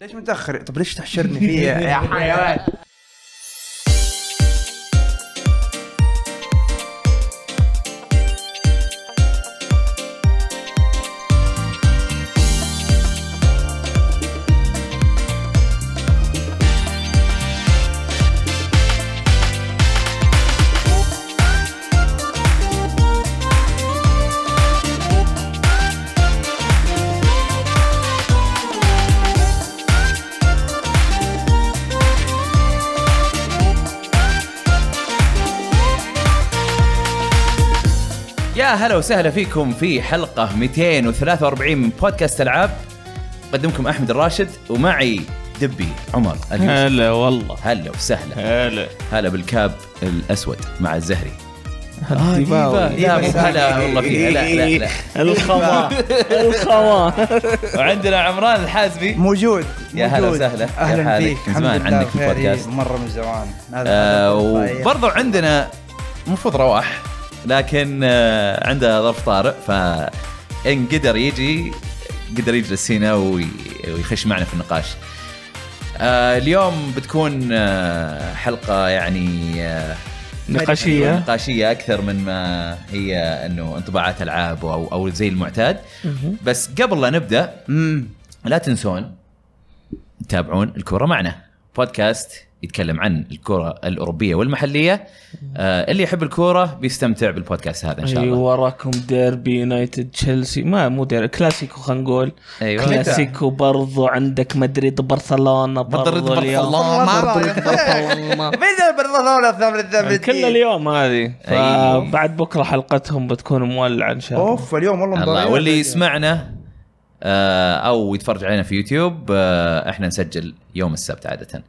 ليش متاخر طب ليش تحشرني فيه يا حيوان يا هلا وسهلا فيكم في حلقة 243 من بودكاست العاب قدمكم احمد الراشد ومعي دبي عمر اليوسف هلا والله هلا وسهلا هلا هلا بالكاب الاسود مع الزهري آه، آه، ديباوي. لا مو هلا والله في هلا لا لا الخوا الخوا وعندنا عمران الحازمي موجود يا هلا موجود. وسهلا. يا اهلا حالك. فيك من زمان عندك في بخير. البودكاست. إيه، مره من زمان هذا أيوة. طيب. آه والله. وبرضو عندنا المفروض رواح لكن آه عنده ظرف طارئ فإن قدر يجي قدر يجلس هنا وي- ويخش معنا في النقاش آه اليوم بتكون آه حلقة يعني آه نقاشية نقاشية أكثر من ما هي أنه انطباعات ألعاب أو أو زي المعتاد بس قبل لا نبدأ مم. لا تنسون تتابعون الكرة معنا بودكاست يتكلم عن الكرة الأوروبية والمحلية آه اللي يحب الكرة بيستمتع بالبودكاست هذا إن شاء اي أيوة. الله وراكم ديربي يونايتد تشيلسي ما مو ديربي كلاسيكو خلينا نقول أيوة كلاسيكو برضو عندك مدريد برشلونه مدريد برضو اليوم برشلونة. والله مدريد رأيك. برشلونة. بدأ بالرضا الثمر الثمر كل اليوم هذه أيوة. فبعد بكره حلقتهم بتكون مولعه ان شاء الله اوف إيه. اليوم والله يعني الله مضايق. واللي يسمعنا آه أو يتفرج علينا في يوتيوب آه إحنا نسجل يوم السبت عادة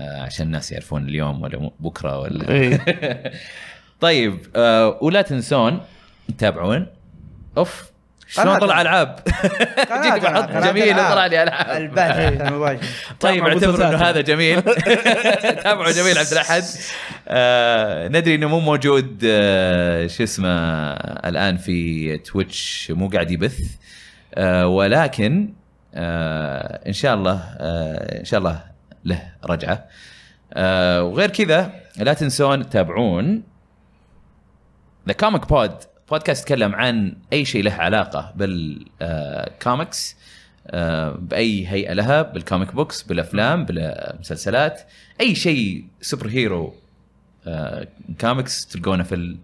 آه عشان الناس يعرفون اليوم ولا م- بكرة ولا إيه. اي طيب آه ولا تنسون تتابعون أوف شلون قناة طلع ألعاب قناة جيت بحط ألعاب. جميل قناة وطلع لي ألعاب البث المباشر طيب تابعوا اعتبر انه بثلاثة. هذا جميل تابعوا جميل عبد الاحد آه ندري انه مو موجود آه شو اسمه الان في تويتش مو قاعد يبث آه ولكن آه ان شاء الله آه ان شاء الله له رجعه آه وغير كذا لا تنسون تتابعون ذا كوميك بود بودكاست يتكلم عن اي شيء له علاقه بالكوميكس باي هيئه آه، لها بالكوميك بوكس بالافلام بالمسلسلات اي شيء سوبر هيرو آه، كوميكس تلقونه في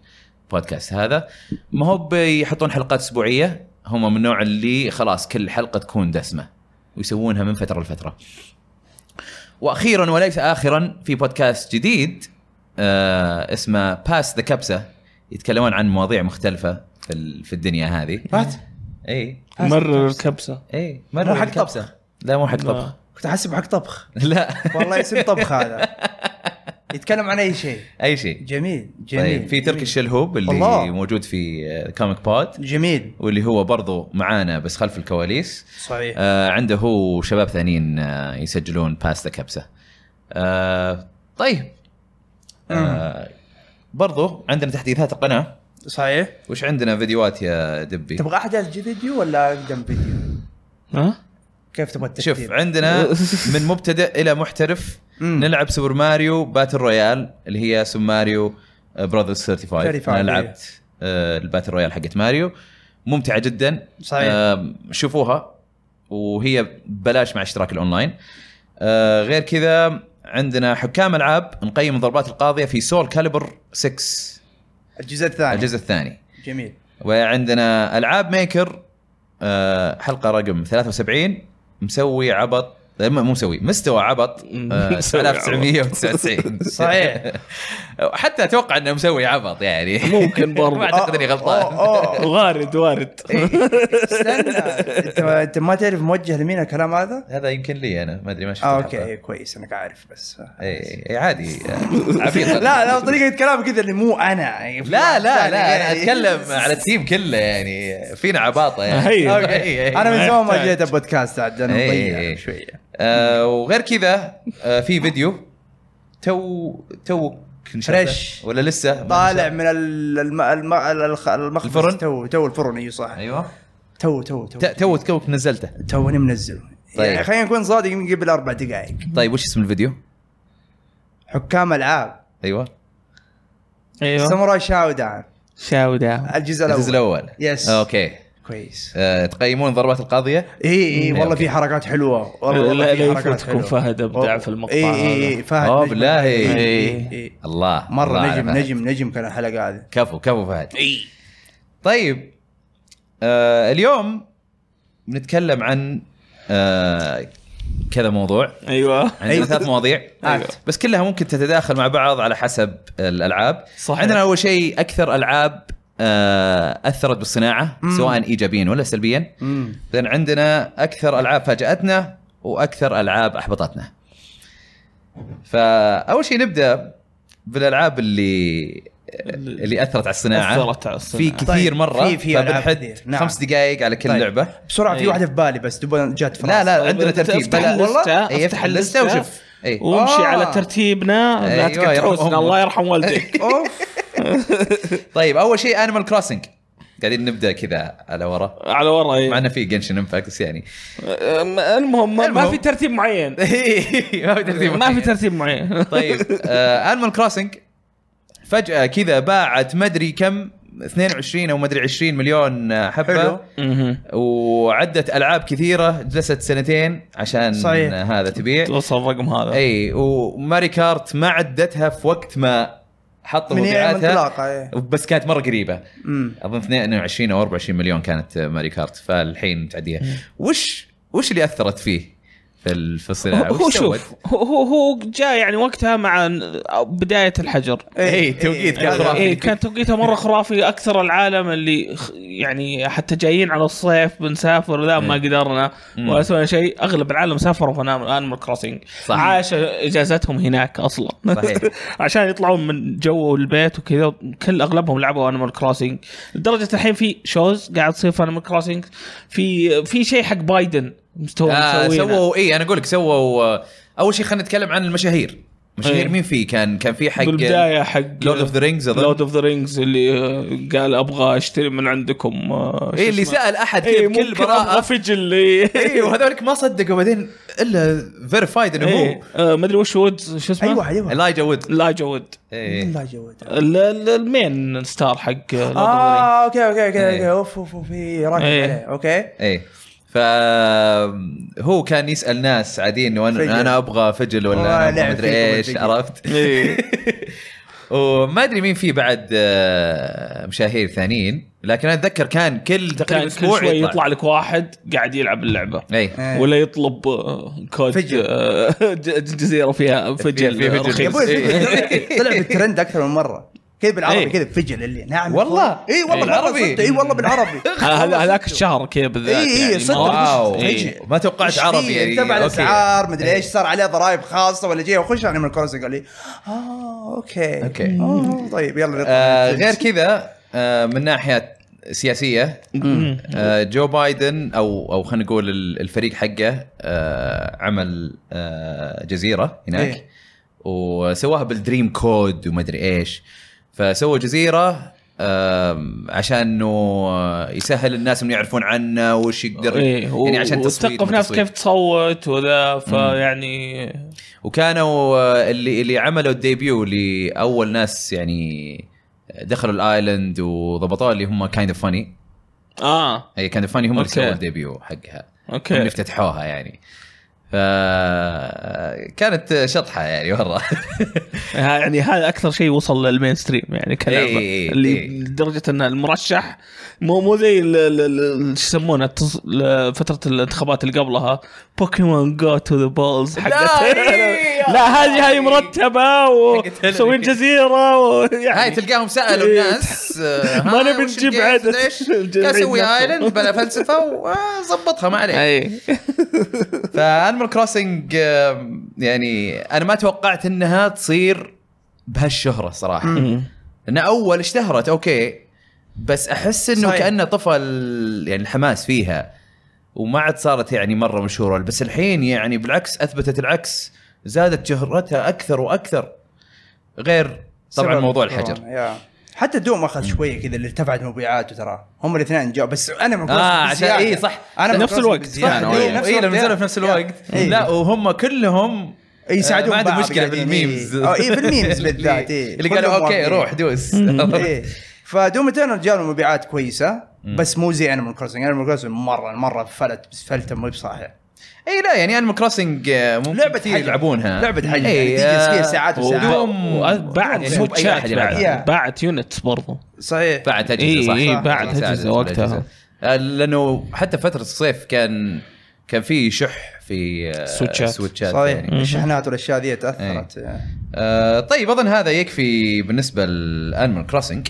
البودكاست هذا ما هو بيحطون حلقات اسبوعيه هم من النوع اللي خلاص كل حلقه تكون دسمه ويسوونها من فتره لفتره واخيرا وليس اخرا في بودكاست جديد آه اسمه باس ذا كبسه يتكلمون عن مواضيع مختلفه في ال- في الدنيا هذه إيه. فات اي مرر الكبسه اي مو حق الكبسة. طبخ. لا مو حق لا. طبخ كنت احسب حق طبخ لا والله اسم طبخ هذا يتكلم عن اي شيء اي شيء جميل جميل طيب في تركي الشلهوب اللي الله. الله. موجود في آه، كوميك بود جميل واللي هو برضو معانا بس خلف الكواليس صحيح آه عنده هو شباب ثانيين آه يسجلون باستا كبسه آه طيب آه برضو عندنا تحديثات القناه صحيح وش عندنا فيديوهات يا دبي تبغى احداث فيديو ولا اقدم فيديو؟ ها كيف تبغى الترتيب؟ شوف عندنا من مبتدئ الى محترف مم. نلعب سوبر ماريو باتل رويال اللي هي آه، سوبر ماريو براذرز 35 35 انا لعبت آه، الباتل رويال حقت ماريو ممتعه جدا صحيح. آم، شوفوها وهي ببلاش مع اشتراك الاونلاين آه، غير كذا عندنا حكام العاب نقيم الضربات القاضيه في سول كاليبر 6 الجزء الثاني الجزء الثاني جميل وعندنا العاب ميكر آه، حلقه رقم 73 مسوي عبط لا، مو مسوي مستوى عبط آه، مسوي عبط. 1999 صحيح. حتى اتوقع انه مسوي عبط يعني ممكن برضو. ما اعتقد آه، اني غلطان أوه، أوه. وارد وارد آه. استنى انت انت ما تعرف موجه لمين الكلام هذا؟ هذا يمكن لي انا ما ادري ما شفت اه الحلقة. اوكي إيه، كويس انك عارف بس اي إي، عادي آه، عبيط لا لا طريقه كلام كذا اللي مو انا يعني في لا واحد لا ثاني لا انا يعني. اتكلم على التيم كله يعني فينا عباطه يعني هي. أوكي، إي، إي. انا من زمان ما محتاج. جيت البودكاست عاد انا إيه، مضيع إيه. شويه آه وغير كذا آه في فيديو تو تو فريش. ولا لسه ما طالع نشر؟ من ال- الم... الم... الخ- المخبز الفرن؟ تو تو الفرن اي صح ايوه تو تو تو ت- تو توك نزلته توني منزله طيب. يعني خلينا نكون صادقين قبل اربع دقائق طيب وش اسم الفيديو؟ حكام العاب ايوه ايوه ساموراي شاو داون شاودا الجزء الاول الجزء الاول يس اوكي كويس آه، تقيمون ضربات القاضيه اي اي والله أوكي. في حركات حلوه والله لا والله لا في حركات يفوتكم حلوه فهد ابدع في المقطع اي اي اي هذا. إيه، إيه. فهد نجم. أوه إيه، بالله. إي، إي. إي. الله مره الله على نجم فهد. نجم نجم كان الحلقه هذه كفو كفو فهد اي طيب آه اليوم بنتكلم عن آه كذا موضوع ايوه عندنا أيوة. ثلاث مواضيع أيوة. بس كلها ممكن تتداخل مع بعض على حسب الالعاب صحيح. عندنا اول شيء اكثر العاب آه اثرت بالصناعه مم. سواء ايجابيا ولا سلبيا امم لان عندنا اكثر العاب فاجاتنا واكثر العاب احبطتنا فاول شيء نبدا بالالعاب اللي اللي اثرت على الصناعه اثرت على الصناعه في كثير طيب، مره في- في ألعاب فبنحد كثير، نعم. خمس دقائق على كل طيب. لعبه بسرعه في إي. واحده في بالي بس دوبنا جات في لا راسي. لا طيب، عندنا افتح ترتيب اللستة، والله افتح اي افتح اللسته اللستة. وشوف اي وامشي آه. على ترتيبنا لا أيوة، يرحم أمك. تكتروسنا الله يرحم والديك اوف طيب اول شيء انيمال كروسنج قاعدين نبدا كذا على ورا على ورا إيه. مع انه في جنشن امباكت بس يعني أم- المهم ما- ما المهم. في ترتيب معين ما في ترتيب ما في معين. ترتيب معين طيب انيمال كروسنج فجاه كذا باعت مدري كم 22 او مدري 20 مليون آه، حلو. حبه مهم. وعدت العاب كثيره جلست سنتين عشان صحيح. آه، هذا تبيع توصل الرقم هذا اي وماري كارت ما عدتها في وقت ما حطوا من ايام مبيعاتها انطلاقه إي. بس كانت مره قريبه أمم. اظن 22 او 24 مليون كانت ماري كارت فالحين تعديها وش وش اللي اثرت فيه في ال- في الصناعه هو وش سوت؟ شوف هو- هو هو جاء يعني وقتها مع بدايه الحجر إي، توقيت كان إي. خرافي. إيه كان توقيتها مره خرافي اكثر العالم اللي خ- يعني حتى جايين على الصيف بنسافر لا ما إيه. قدرنا مم. ولا سوينا شيء اغلب العالم سافروا في انيمال كروسنج صح. عاش اجازتهم هناك اصلا صحيح. عشان يطلعون من جو البيت وكذا كل اغلبهم لعبوا انيمال كروسنج لدرجه الحين في شوز قاعد تصير في انيمال كروسنج في في شيء حق بايدن مستوى آه مسوينه. سووا اي انا اقول لك سووا آه، اول شيء خلينا نتكلم عن المشاهير مشاهير إي. مين في كان كان في حق بالبدايه حق لورد اوف ذا رينجز اظن لورد اوف ذا رينجز اللي آه، قال ابغى اشتري من عندكم آه، شو اي إيه، اللي اسمه؟ سال احد اي إيه، كذا بكل ممكن ابغى براءه فج اللي اي وهذولك ما صدقوا بعدين الا فيرفايد انه اي هو آه، مدري وش وودز شو اسمه ايوه ايوه الايجا وود لايجا وود إي. لا جودة ال- ال- المين ستار حق آه، Lord of the Rings. اه اوكي اوكي اوكي إيه. اوكي اوف اوف اوف إيه، راكب إيه. عليه اوكي ايه ف هو كان يسال ناس عاديين فجل. وانا انا ابغى فجل ولا والله انا أبغى لعب مدري فيكم ايش الفجل. عرفت وما ادري مين في بعد آه، مشاهير ثانيين لكن انا اتذكر كان كل تقريبا كان كل اسبوع شوي يطلع لك واحد قاعد يلعب اللعبه اي إيه. ولا يطلب آه، كود فجل. آه، ج- جزيره فيها فجل في- في فجل. يا رخيص. ابوي إيه. الفجل طلع بالترند اكثر من مره كذا بالعربي إيه. كذا بفجل اللي نعم والله. اي إيه. والله بالعربي بالعربي. اي والله بالعربي آه، هذا- هذاك الشهر كذا بالذات إيه، إيه، يعني ما- صدق. واو إيه. ما توقعت عربي يعني تبع أوكي. إيه. الاسعار مدري ايش صار عليه ضرائب خاصه ولا جاي وخش على من الكورس قال لي اه اوكي أوكي. آه، طيب يلا نطلع آه، من غير الفجل. كذا آه، من ناحيه سياسيه مم. آه، جو بايدن او او خلينا نقول ال- الفريق حقه آه، عمل آه، جزيره هناك إيه. وسواها بالدريم كود وما ادري ايش فسووا جزيره آم، عشان انه يسهل الناس انه يعرفون عنه وش يقدر إيه و- يعني عشان تصويت وتثقف وما ناس تصويت. كيف تصوت وذا يعني، فيعني وكانوا آه، اللي اللي عملوا الديبيو لاول ناس يعني دخلوا الايلاند وضبطوها اللي هم كايند اوف فاني اه اي كايند اوف فاني هم اللي أوكي. سووا الديبيو حقها هم اللي اوكي افتتحوها يعني ف آه، كانت شطحه يعني مره ها- يعني هذا اكثر شيء وصل للمين ستريم يعني كلعبه إيه، إيه، اللي إيه. لدرجه ان المرشح مو مو زي ال- ال- ال- شو يسمونه التص- ل- فتره الانتخابات اللي قبلها بوكيمون جو تو ذا بولز حقت إيه، لا هذه هاي إيه. مرتبه حقت هيلاري. ومسوين جزيره ويعني هاي تلقاهم سالوا إيه. الناس آه، ما نبي نجيب عدد. قاعد اسوي ايلاند بلا فلسفه وظبطها ما عليك اي فانيمال كروسنج يعني انا ما توقعت انها تصير بهالشهره صراحه لانها اول اشتهرت اوكي بس احس انه صحيح. كانه طفى ال- يعني الحماس فيها وما عاد صارت يعني مره مشهوره بس الحين يعني بالعكس اثبتت العكس زادت شهرتها اكثر واكثر غير طبعا سبب موضوع كورونا، الحجر آه، يا. حتى دوم اخذ شويه كذا اللي ارتفعت مبيعاته ترى هم الاثنين جو بس انا من اه عشان اي صح انا نفس الوقت. صح اي اي لما نزلوا في نفس الوقت إيه. لا وهم كلهم آه، اي إيه، يساعدون ما عندهم بعض مشكله قاعدين، بالميمز إيه. أو إيه، بالميمز بالذات، إيه. اللي قالوا كلهم اوكي موافقين. روح دوس ايه فدوم اترنال جاله مبيعات كويسه بس مو زي انيمال كروسنج انيمال كروسنج مره مره فلت بس فلته مو بصحيح اي لا يعني انيمال كروسنج ممكن لعبة كثير حجر. يلعبونها لعبة حجر، يعني تجلس فيها ساعات وساعات. ودوم بعد يعني مو بأي أحد سويتشات يلعبها. يا. بعد باعت يونتس برضو صحيح بعد اجهزه إيه، صح؟ إيه، بعد صح، أجهزة وقتها. أجهزة. آه، لانه حتى فتره الصيف كان كان في شح في آه، سويتشات. سويتشات صحيح يعني. الشحنات والاشياء ذي تاثرت آه، طيب اظن هذا يكفي بالنسبه لانيمال كروسنج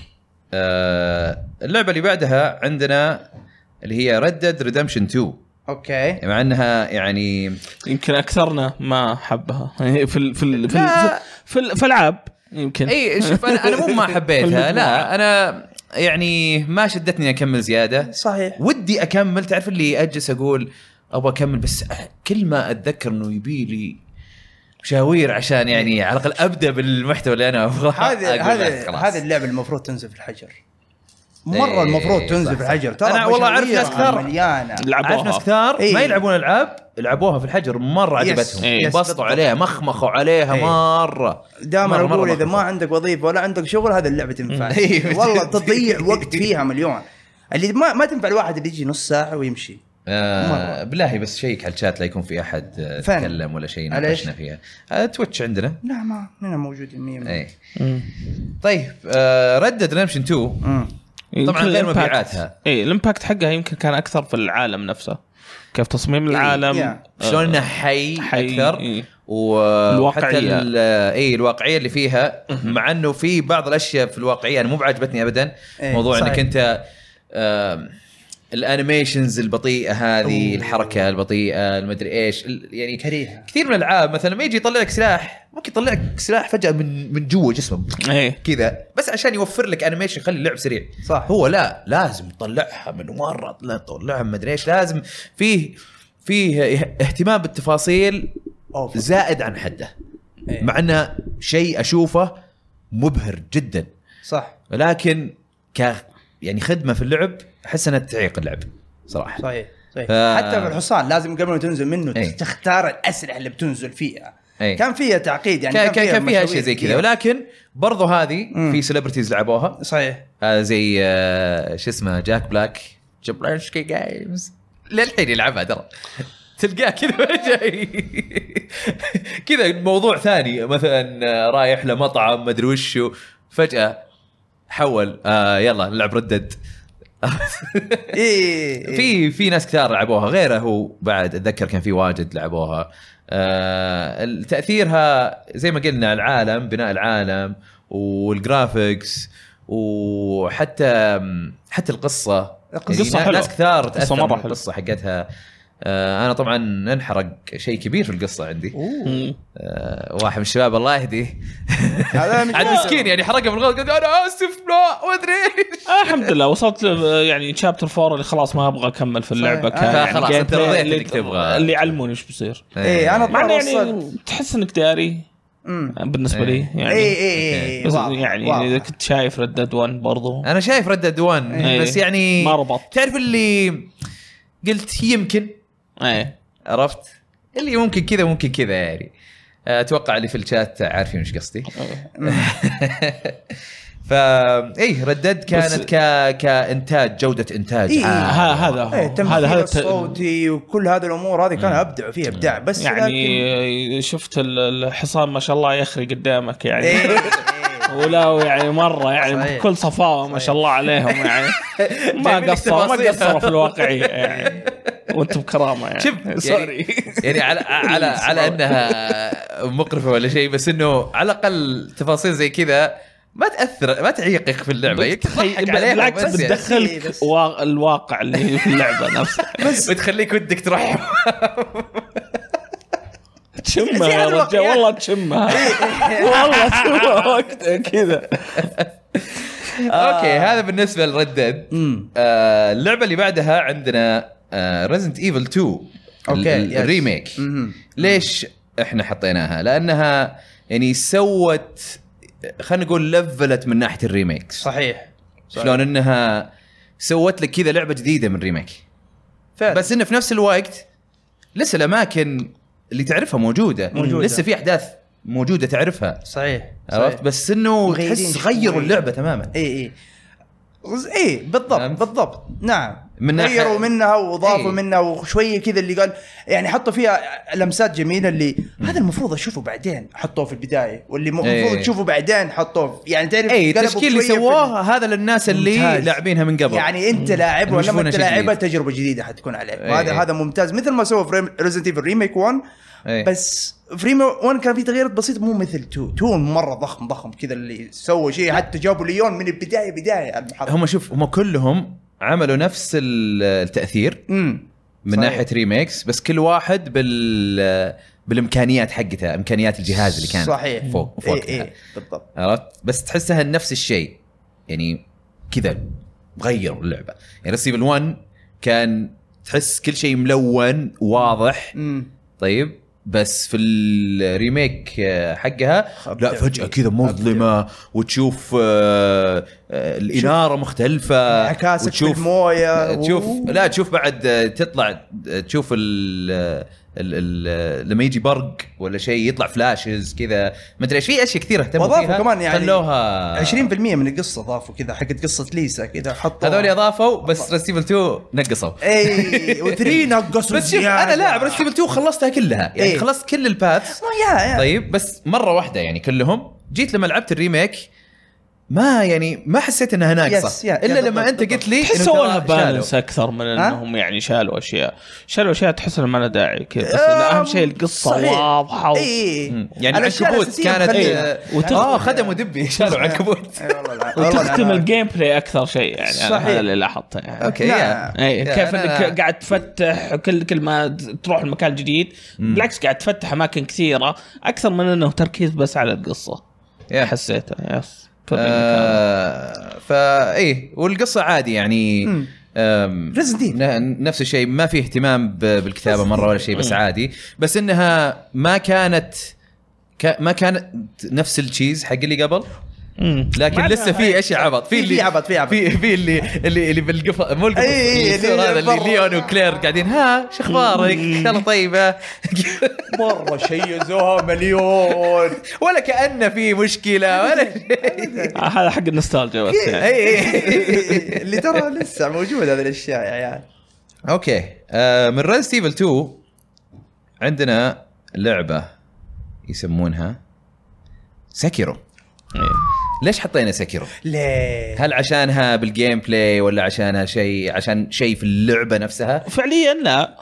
اللعبه آه، اللي بعدها عندنا اللي هي ردد ريدمشن 2 اوكي مع انها يعني يمكن اكثرنا ما حبها يعني في ال في ال في, لا. إيه. ال في, ال في العاب يمكن اي شوف انا انا مو ما حبيتها لا انا يعني ما شدتني اكمل زياده صحيح ودي اكمل تعرف اللي اجلس اقول ابغى اكمل بس كل ما اتذكر انه يبي لي مشاوير عشان يعني على الاقل ابدا بالمحتوى اللي انا ابغاه إيه. هذه أقول لا، هذه خلاص. هذه اللعبه المفروض تنزل في الحجر مره إيه، المفروض صح، تنزل في صح. الحجر ترى أنا والله أعرف مشاويرها ناس كثار. مليانه لعبوها. عارف ناس كثار إيه. ما يلعبون العاب لعبوها في الحجر مره يس. عجبتهم إيه. بالضبط. انبسطوا عليها مخمخوا عليها إيه. مره دائما مرة- مرة اقول اذا ما مخمخوا. عندك وظيفه ولا عندك شغل هذه اللعبه تنفع إيه. والله تضيع وقت فيها مليون اللي ما ما تنفع الواحد اللي يجي نص ساعه ويمشي آه مرة. بالله بس شيك على الشات لا يكون في احد آه، فين؟ تكلم ولا شيء على إيش؟ ناقشنا فيها آه تويتش عندنا لا ما هنا موجودين 100% اي مم. طيب آه ريد ريمشن 2 امم طبعاً إيه، يمكن غير الإمباكت- مبيعاتها. اي الامباكت حقها يمكن كان اكثر في العالم نفسه كيف تصميم العالم يا. آه، إيه، شلون انه حي, حي، اكثر إيه. وحتى الواقعية. ال- اي الواقعيه اللي فيها مع انه في بعض الاشياء في الواقعيه انا مو بعجبتني ابدا إيه، موضوع صحيح. انك انت آم، الانيميشنز البطيئه هذه أوه. الحركه البطيئه المدري ايش ال- يعني كريهة. كثير من الالعاب مثلا لما يجي يطلع لك سلاح ممكن يطلع لك سلاح فجاه من من جوا جسمه ايه كذا بس عشان يوفر لك انيميشن يخلي اللعب سريع صح. هو لا لازم تطلعها من مره لا تطلعها من مدري ايش لازم فيه فيه اهتمام بالتفاصيل أوفر. زائد عن حده إيه. مع انه شيء اشوفه مبهر جدا صح ولكن ك يعني خدمه في اللعب احس انها تعيق اللعب صراحه صحيح صحيح ف- حتى في الحصان لازم قبل ما تنزل منه إيه. تختار الاسلحه اللي بتنزل فيها إيه. كان فيها تعقيد يعني كان كان كان فيها اشياء مشاوير زي كذا كثير. ولكن برضو هذه مم. في سيلبرتيز لعبوها صحيح هذا زي آه، شو اسمه جاك بلاك جبلانشكي جيمز للحين يلعبها ترى تلقاه كذا جاي كذا موضوع ثاني مثلا آه، رايح لمطعم مدري وشو فجاه حول آه يلا نلعب ردد اي إيه. في في ناس كثار لعبوها غيره هو بعد اتذكر كان في واجد لعبوها آه تاثيرها زي ما قلنا العالم بناء العالم والجرافيكس وحتى حتى القصه القصة نا- حلوة. ناس كثار القصة تاثر مرة من حلوة. القصه حقتها آه انا طبعا انحرق شيء كبير في القصه عندي مم. آه واحد من الشباب الله يهديه هذا مش- عاد مسكين يعني حرقه بالغلط قال انا اسف لا ما ادري ايش آه، الحمد لله وصلت آه، يعني شابتر 4 اللي خلاص ما ابغى اكمل في اللعبه صحيح. ك- آه، يعني خلاص، gameplay أنت رضيت اللي- إنك تبغى. اللي يعلموني ايش بيصير إيه، أنا مع إنه يعني وصلت. تحس انك داري أمم. بالنسبه لي إيه. يعني اي اي اي بس إيه، واضح، واضح. يعني اذا كنت شايف ردد 1 برضو انا شايف رد دوان إيه. بس يعني ما ربط. تعرف اللي قلت يمكن ايه عرفت اللي ممكن كذا ممكن كذا يعني اتوقع اللي في الشات عارفين ايش قصدي فا ايه ردد كانت بس- ك... كانتاج جوده انتاج إيه. عالي. ها هذا إيه، هو. التمثيل هذا هذا الت- الصوتي وكل هذه الامور هذه كانوا ابدعوا فيها ابداع بس لكن- يعني شفت ال- الحصان ما شاء الله يخري قدامك إيه، يعني إيه. ولا يعني مره يعني صحيح. بكل صفاوه ما شاء الله عليهم يعني ما جايبين لك قصروا ما تفاصيل. قصروا في الواقعيه يعني وانتم بكرامه يعني شوف سوري يعني على على على انها مقرفه ولا شيء بس انه على الاقل تفاصيل زي كذا ما تاثر ما تعيقك في اللعبه بتخي- يضحك عليها بالعكس بس يعني. إيه، بتدخلك بس. وا- الواقع اللي في اللعبه نفسه بتخليك ودك تروح تشمها زي يا هذا رجال الوقت. والله تشمها والله تشمها وقتها كذا إيه، اوكي هذا بالنسبه لردد أمم. آه اللعبه اللي بعدها عندنا آه ريزنت ايفل 2 أوكي، ال- يس. الريميك مهم. ليش احنا حطيناها؟ لانها يعني سوت خلينا نقول لفلت من ناحيه الريميكس صحيح صحيح. شلون انها سوت لك كذا لعبه جديده من ريميك فعلا بس انه في نفس الوقت لسه الاماكن اللي تعرفها موجوده, موجودة. لسه في احداث موجوده تعرفها صحيح عرفت بس انه مغيرين تحس شوي. غيروا اللعبه تماما اي اي غز- اي بالضبط فهمت؟ بالضبط نعم من من ناحية- غيروا منها واضافوا إيه. إيه؟ منها وشويه كذا اللي قال يعني حطوا فيها لمسات جميله اللي هذا المفروض اشوفه بعدين حطوه في البدايه واللي م- إيه. المفروض تشوفه بعدين حطوه في- يعني تعرف اي قلبوا التشكيل إيه، اللي شوية في- سووه هذا للناس اللي ممتاز. لاعبينها من قبل يعني انت لاعب ولا ما يشوفونه انت شيء لاعبه جديد. تجربه جديده حتكون عليك إيه. وهذا هذا ممتاز مثل ما سووا في ريزنت ايفل ريميك 1 إيه. بس في ريميك 1 كان في تغييرات بسيطه مو مثل 2 2 مره ضخم ضخم كذا اللي سووا شيء حتى جابوا ليون من البدايه بدايه المحطه هم شوف هم كلهم عملوا نفس ال- التاثير امم من صحيح. ناحيه ريميكس بس كل واحد بال بالامكانيات حقتها امكانيات الجهاز اللي كان صحيح إيه، فوق فوق اي اي بالضبط عرفت بس تحسها نفس الشيء يعني كذا غيروا اللعبه يعني ريسيفل 1 كان تحس كل شيء ملون واضح امم طيب بس في الريميك آه، حقها لا فجاه كذا مظلمه وتشوف آه، آه، الاناره مختلفه انعكاسك في وتشوف آه، المويه تشوف أوه. لا تشوف بعد آه، تطلع آه، تشوف ال آه، ال ال لما يجي برق ولا شيء يطلع فلاشز كذا ما ادري ايش في اشياء كثيره اهتموا وأضافوا فيها كمان يعني خلوها 20% من القصه ضافوا كذا حقت قصه ليسا كذا حطوا هذول اضافوا بس ريسيفل 2 نقصوا اي و3 نقصوا بس شوف انا إيه، زيادة. لاعب ريسيفل 2 خلصتها كلها يعني إيه. خلصت كل الباث ما يا يا طيب بس مره واحده يعني كلهم جيت لما لعبت الريميك ما يعني ما حسيت انها يس، ناقصه يا- الا يا لما بالضبط، انت قلت لي تحس إنه سووا ترى لها شالوا. بالانس اكثر من ها؟ انهم يعني شالوا اشياء شالوا اشياء تحس انها ما لها داعي كذا بس آه، إن اهم شيء القصه صحيح. إيه، واضحه و... اي مم. يعني العنكبوت كانت آه، وتخ- اه خدموا دبي شالوا عنكبوت وتختم الجيم بلاي اكثر شيء يعني أنا صحيح. هذا اللي لاحظته يعني اوكي لا. يا. اي يا، كيف أنا- انك قاعد تفتح كل كل ما تروح المكان جديد بالعكس قاعد تفتح اماكن كثيره اكثر من انه تركيز بس على القصه يا. حسيته يس آه، فا ايه والقصه عادي يعني مم. آم، Resident Evil. ن- نفس الشيء ما في اهتمام ب- بالكتابه مره ولا شيء بس عادي بس انها ما كانت كا- ما كانت نفس التشيز حق اللي قبل مم. لكن ما لسه في اشياء عبط في في- اللي في عبط- في عبط. في في اللي اللي اللي بالقفا مو القفا إي- إي، اللي يصير اللي هذا اللي برا. ليون وكلير قاعدين ها شو اخبارك؟ ان شاء الله طيبه مره شيزوها مليون ولا كانه في مشكله ولا آه، هذا حق النوستالجيا إيه. بس يعني. اي اي إيه، اللي ترى لسه موجود هذه الاشياء يا عيال اوكي آه من ريد ستيفل 2 عندنا لعبه يسمونها سكيرو إيه. ليش حطينا سكيرو؟ ليه هل عشانها بالجيم بلاي ولا عشانها شيء عشان شيء في اللعبه نفسها؟ فعليا لا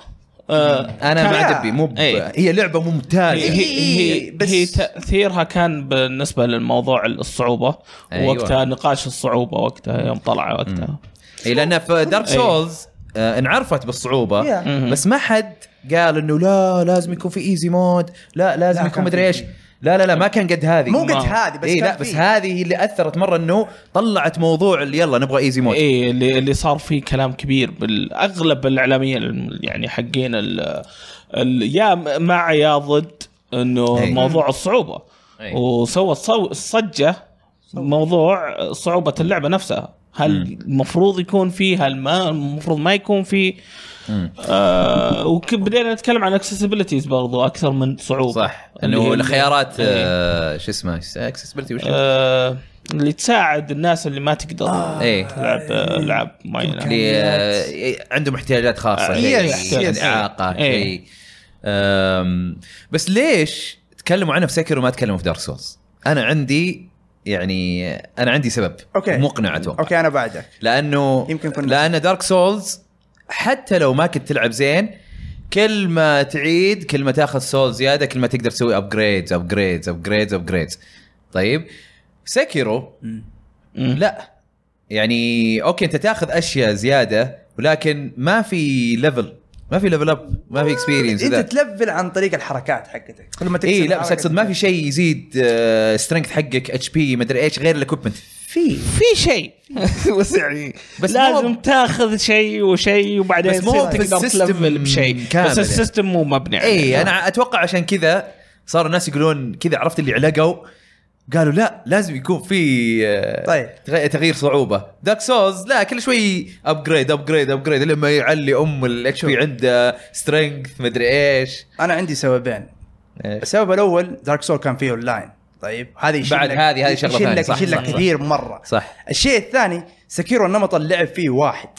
آه، انا لا. مع دبي مو ب- إيه. هي لعبه ممتازه هي, إيه، هي, بس- هي تاثيرها كان بالنسبه للموضوع الصعوبه أيوة. أيوة. وقتها نقاش الصعوبه وقتها يوم طلع وقتها اي لان في دارك إيه. سولز آه انعرفت بالصعوبه Yeah. مهم. بس ما حد قال انه لا لازم يكون في ايزي مود لا لازم لا، يكون كان مدري في. ايش لا لا لا ما كان قد هذه مو قد ما- هذه بس اي لا كان بس في. هذه هي اللي اثرت مره انه طلعت موضوع اللي يلا نبغى ايزي مود اي إيه، اللي, اللي صار فيه كلام كبير بالاغلب الاعلاميين الم- يعني حقين ال ال يا م- مع يا ضد انه إيه. موضوع الصعوبه إيه. وسوت صو- صجه موضوع صعوبه اللعبه نفسها هل المفروض يكون فيه هل ما المفروض ما يكون فيه آه وبدينا نتكلم عن اكسسبيلتيز برضو اكثر من صعوبه صح اللي انه هي- الخيارات إيه. آه، شو اسمه اكسسبيلتي وش آه اللي تساعد الناس اللي ما تقدر إيه. تلعب آه، العاب معينه اللي آه، إيه، عندهم احتياجات خاصه آه، شيء، يس، يس. اعاقه إيه. شيء أم، بس ليش تكلموا عنها في سكر وما تكلموا في دارك سولز؟ انا عندي يعني انا عندي سبب أوكي. مقنع اتوقع اوكي انا بعدك لانه يمكن كنا- لان دارك سولز حتى لو ما كنت تلعب زين كل ما تعيد كل ما تاخذ سول زياده كل ما تقدر تسوي ابجريدز ابجريدز ابجريدز ابجريدز طيب سكيرو لا يعني اوكي انت تاخذ اشياء زياده ولكن ما في ليفل ما في ليفل اب ما في اكسبيرينس انت تلفل عن طريق الحركات حقتك كل ما اي إيه، لا بس حركة- اقصد ما في شيء يزيد سترينث حقك اتش بي مدري ايش غير الاكوبمنت في في شيء بس يعني بس بس لازم مو- تاخذ شيء وشيء وبعدين بس مو تصير في تقدر السيستم تلفل بشيء كامل يعني. إيه، بس السيستم يعني مو مبني عليه اي انا اتوقع عشان كذا صار الناس يقولون كذا عرفت اللي علقوا قالوا لا لازم يكون في آه، طيب. تغ- تغيير صعوبه دارك سولز لا كل شوي ابجريد ابجريد ابجريد لما يعلي ام الاتش بي عنده سترينث مدري إيه، ايش انا عندي سببين إيش. السبب الاول دارك سول كان فيه اون لاين طيب هذه يشيل بعد لك- هذه- هذه شغلة يشيل ثانية، لك صح، يشيل صح، لك صح. كثير مره صح الشيء الثاني سكيرو نمط اللعب فيه واحد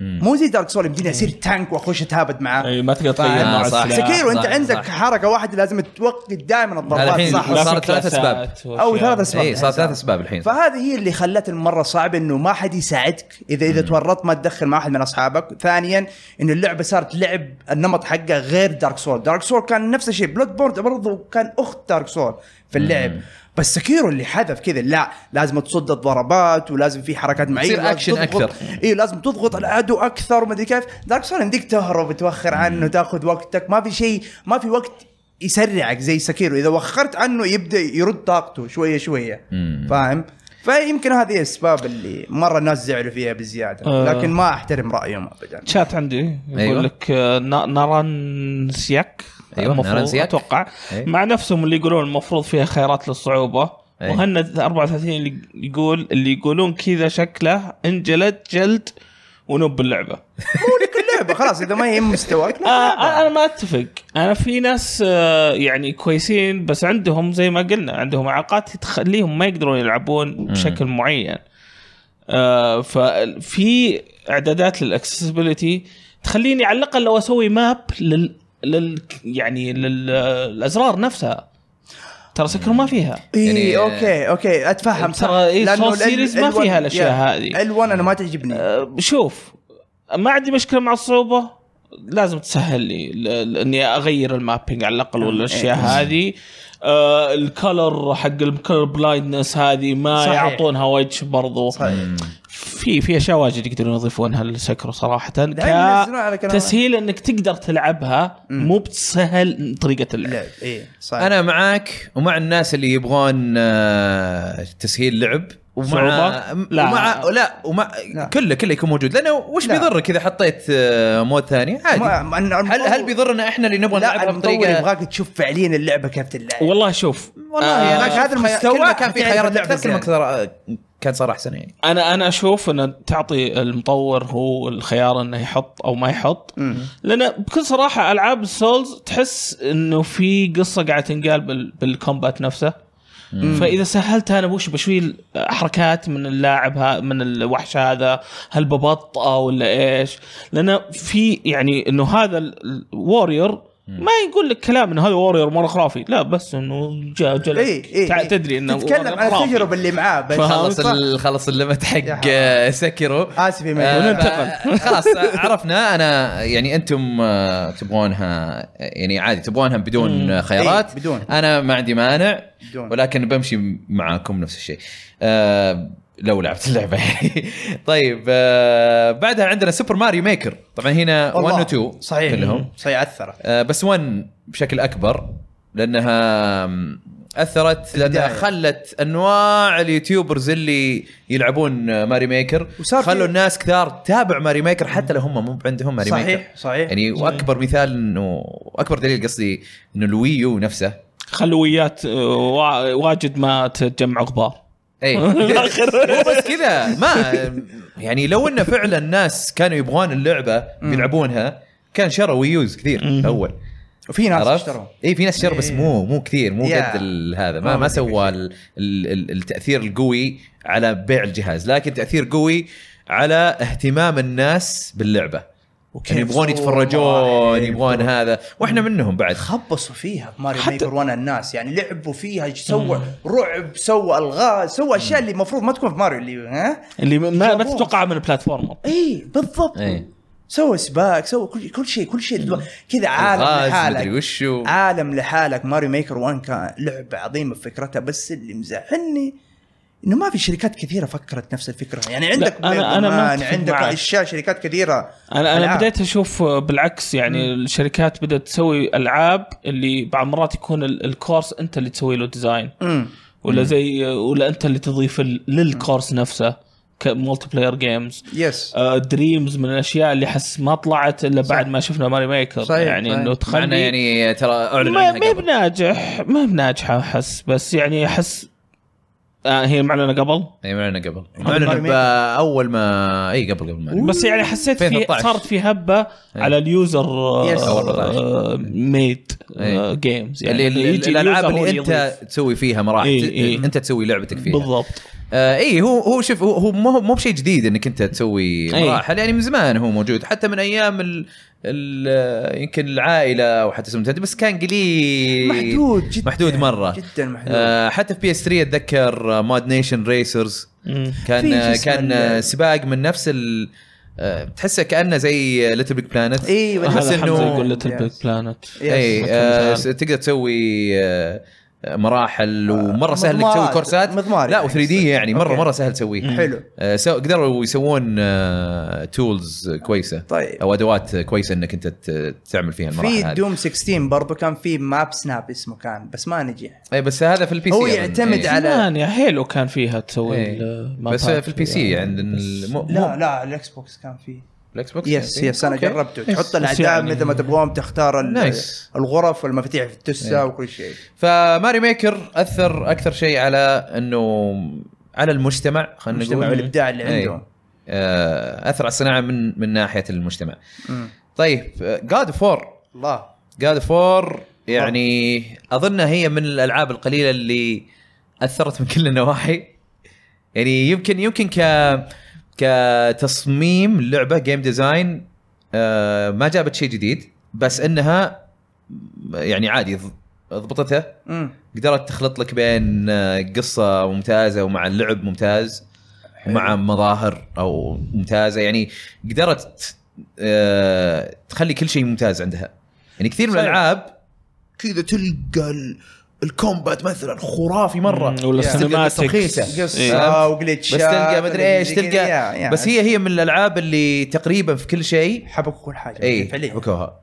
مم. مو زي دارك سول يمديني اصير تانك واخش اتهابد معاه اي إيه، ما تقدر تغير آه، نوع صح. السلاح. سكيرو انت صح، عندك صح. حركه واحده لازم توقف دائما الضربات الحين صح صار لا في ثلاث أسباب. كلاسات أو وأشياء. ثلاث أسباب. اي إيه، صار ثلاث اسباب الحين فهذه هي اللي خلت المره صعبه انه ما حد يساعدك اذا اذا تورطت ما تدخل مع احد من اصحابك ثانيا انه اللعبه صارت لعب النمط حقه غير دارك سول دارك سول كان نفس الشيء بلود بورد برضه كان اخت دارك سول في اللعب بس سكيرو اللي حذف كذا لا لازم تصد الضربات ولازم في حركات معينه تصير لازم أكشن تضغط- أكثر. اي لازم تضغط العدو اكثر ومدري كيف دارك سول يمديك تهرب وتوخر عنه تاخذ وقتك ما في شيء ما في وقت يسرعك زي سكيرو اذا وخرت عنه يبدا يرد طاقته شويه شويه مم. فاهم فيمكن هذه الاسباب اللي مره الناس زعلوا فيها بزياده آه. لكن ما احترم رايهم ابدا شات عندي يقول أيوة. أيوة. لك آه، نا- ناران سياك أيوة، المفروض ناران سياك. اتوقع أيوة. مع نفسهم اللي يقولون المفروض فيها خيارات للصعوبه أيوة. مهند 34 اللي يقول اللي يقولون كذا شكله انجلد جلد ونب اللعبه كل لعبه خلاص اذا ما يهم مستواك آه لا انا أنا ما اتفق انا في ناس آه، يعني كويسين بس عندهم زي ما قلنا عندهم اعاقات تخليهم ما يقدرون يلعبون بشكل معين آه، ففي اعدادات للاكسسبيلتي تخليني على الاقل لو اسوي ماب لل, لل... يعني للازرار نفسها ترى سكر ما فيها اي يعني- اوكي اوكي اتفهم صح ترى إيه، لأنه Soul ال- Series ما ال- فيها الأشياء هذه. ال1 انا ما تعجبني أه، شوف ما عندي مشكله مع الصعوبه لازم تسهل لي ل- ل- اني اغير المابينج على الاقل إيه. ولا الاشياء هذه آه الكلر حق الكلر بلايندنس هذه ما صحيح. صحيح. يعطونها وجه برضو صحيح. في في اشياء واجد يقدرون يضيفونها للسكر صراحه ينزلون على كلام. تسهيل انك تقدر تلعبها مو بتسهل طريقه اللعب لا اي صح انا معاك ومع الناس اللي يبغون آه، تسهيل لعب ومع صعوبة؟ لا لا. ومع لا ومع لا. كله كله يكون موجود لانه وش لا. بيضرك اذا حطيت آه، مود ثاني عادي هل هل بيضرنا احنا اللي نبغى لا نلعبها المطور بطريقه يبغاك تشوف فعليا اللعبه كيف تلعب والله شوف والله آه، يعني هذا هذا الم- مستواه كلمة كان في بتعرف خيارات اللعبة اكثر كلمه زيادة. كثر- كان صار احسن يعني انا انا اشوف ان تعطي المطور هو الخيار انه يحط او ما يحط إيه، لان بكل صراحه العاب السولز تحس انه في قصه قاعده تنقال بال بالكومبات نفسه فاذا سهلت انا وش بشوي حركات من اللاعب ها من الوحش هذا هل ببطئه ولا ايش؟ لان في يعني انه هذا الوريور ما يقول لك كلام انه هذا وورير مره خرافي لا بس انه جاء جلد اي اي تع- تدري انه warrior إيه، تتكلم عن خرافي. التجربه اللي معاه بس فهمت؟ خلص صح. ال- خلص الليمت حق حرام. آه، سكرو اسف يا آه، مجنون ف- خلاص آه، عرفنا انا يعني انتم آه، تبغونها يعني عادي تبغونها بدون آه، خيارات إيه، بدون. انا ما عندي مانع بدون. ولكن بمشي معاكم نفس الشيء آه، لو لعبت اللعبه يعني طيب آه، بعدها عندنا سوبر ماريو ميكر طبعا هنا 1 و 2 صحيح كلهم صحيح اثرت آه، بس 1 بشكل اكبر لانها آم، اثرت لانها البداية. خلت انواع اليوتيوبرز اللي يلعبون آه، ماري ميكر وصار في- خلوا الناس كثار تتابع ماري ميكر حتى لو هم مو عندهم ماري ميكر صحيح صحيح يعني واكبر مثال انه واكبر دليل قصدي انه الويو نفسه خلويات آه، وا- واجد ما تجمع غبار اي إيه. مو بس كذا ما يعني لو انه فعلا الناس كانوا يبغون اللعبه بيلعبونها كان شروا ويوز كثير اول وفي ناس عرفت؟ اشتروا إيه. اي في ناس شر بس مو مو كثير مو يا. قد ال- هذا ما ما ما بدك سوى ال- ال- ال- التاثير القوي على بيع الجهاز لكن تاثير قوي على اهتمام الناس باللعبه يعني يبغون يتفرجون يبغون هذا واحنا منهم بعد خبصوا فيها في ماريو حتى- ميكر وانا الناس يعني لعبوا فيها سووا رعب سووا الغاز سووا اشياء اللي المفروض ما تكون في ماريو اللي ها اللي ما ما جابوه. تتوقعها من البلاتفورمر اي إيه، بالضبط إي. إيه. سووا سباق سووا كل كل شيء كل شيء كذا عالم الغاز، مدري لحالك وشو عالم لحالك ماريو ميكر 1 كان لعبه عظيمه في فكرتها بس اللي مزعلني انه ما في شركات كثيره فكرت نفس الفكره يعني عندك أنا- أنا ما بيرمان، أتفق عندك معك. اشياء شركات كثيره انا انا ألعاب. بديت اشوف بالعكس يعني الشركات بدات تسوي العاب اللي بعض المرات يكون ال- الكورس انت اللي تسوي له ديزاين امم ولا زي ولا انت اللي تضيف ال- للكورس نفسه كمولتي بلاير جيمز يس دريمز آه، من الاشياء اللي حس ما طلعت الا بعد ما شفنا ماري ميكر صحيح، يعني صحيح. انه مع انه تخلي يعني ترى اعلن ما عنها ما قبل بناجح ما بناجحه احس بس يعني احس آه هي معلنه قبل اي معلنه قبل قبل معلنه الريميك؟ اول ما اي قبل قبل ما بس يعني حسيت في 2013. صارت في هبه إيه. على اليوزر آه، Yes. ميد إيه. جيمز يعني الالعاب اللي انت تسوي فيها مراحل إي- ت- إي. انت تسوي لعبتك فيها بالضبط آه اي هو هو شوف هو- هو مو مو بشيء جديد انك انت تسوي إي. مراحل يعني من زمان هو موجود حتى من ايام ال ال يمكن العائله او حتى اسم بس كان قليل محدود جدا محدود مره جدا محدود آه حتى في بي اس 3 اتذكر ماد نيشن ريسرز مم. كان في شو آه، اسمه كان ال- آه، سباق من نفس ال آه، تحسه كانه زي ليتل بيج بلانت اي بس هذا إنه- حمزه يقول ليتل بيج Yes. بلانت اي آه، س- تقدر تسوي آه، مراحل ومره سهل انك تسوي مضمارات- كورسات آه، مضمار لا يعني. و 3 دي يعني مره أوكي. مره سهل تسويه حلو آه، سو- قدروا يسوون آه، تولز كويسه طيب او ادوات كويسه انك انت ت- تعمل فيها المراحل في هذه دوم 16 برضو كان في ماب سناب اسمه كان بس ما نجح اي إيه، بس هذا في البي سي هو يعتمد على- زمان يا حيلو كان فيها تسوي إيه. المابات بس في البي سي يعني. عند ال- مو- لا مو- لا على الاكس بوكس كان فيه الاكس بوكس يس يعني. يس انا أوكي. جربته يس، تحط بس الاعداء يعني- مثل ما تبغاهم تختار ال- نايس. الغرف والمفاتيح في التسة إيه. وكل شيء فماري ميكر اثر اكثر شيء على انه على المجتمع خلينا المجتمع نقول والابداع اللي إيه. عندهم آه، اثر على الصناعه من من ناحيه المجتمع مم. طيب جاد فور الله جاد فور يعني اظنها هي من الالعاب القليله اللي اثرت من كل النواحي يعني يمكن يمكن ك كتصميم لعبه جيم ديزاين آه، ما جابت شيء جديد بس انها يعني عادي ض- ضبطته مم. قدرت تخلط لك بين آه، قصه ممتازه ومع اللعب ممتاز مع مظاهر او ممتازه يعني قدرت آه، تخلي كل شيء ممتاز عندها يعني كثير من صحيح. الالعاب كذا تلقى ال- الكومبات مثلا خرافي مره مم، ولا إيه. بس تلقى قصة cinematics. رخيصة. قصة وجلتشات بس تلقى مدري يعني ايش تلقى بس هي هي من الالعاب اللي تقريبا في كل شيء حبكوا كل حاجة اي فعليا حبكوها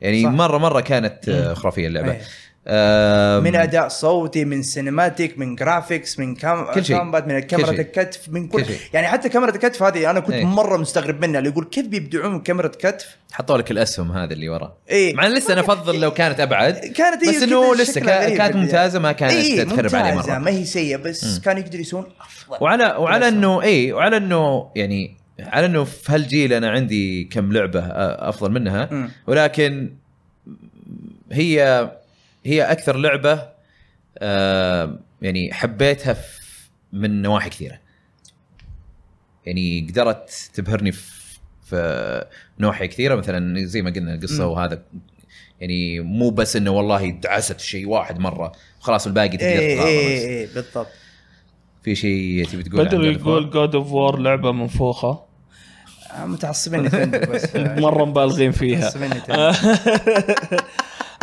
يعني صح. مره مره كانت آه، خرافيه اللعبه إيه. آم، من اداء صوتي من سينماتيك من جرافيكس من كام كل شيء. كامبات من كاميرا شيء. الكتف من كل كل شيء. يعني حتى كاميرا الكتف هذه انا كنت إيه. مره مستغرب منها اللي يقول كيف بيبدعون من كاميرا كتف حطوا لك الاسهم هذا اللي ورا اي مع إن لسه انا افضل لو كانت ابعد كانت هي بس إيه، كذا انه لسه شكلها كا- غريب كانت في البداية. ممتازه ما كانت إيه، تخرب عليه ممتازة، مره ما هي سيئه بس كان يقدر يسوون افضل وعلى وعلى بالأسهم. انه اي وعلى انه يعني على انه في هالجيل انا عندي كم لعبه آه، افضل منها مم. ولكن هي هي اكثر لعبه آه، يعني حبيتها في- من نواحي كثيره يعني قدرت تبهرني في في نواحي كثيره مثلا زي ما قلنا القصه مم. وهذا يعني مو بس انه والله دعست شيء واحد مره خلاص الباقي تقدر اي اي تغامر بس اي إيه، بالضبط في شيء تبي تقول بدر عن God of War؟ يقول جود اوف وور لعبه منفوخه آه، متعصبين نتندو بس يعني مره مبالغين فيها متعصبين نتندو.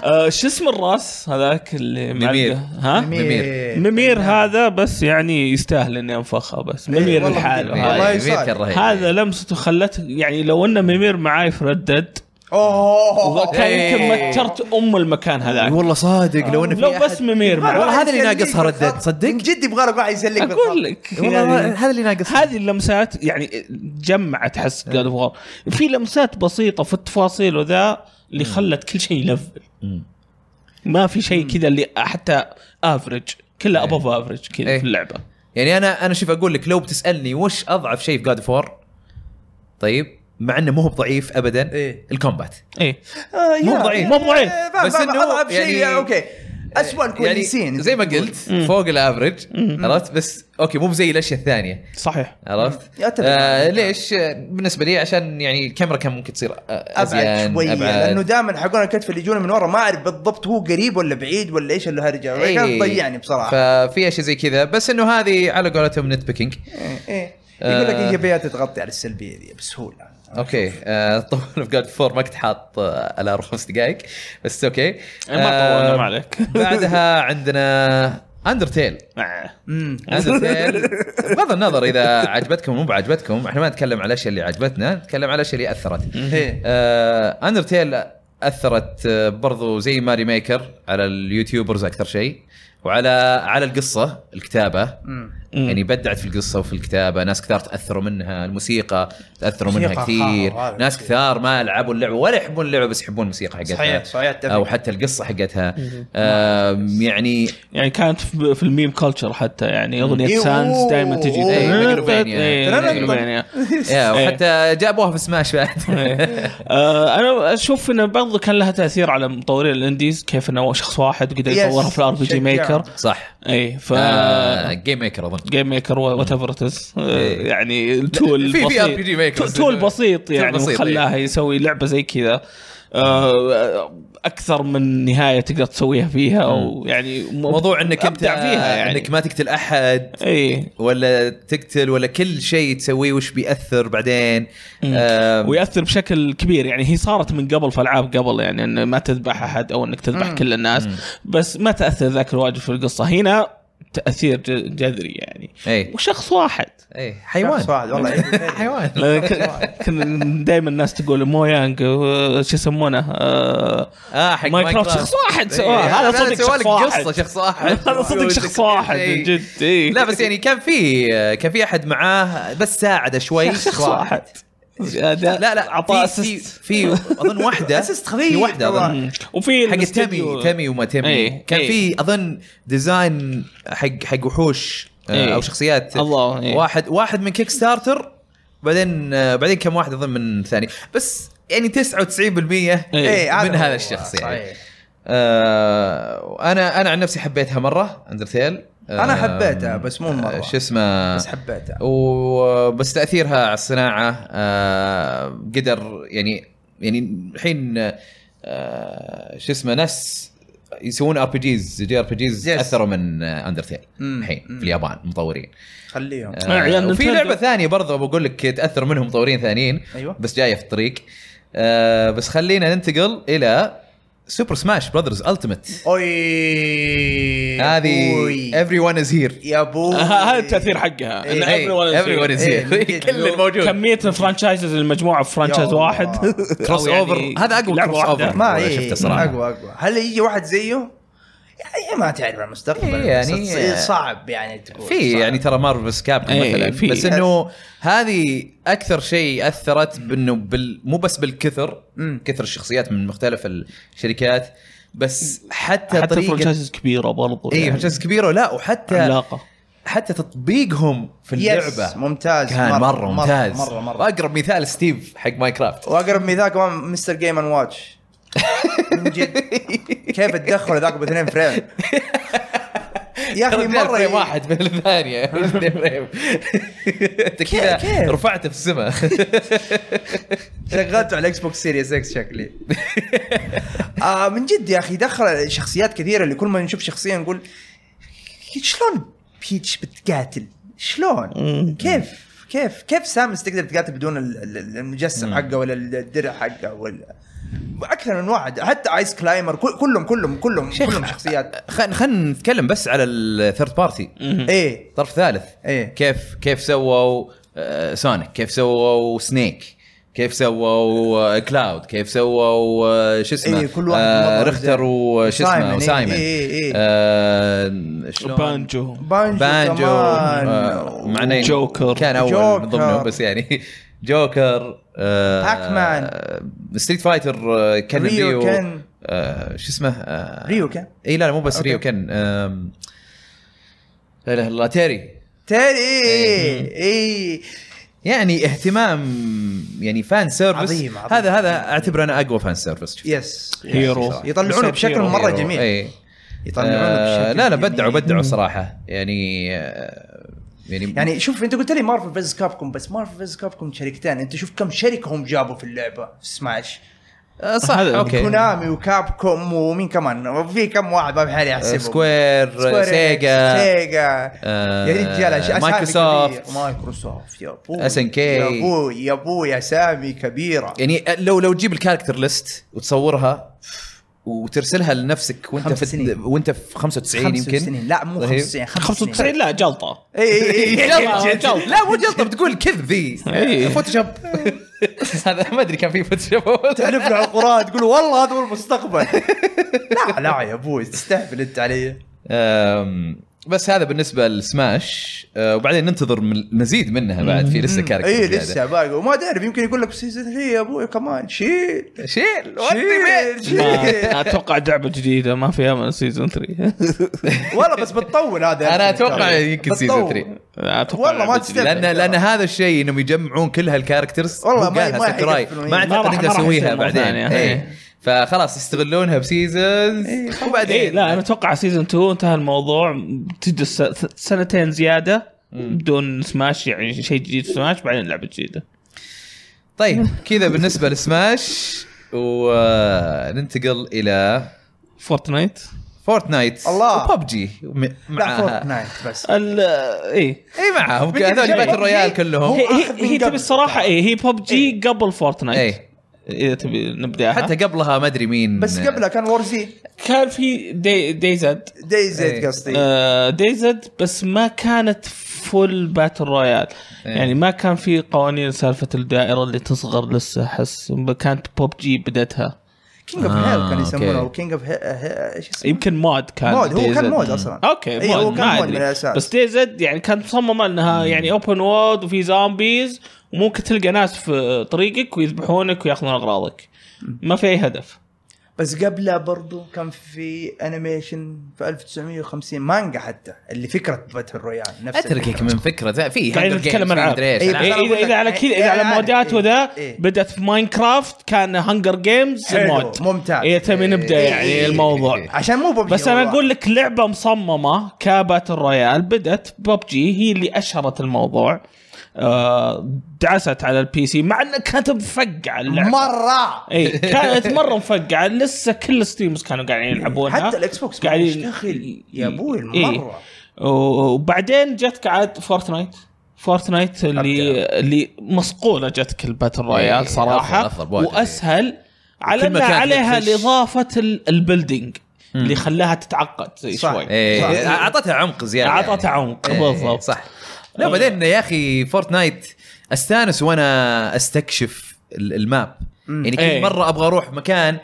آه، شو اسم الراس هذاك اللي ميمير. معلقة؟ ها ميمير. نعم. ممير هذا بس يعني يستاهل اني انفخه بس إيه، ممير والله ممير. لحاله والله إيه، يساعد. ميت كان رهيب. هذا لمسته خلته يعني لو ان ممير معاي في ردد اوه كان إيه. يمكن مترت ام المكان هذاك والله صادق لو انه في لو أحد- بس ممير معاي والله هذا اللي ناقصها ردت، صدق؟ من جد يبغى لك واحد يسلك اقول لك آه. يعني والله هذا اللي ناقص هذه اللمسات يعني جمعت حس إيه. جاد اوف في لمسات بسيطه في التفاصيل وذا اللي خلت كل شيء يلفل مم. ما في شيء كذا اللي حتى افرج كله إيه. ابف افرج كذا إيه. في اللعبه يعني انا انا شوف اقول لك لو بتسالني وش اضعف شيء في جاد فور طيب مع انه مو هو ضعيف ابدا إيه. الكومبات ايه مو ضعيف. مو ضعيف. بس بس إنه انه اضعف شيء يعني- اوكي اسوء الكويسين يعني زي ما قلت فوق الافرج عرفت بس اوكي مو زي الاشياء الثانيه صحيح عرفت؟ مم. أتفق آه معك. ليش؟ آه، بالنسبه لي عشان يعني الكاميرا كان ممكن تصير آه، ابعد أزيان، شويه أبعد. لانه دائما حقون الكتف اللي يجون من ورا ما اعرف بالضبط هو قريب ولا بعيد ولا ايش اللي هرجه إيه. كانت تضيعني بصراحه ففي اشياء زي كذا بس انه هذه على قولتهم نت بيكينج إيه، إيه. يقول لك آه. ايجابيات تغطي على السلبيه دي بسهوله اوكي آه، طول في جاد فور ما كنت حاط آه، الار خمس دقائق بس اوكي إيه، ما آه، طولنا ما عليك بعدها عندنا اندرتيل آه. امم اندرتيل بغض النظر اذا عجبتكم مو بعجبتكم احنا ما نتكلم على الاشياء اللي عجبتنا نتكلم على الاشياء اللي اثرت إيه. آه، اندرتيل اثرت آه، برضو زي ماري ميكر على اليوتيوبرز اكثر شيء وعلى على القصه الكتابه مم. يعني بدعت في القصه وفي الكتابه ناس كثار تاثروا منها الموسيقى تاثروا منها موسيقى كثير خارق، هذا ناس كثير. كثار ما لعبوا اللعبه ولا يحبون اللعبه بس يحبون الموسيقى حقتها صحيح صحيح أتفق. او حتى القصه حقتها آم، يعني يعني كانت في في الميم كلتشر حتى يعني اغنيه إيه، سانز أوه. دائما تجي إيه، ميجلوفانيا. إيه، ميجلوفانيا. يا إيه. آه، وحتى جابوها في سماش بعد إيه. آه، انا اشوف انه برضه كان لها تاثير على مطورين الانديز كيف انه شخص واحد قدر Yes. يطورها في الار بي جي شجعهم. ميكر صح اي إيه، ف آه، جيم ميكر اظن جيم ميكر وات ايفر يعني في- التول في البسيط. RPG maker. تو- تول بسيط تول يعني بسيط، وخلاها يسوي لعبه زي كذا آه، اكثر من نهايه تقدر تسويها فيها او يعني م- موضوع انك انت أبدع فيها يعني انك ما تقتل احد اي ولا تقتل ولا كل شيء تسويه وش بياثر بعدين آم، وياثر بشكل كبير يعني هي صارت من قبل في العاب قبل يعني ان ما تذبح احد او انك تذبح كل الناس بس ما تاثر ذاك الواجب في القصه هنا تاثير ج- جذري يعني اي وشخص واحد اي إيه. حيوان شخص واحد والله إيه. حيوان لأن ك- كنا دائما الناس تقول مويانج آه، شو يسمونه آه، اه حق مايكروفت شخص واحد سواه. إيه، هذا صدق هذا سوى شخص لك واحد. قصه شخص واحد هذا صدق شخص واحد من إيه. جد إيه. لا بس يعني كان في كان في احد معاه بس ساعده شوي شخص واحد لا لا عطاء في- في اسيست في اظن واحده Assist خفيف في واحده اظن والله. وفي حق الاستديو- تمي تمي وما تمي إيه، كان إيه. في اظن ديزاين حق حق وحوش إيه. آه، او شخصيات الله، إيه. واحد واحد من كيك ستارتر بعدين آه، بعدين كم واحد اظن من ثاني بس يعني 99% إيه. من هذا الشخص يعني صحيح. آه انا انا عن نفسي حبيتها مره اندرتيل آه انا حبيتها بس مو مره آه، شو اسمه بس حبيتها وبس تاثيرها على الصناعه آه قدر يعني يعني الحين آه شو اسمه ناس يسوون ار بي جيز جي ار بي جيز Yes. اثروا من اندرتيل مم. الحين مم. في اليابان مطورين خليهم آه عيال وفي نينتندو. لعبه ثانيه برضه بقول لك تاثر منهم مطورين ثانيين أيوة. بس جايه في الطريق آه بس خلينا ننتقل الى سوبر سماش براذرز التيمت اوي هذه أوي. ايفري ون از هير يا بوي آه، هذا التأثير حقها إيه. إن everyone is ايفري ون here. از هير إيه. كل الموجود كمية الفرانشايزز المجموعة في فرانشايز يا الله. واحد كروس أو يعني أوفر. هذا أقوى لعبة كروس واحدة. أوفر. ما ولا إيه. شفته صراحة. اقوى اقوى هل يجي واحد زيه؟ يعني ما تعرف عن المستقبل إيه، يعني- بس تصير صعب يعني تقول في صعب. يعني ترى مارفلز كاب إيه، مثلا في. بس انه هذه اكثر شيء اثرت بانه بال... مو بس بالكثر مم. كثر الشخصيات من مختلف الشركات بس حتى, إيه، حتى طريقه فرانشايزز كبيرة برضو إيه، يعني. اي فرنشايز كبيره ولا وحتى عملاقة حتى تطبيقهم في يس، اللعبه ممتاز كان مره, مرة ممتاز مره مره, مرة. اقرب مثال ستيف حق ماينكرافت واقرب مثال كمان مستر جيم ان واتش من جد كيف تدخل ذاك باثنين فريم يا اخي مره فريم ي- واحد بدل الثانيه إيش ذا طيب. فريم؟ انت كذا كيف؟ رفعته في السماء شغلته على الاكس بوكس سيريس اكس شكلي آه من جد يا اخي دخل شخصيات كثيره اللي كل ما نشوف شخصيه نقول شلون بيتش بتقاتل؟ شلون؟ كيف؟ كيف كيف سامس تقدر تقاتل بدون ال- ال- ال- المجسم حقه ولا الدرع حقه ولا اكثر من واحد حتى ايس كلايمر كل- كلهم كلهم كلهم كلهم شخصيات خلينا خلينا نتكلم بس على الثيرد بارتي ايه طرف ثالث إيه. كيف كيف سووا آه، سونيك كيف سووا سنيك كيف سووا آه، كلاود كيف سووا آه، شو اسمه إيه، كل واحد آه، مرة رختر زين. وش اسمه وسايمن، وسايمن إيه، إيه، إيه. آه، شلون؟ بانجو بانجو, بانجو كمان. آه، مع إنه جوكر. كان اول جوكر. من ضمنه بس يعني جوكر آه، باكمان. آه، ستريت فايتر آه، كان ريو ريو كان. آه، شو اسمه آه، ريو كان. اي لا لا مو بس أوكي. ريو كان آم، لا اله الا الله تيري تاري إيه. ايه ايه يعني اهتمام يعني فان سيرفس عظيم، عظيم. هذا هذا اعتبره انا اقوى فان سيرفس شفته. يس هيرو. يطلعونه بشكل مره هيرو، جميل اي يطلعونه إيه. آه بشكل لا لا بدعوا جميل. بدعوا صراحه يعني آه يعني يعني شوف انت قلت لي مارفل فيز كابكم بس مارفل فيز كابكم شركتين انت شوف كم شركه هم جابوا في اللعبه في سماش آه صح هذا اوكي كونامي وكابكم ومين كمان في كم واحد ما بحالي آه، احسبهم سكوير سكوير سيجا إنكس، سيجا آه، يا رجال أش- أسامي مايكروسوفت. كبيرة. مايكروسوفت يا ابوي SNK. يا ابوي يا ابوي اسامي كبيره يعني لو لو تجيب الكاركتر ليست وتصورها وترسلها لنفسك وانت خمس في سنين. وانت في 95 خمس يمكن سنين لا مو رهيب. 95 95 لا جلطة اي اي جلطة، جلطة. جلطة. لا مو جلطه بتقول كذب ذي إيه. فوتوشوب هذا ما ادري كان في فوتوشوب تعرف له عقورات تقول والله هذا هو المستقبل لا لا يا ابوي تستهبل انت علي أم، بس هذا بالنسبه لسماش أه، وبعدين ننتظر من- مزيد منها بعد في لسه كاركتر اي إيه، لسه باقي وما تعرف يمكن يقول لك سيزون 3 يا ابوي كمان شيل شيل ودي شيل بيت. شيل ما- اتوقع لعبه جديده ما فيها من سيزون 3 والله بس بتطول هذا انا اتوقع طيب. يمكن سيزون بتطول. 3 اتوقع والله ما لعبة تستاهل. جديدة. لان لان هذا الشيء انهم يجمعون كل هالكاركترز والله هو ما- قالها ما ساكوراي حيقفلون. ما ما اعتقد راح- نقدر ما راح نسويها يصير مرة بعدين ثانية. اي فخلاص يستغلونها بسيزونز إيه وبعدين لا انا اتوقع سيزون 2 انتهى الموضوع تجلس س- سنتين زياده بدون سماش يعني شيء جديد في سماش بعدين لعبه جديده طيب كذا بالنسبه لسماش وننتقل الى فورتنايت فورتنايت الله. وببجي لا معاها فورتنايت بس ال ايه اي معاهم بالنسبة هذول لي باتل PUBG رويال كلهم هي أخذ من هي, هي قبل. تبي الصراحه ايه هي ببجي قبل فورتنايت اي اذا تبي نبداها إيه. حتى قبلها ما ادري مين بس قبلها كان وورزي كان في دي ديزد داي إيه. زيد قصدي آه ديزد بس ما كانت فول باتل رويال إيه. يعني ما كان في قوانين سالفه الدائره اللي تصغر لسه احس كانت ببجي بدتها كينج اوف آه، هيل كان يسمونه أوكي. إيه. او كينج اوف ايش آه، اسمه يمكن مود كان مود هو كان DayZ. مود اصلا اوكي إيه، مود هو كان ما مود أدري. من الأساس. بس دي زد يعني كانت مصممه انها يعني اوبن وورد وفي زومبيز وممكن تلقى ناس في طريقك ويذبحونك وياخذون اغراضك ما في اي هدف بس قبلها برضو كان في انيميشن في 1950 مانجا حتى اللي فكره باتل رويال نفس اتركك الفكرة. من فكره ذا- في قاعدين Hunger نتكلم Games، في ألعاب. مدري ايش إيه، ألعاب. أنا إيه أقول اذا لك اذا على يعني- كذا إيه، اذا على يعني- مودات وذا إيه. بدات في ماينكرافت كان هانجر جيمز حلو، مود ممتاز. إيه تبي نبدا إيه، يعني إيه، الموضوع إيه. عشان مو ببجي بس انا والله. اقول لك لعبه مصممه كباتل رويال بدات ببجي هي اللي اشهرت الموضوع آه، دعست على البي سي مع انها كانت مفقعه اللعبه مره اي كانت مره مفقعه لسه كل ستيمز كانوا قاعدين يلعبونها حتى الاكس بوكس قاعد قاعدين- يشتغل يا ابوي إيه. المره وبعدين جتك عاد فورتنايت فورتنايت اللي اللي مسقوله جتك الباتل إيه، رويال صراحه أفضل- أفضل بواجد، إيه. واسهل على وكل ان مكان عليها تقدر تخش. اضافه ال- البيلدينج اللي خلاها تتعقد زي صح. شوي إيه، صح. اعطتها عمق زياده اعطتها يعني. عمق إيه، بالضبط صح لا بعدين يا اخي فورتنايت استانس وانا استكشف ال- الماب يعني إيه. كل مره ابغى اروح مكان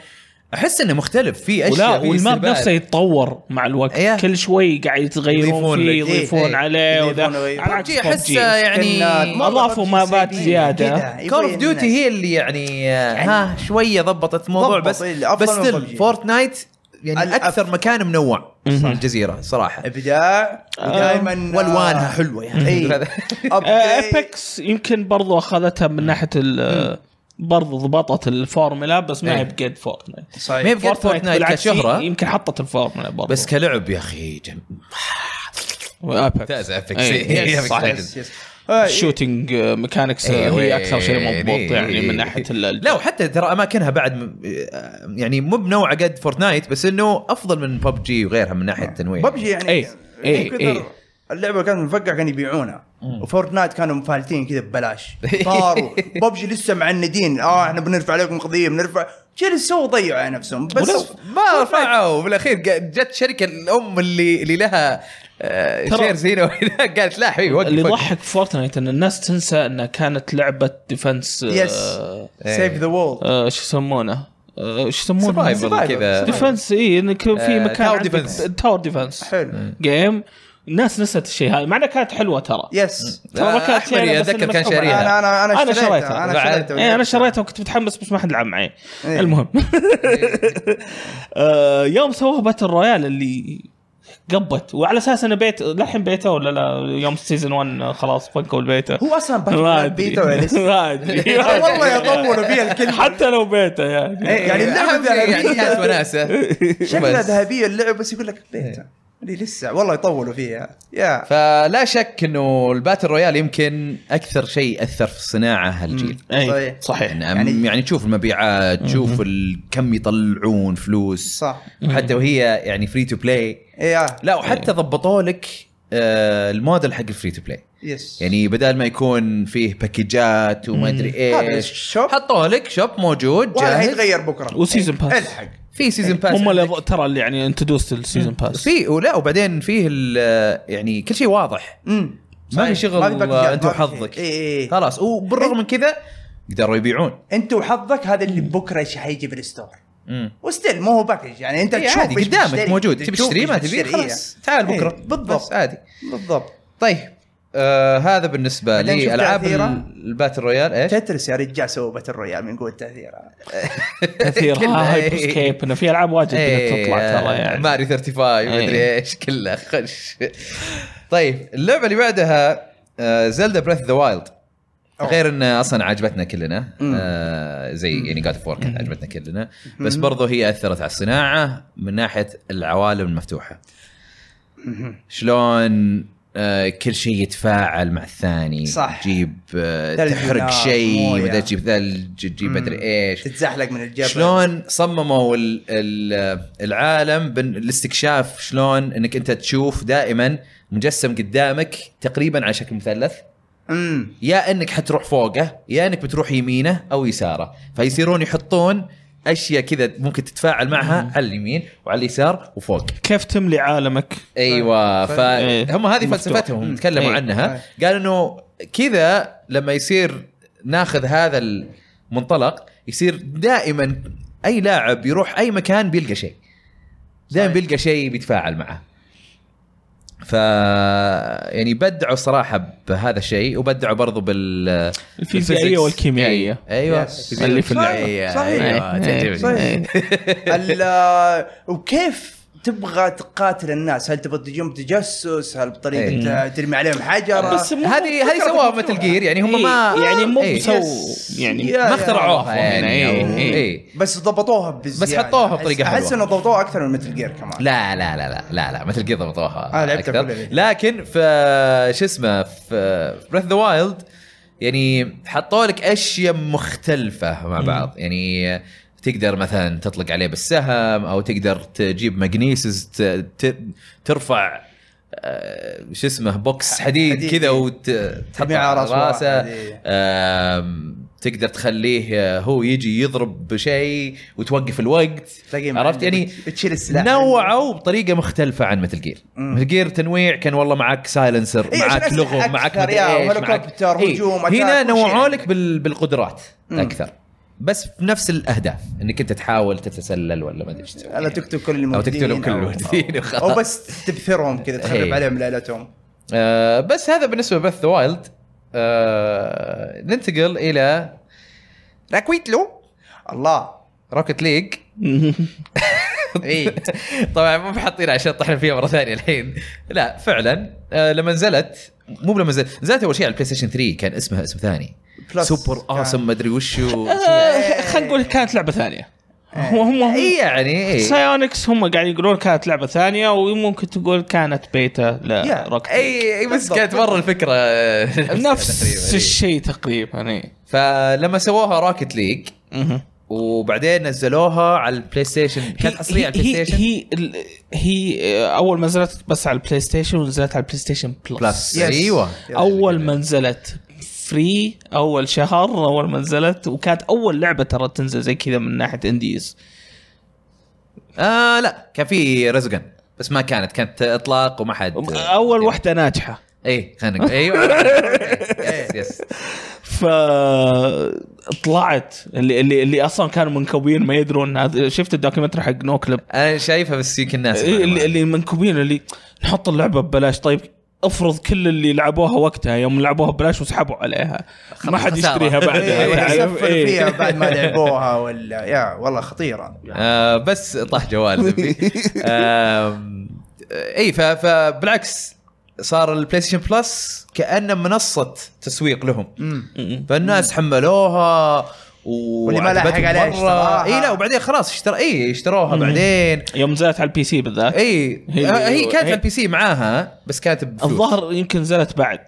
احس انه مختلف في ولا اشياء في والماب استهبال. نفسه يتطور مع الوقت إيه. كل شوي قاعد يتغيرون يضيفون فيه لك. إيه، يضيفون إيه. عليه وذا يضيفون وي- على عكس PUBG PUBG. احسه يعني كنا- مرة أضافوا PUBG مابات سايبين زيادة. كده، يبين كول اوف ديوتي الناس. هي اللي يعني, ها شويه ضبطت الموضوع ضبط، بس إيه، اللي أفضل بس من still PUBG. فورتنايت الأف- يعني اكثر مكان منوع مهم. على الجزيره صراحه ابداع آه. ودائما والوانها آه، حلوه يعني اي ابيكس آه، يمكن برضو اخذتها من ناحيه ال برضو ضبطت الفورمولا بس ما إيه. هي بقد فورتنايت ما هي صحيح بقد فورتنايت بالعكس كشهره يمكن حطت الفورمولا برضو بس كلعب يا اخي جم... ممتازه ابيكس إيه، يعني. صحيح. يس، يس. آه، الشوتنج ميكانكس أيوة. هي اكثر إيه، شيء مضبوط يعني إيه. من ناحيه ال- لا وحتى ترى اماكنها بعد م- يعني مو بنوعه قد فورتنايت بس انه افضل من ببجي وغيرها من آه. ناحيه التنويع ببجي يعني إيه، إيه، كثر إيه. اللعبه كانت مفقعه كانوا يبيعونها وفورتنايت كانوا مفالتين كذا ببلاش طاروا ببجي لسه معندين اه احنا بنرفع عليكم قضيه بنرفع جلسوا سووا ضيعوا على نفسهم بس ولو- ما رفعوا بالاخير قا- جت شركه الام اللي اللي لها آه، ترى- شيرز هنا وهناك قالت لا حبيبي وقف اللي وقف. يضحك فورتنايت ان الناس تنسى انها كانت لعبه ديفنس يس سيف ذا وولد آه، شو يسمونه؟ آه، شو يسمونه؟ سرفايفل كذا ديفنس اي انك في آه، مكان تاور عندك- ديفنس. تاور ديفنس حلو جيم الناس نسيت الشيء هذا مع انها كانت حلوه ترى يس ترى ما آه، كانت أحمد شيء، بس يتذكر إنه كان مسحوب عليه. شاريها. انا انا انا أنا اشتريتها شريتها. انا بعد- شريتها ايه انا شريتها وكنت متحمس بس ما حد لعب معي إيه. المهم آه، يوم سووه باتل رويال اللي قبت وعلى اساس انه بيت للحين بيته ولا لا يوم سيزون 1 خلاص فكوا البيته هو اصلا ما باتمان ادري بيتا ولا لسه؟ ما ادري آه، والله يطولوا فيها الكلمه حتى لو بيته يعني إيه، يعني اللعبه أهم شيء يعني كانت ذهبيه وناسه شكلها بس. ذهبيه اللعبه بس يقول لك بيتا إيه. اللي لسه والله يطولوا فيها يا فلا شك انه الباتل رويال يمكن اكثر شيء اثر في الصناعه هالجيل إيه، صحيح. صحيح يعني, يعني- يعني تشوف المبيعات تشوف الكم يطلعون فلوس صح حتى وهي يعني فري تو بلاي يا لا وحتى إيه. ضبطوا لك آه، الموديل حق الفري تو بلاي يس يعني بدل ما يكون فيه باكجات وما ادري هذا ايش الشوب حطوا لك شوب موجود وهذا جاهز حيتغير بكره وسيزون باس الحق في سيزون إيه. باس هم اللي ترى اللي يعني انتدوست السيزون باس في ولا وبعدين فيه ال- يعني كل شيء واضح امم ما في شغل انت وحظك اي اي إيه. خلاص وبالرغم من كذا قدروا يبيعون انت وحظك هذا اللي بكره ايش حيجي بالستور مم. وستيل مو هو باكج يعني انت إيه تشوف عادي إيش قدامك بتشتري. موجود تبي تشوف تشتري إيش ما تبي بتشتري. خلاص تعال إيه، بكره بالضبط. بس آه. عادي إيه، بالضبط طيب آه هذا بالنسبه بعدين شوف لي العاب تأثيره. ال- الباتل رويال ايش؟ تترس يا رجال سووا باتل رويال من قوه تاثيرها كثير كلها، هايب إيه. اسكيب انه في العاب واجد إيه، بدها تطلع ترى يعني ماري 35 إيه. مدري ايش كلها خش طيب اللعبه اللي بعدها آه، زلدا بريث ذا وايلد أوه. غير ان اصلا عجبتنا كلنا مم. آه زي يعني جاد اوف وور كانت عجبتنا كلنا بس برضو هي اثرت على الصناعه من ناحيه العوالم المفتوحه شلون آه، كل شيء يتفاعل مع الثاني صح. تجيب آه، ثلج تحرق نار، شيء موية. بعدين تجيب ثلج تجيب مم. مدري ايش تتزحلق من الجبل شلون صمموا ال ال العالم بالاستكشاف شلون انك انت تشوف دائما مجسم قدامك تقريبا على شكل مثلث امم يا انك حتروح فوقه يا انك بتروح يمينه او يساره فيصيرون يحطون اشياء كذا ممكن تتفاعل معها على اليمين وعلى اليسار وفوق كيف تملي عالمك؟ ايوه أيوة، ف- فهم هذه مفتوح. فلسفتهم هم مم. تكلموا إيه. عنها أي. قالوا انه كذا لما يصير ناخذ هذا المنطلق يصير دائما اي لاعب يروح اي مكان بيلقى شيء دائما صحيح. بيلقى شيء بيتفاعل معه ف يعني بدعوا صراحه بهذا الشيء وبدعوا برضو بال الفيزيائيه بالphysics. إيه. والكيميائيه ايوه Yes. الفيزيائية اللي في اللعبة. والكيميائية. صحيح. ايوه إيه. تعجبني. إيه. طيب. ال- وكيف تبغى تقاتل الناس هل تبغى تجيهم تجسس هل بطريقه إيه. ترمي عليهم حجره بس مو- آه، هذه هذه فكرة سواها مفتوحة. مثل جير يعني هم إيه، ما يعني مو إيه. بسو يس. يعني يا- ما يا- اخترعوها يعني إيه، أو- إيه. إيه. بس ضبطوها بزياده بس حطوها بطريقة أحس- احس حلوة. انه ضبطوها اكثر من مثل جير كمان لا لا لا لا لا لا مثل قضة ضبطوها آه، لعبتها أكثر. كلها. لكن في شو اسمه في بريث ذا وايلد يعني حطوا لك اشياء مختلفه مع بعض يعني تقدر مثلا تطلق عليه بالسهم او تقدر تجيب ماجنيسز ت- ت- ترفع آه، شو اسمه بوكس حديد حديد. كذا وتحط ترميه على على راس راسه واحد، إيه. آم، تقدر تخليه آه، هو يجي يضرب بشيء وتوقف الوقت تلاقيه معلم، عرفت يعني بت- بتشيل السلاح نوعوا بطريقه مختلفه عن مثل جير مم. مثل جير تنويع كان والله معك سايلنسر إيه، معك عشان لغو أسلحة معك أكثر، مدري يا ايش معك هليكوبتر، هجوم، إيه. هنا أتاك، كل شيء نوعوا عندك. لك بال... بالقدرات مم. اكثر بس في نفس الاهداف انك انت تحاول تتسلل ولا ما ادري ايش تسوي الا تقتل كل الموجودين او تقتلهم كل أو- الموجودين وخلاص او بس تبثرهم كذا تخرب إيه. عليهم ليلتهم آه بس هذا بالنسبه لبث وايلد آه ننتقل الى راكويتلو الله روكت ليج اي طبعا مو بحاطين عشان طحنا فيها مره ثانيه الحين لا فعلا آه لما نزلت مو لما نزلت نزلت اول شيء على البلاي ستيشن 3 كان اسمها اسم ثاني بلس سوبر كان. اوسم ما ادري وشو آه، خلينا نقول كانت لعبه ثانيه هم هم اي هم يعني اي سايونكس هم قاعد يقولون كانت لعبه ثانيه وممكن تقول كانت بيتا يا، لروك اي إي، بس بالضبط. كانت مره الفكره آه، تقريباً، إيه. نفس إي. الشيء إيه. تقريبا اي فلما سووها راكت ليج مهم. وبعدين نزلوها على البلاي ستيشن كانت هي- حصريه على البلاي هي ستيشن هي ال- هي آه، اول ما نزلت بس على البلاي ستيشن ونزلت على البلاي ستيشن بلس بلس Yes. ايوه اول ما نزلت فري اول شهر اول ما نزلت وكانت اول لعبه ترى تنزل زي كذا من ناحيه انديز آه لا كان في رزقن بس ما كانت كانت اطلاق وما حد اول واحده ناجحه اي خلينا نقول ايوه يس يس ف طلعت اللي اللي, اللي اصلا كانوا منكوبين ما يدرون هذا شفت الدوكيومنتري حق نوكلب انا شايفها بس يمكن الناس إيه، اللي, اللي منكوبين اللي نحط اللعبه ببلاش طيب افرض كل اللي لعبوها وقتها يوم لعبوها ببلاش وسحبوا عليها ما حد خسارة. يشتريها بعدها تعرف؟ يعني يسفر إيه. فيها بعد ما لعبوها ولا يا والله خطيره آه بس طاح جوال ذنبي. آم، اي ف- فبالعكس صار البلاي ستيشن بلس كانه منصه تسويق لهم امم م- فالناس حملوها و واللي ما لحق عليها اشتراها. اي لا وبعدين خلاص اشترى اي اشتروها مم. بعدين يوم نزلت على البي سي إيه. بالذات اي هي- هي كانت هي- على البي سي معاها بس كانت بفلوس الظاهر يمكن نزلت بعد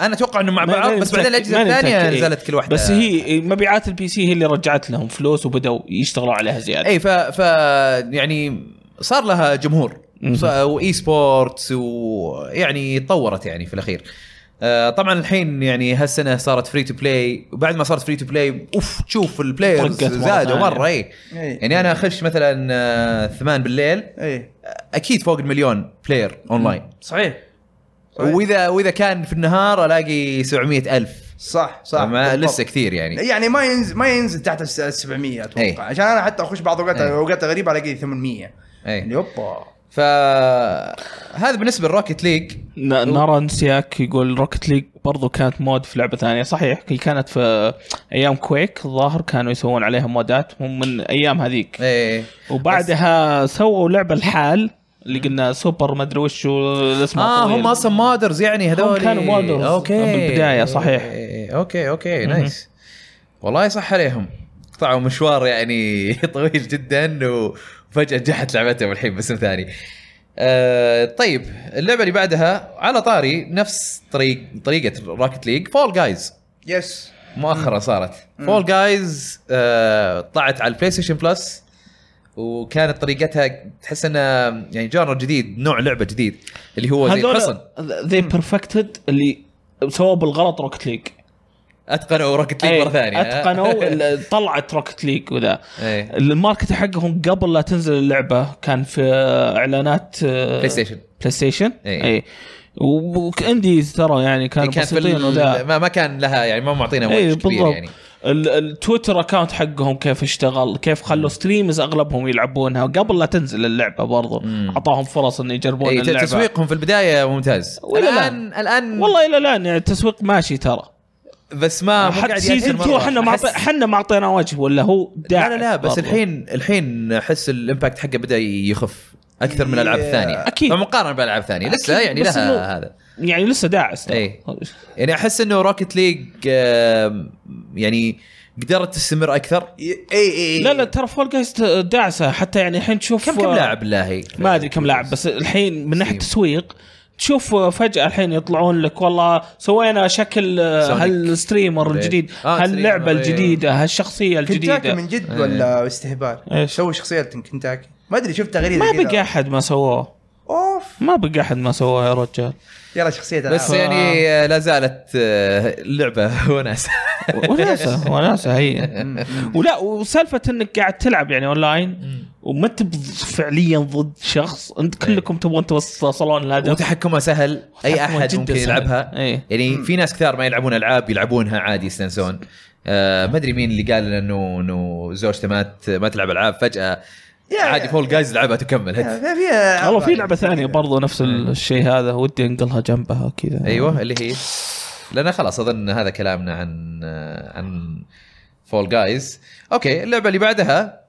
انا اتوقع انه مع ما- بعض ما بس بعدين نتأكد- الاجهزه ما الثانيه نتأكد، إيه. نزلت كل واحده بس هي مبيعات البي سي هي اللي رجعت لهم فلوس وبدوا يشتغلوا عليها زياده اي ف, إيه، ف يعني صار لها جمهور مهم. ص- واي سبورتس ويعني تطورت يعني في الاخير آه، طبعا الحين يعني هالسنه صارت فري تو بلاي وبعد ما صارت فري تو بلاي اوف تشوف البلايرز طقت مرة زادوا ثانية. مره اي إيه. يعني انا اخش مثلا آه، ثمان بالليل اي اكيد فوق المليون بلاير اونلاين صحيح صحيح. واذا واذا كان في النهار الاقي 700 الف صح صح ما بالضبط. لسه كثير يعني يعني ما ينزل ما ينزل تحت ال 700 اتوقع إيه. عشان انا حتى اخش بعض اوقات إيه. اوقات غريبه الاقي 800 اي اللي اوبا فهذا بالنسبه للروكيت ليج ن- نرى نسياك يقول روكت ليج برضو كانت مود في لعبه ثانيه صحيح هي كانت في ايام كويك الظاهر كانوا يسوون عليها مودات هم من ايام هذيك اي وبعدها سووا لعبه الحال اللي قلنا سوبر ما ادري وش اسمه اه هم اصلا مودرز يعني هذول كانوا مودرز اوكي من البداية، صحيح. إيه، اوكي اوكي مهم. نايس والله صح عليهم قطعوا مشوار يعني طويل جدا وفجاه جحت لعبتهم الحين باسم ثاني آه طيب اللعبه اللي بعدها على طاري نفس طريق طريقه راكت ليج فول جايز يس مؤخرا صارت فول جايز آه طلعت على البلاي ستيشن بلس وكانت طريقتها تحس انها يعني جانر جديد نوع لعبه جديد اللي هو زي الحصن ذي بيرفكتد اللي سووا بالغلط روكت ليج اتقنوا روكت إيه، ليج مره ثانيه اتقنوا ال- طلعت روكت ليج وذا إيه. أه، الماركت حقهم قبل لا تنزل اللعبه كان في آه، اعلانات بلاي ستيشن بلاي ستيشن إيه. اي وانديز ترى يعني كانوا كان في بسيطين ال... وذا ما, ما كان لها يعني ما معطينا اي وجه كبير إيه، بالضبط يعني ال- التويتر اكونت حقهم كيف اشتغل كيف خلوا ستريمز اغلبهم يلعبونها قبل لا تنزل اللعبه برضو مم. اعطاهم فرص انه يجربون إيه، ت- اللعبه تسويقهم في البدايه ممتاز ولا لا؟ الان الان والله الى الان يعني التسويق ماشي ترى بس ما آه، مو حتى قاعد يأثر سيزون مرة. 2 احنا ما أحس- أعطي- احنا ما اعطينا وجه ولا هو لا داعم لا لا بس برضو. الحين الحين احس الامباكت حقه بدا يخف اكثر من الالعاب Yeah. الثانيه إيه، أكيد. مقارنه بالالعاب الثانيه لسه أكيد، يعني بس لها إنه- هذا يعني لسه داعس ترى. إيه. يعني احس انه روكت ليج يعني قدرت تستمر اكثر اي اي لا لا ترى فول جايز داعسه حتى يعني الحين تشوف إيه. آه، كم كم لاعب بالله ما ادري كم لاعب بس الحين من ناحيه سيم. تسويق تشوف فجاه الحين يطلعون لك والله سوينا شكل آه، سونيك. هالستريمر إيه. الجديد آه، هاللعبه ستريمر، إيه. الجديده هالشخصيه كنتاكي الجديده من جد إيه. ولا استهبال؟ إيش؟ سووا شخصيه كنتاكي ما ادري شفت تغريده ما كذا. بقى احد ما سواه اوف ما بقى احد ما سواه يا رجال يلا شخصيه بس ألعاب. يعني آه، لا زالت آه، لعبه وناس وناسه وناسه هي ولا وسالفه انك قاعد تلعب يعني اونلاين وما انت ب- فعليا ضد شخص انت إيه. كلكم تبغون توصلون الهدف وتحكمها سهل اي تحكمها احد جداً ممكن سهل. يلعبها إيه. يعني في ناس كثار ما يلعبون العاب يلعبونها عادي يستانسون آه ما ادري مين اللي قال انه انه زوجته ما ت- ما تلعب العاب فجاه يا- عادي فول جايز لعبها تكمل يا، هت في- آه، فيها والله في لعبه ثانيه برضو نفس إيه. الشيء هذا ودي انقلها جنبها كذا أيوة. ايوه اللي هي لان خلاص اظن هذا كلامنا عن آه، عن فول جايز اوكي اللعبه اللي بعدها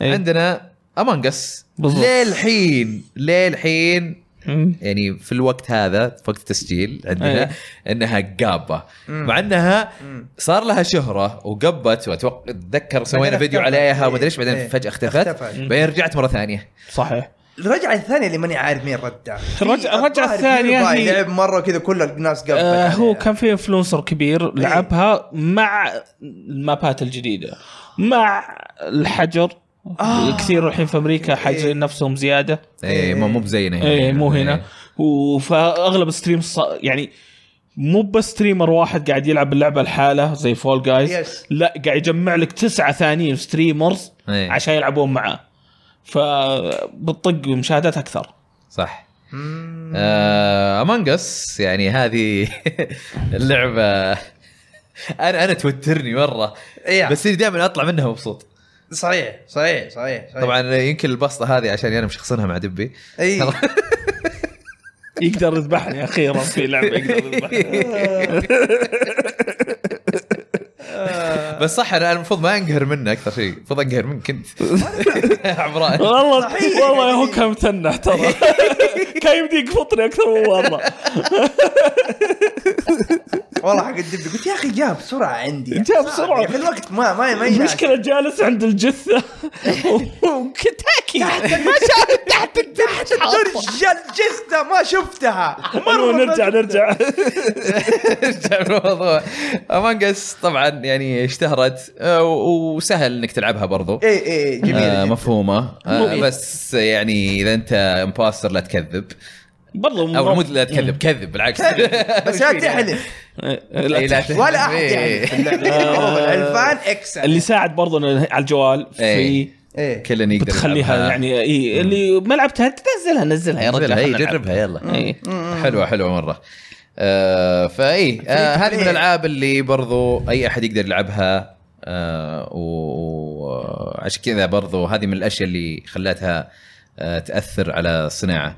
إيه. عندنا امانج اس بالضبط. للحين للحين مم. يعني في الوقت هذا في وقت التسجيل أي. عندنا انها قابه مم. مع انها مم. صار لها شهره وقبت واتوقع اتذكر سوينا بعدين فيديو اختفت. عليها إيه. وما ادري ايش بعدين إيه. فجاه اختفت اختفت. بعدين رجعت مره ثانيه صحيح الرجعه الثانيه اللي ماني عارف مين ردها الرجعة- الرجعة الثانية هي- هي لعب مره كذا كل الناس يعني. قبل آه هو كان في انفلونسر إيه. كبير لعبها مع المابات الجديده مع الحجر آه. كثير الحين في امريكا حاجرين نفسهم زياده إيه. ايه مو مو بزينا هنا ايه مو هنا وفاغلب ستريم ص... يعني مو بس ستريمر واحد قاعد يلعب اللعبه لحاله زي فول جايز Yes. لا قاعد يجمع لك تسعه ثانيين ستريمرز إيه. عشان يلعبون معاه فبتطق مشاهدات اكثر صح مم. امانج اس يعني هذه اللعبه انا انا توترني مره إيه. بس دائما اطلع منها مبسوط طيب. صحيح صحيح صحيح صحيح. طبعا يمكن البسطه هذه عشان انا مشخصنها مع دبي اي يقدر يذبحني اخيرا في لعبه يقدر يذبحني بس صح انا المفروض ما انقهر منه اكثر شيء المفروض انقهر منك انت عمران والله صحيح. والله هو كان متنح ترى كان يبدي يقفطني اكثر من مره والله حق الدب قلت يا اخي جاء بسرعه عندي جاء بسرعة. يعني في الوقت ما ما ما يناسب. المشكله جالس عند الجثه وكتاكي ما شاف تحت تحت رجال جثه ما شفتها مره نرجع نرجع نرجع للموضوع امانج اس طبعا يعني اشتهرت آه، و- وسهل انك تلعبها برضو اي اي آه، جميل مفهومه آه، مو- بس يعني اذا انت امباستر لا تكذب برضه او مو لا تكذب كذب بالعكس بس لا تحلف إيه، لا تحلف. ولا يعني. احد إيه. يحلف في اللعبة. معروف، الالفان اكسل اللي ساعد برضه إنه على الجوال في إيه. ايه كلنا يقدر بتخليها يلعبها. يعني اي اللي ما لعبتها تنزلها نزلها يا رجال نزلها، إيه، خلنا نلعب. جربها يلا إيه. حلوه حلوه مره آه فاي Free آه to هذه من play. الالعاب اللي برضو اي احد يقدر يلعبها آه وعشان كذا برضو هذه من الاشياء اللي خلتها آه تاثر على الصناعه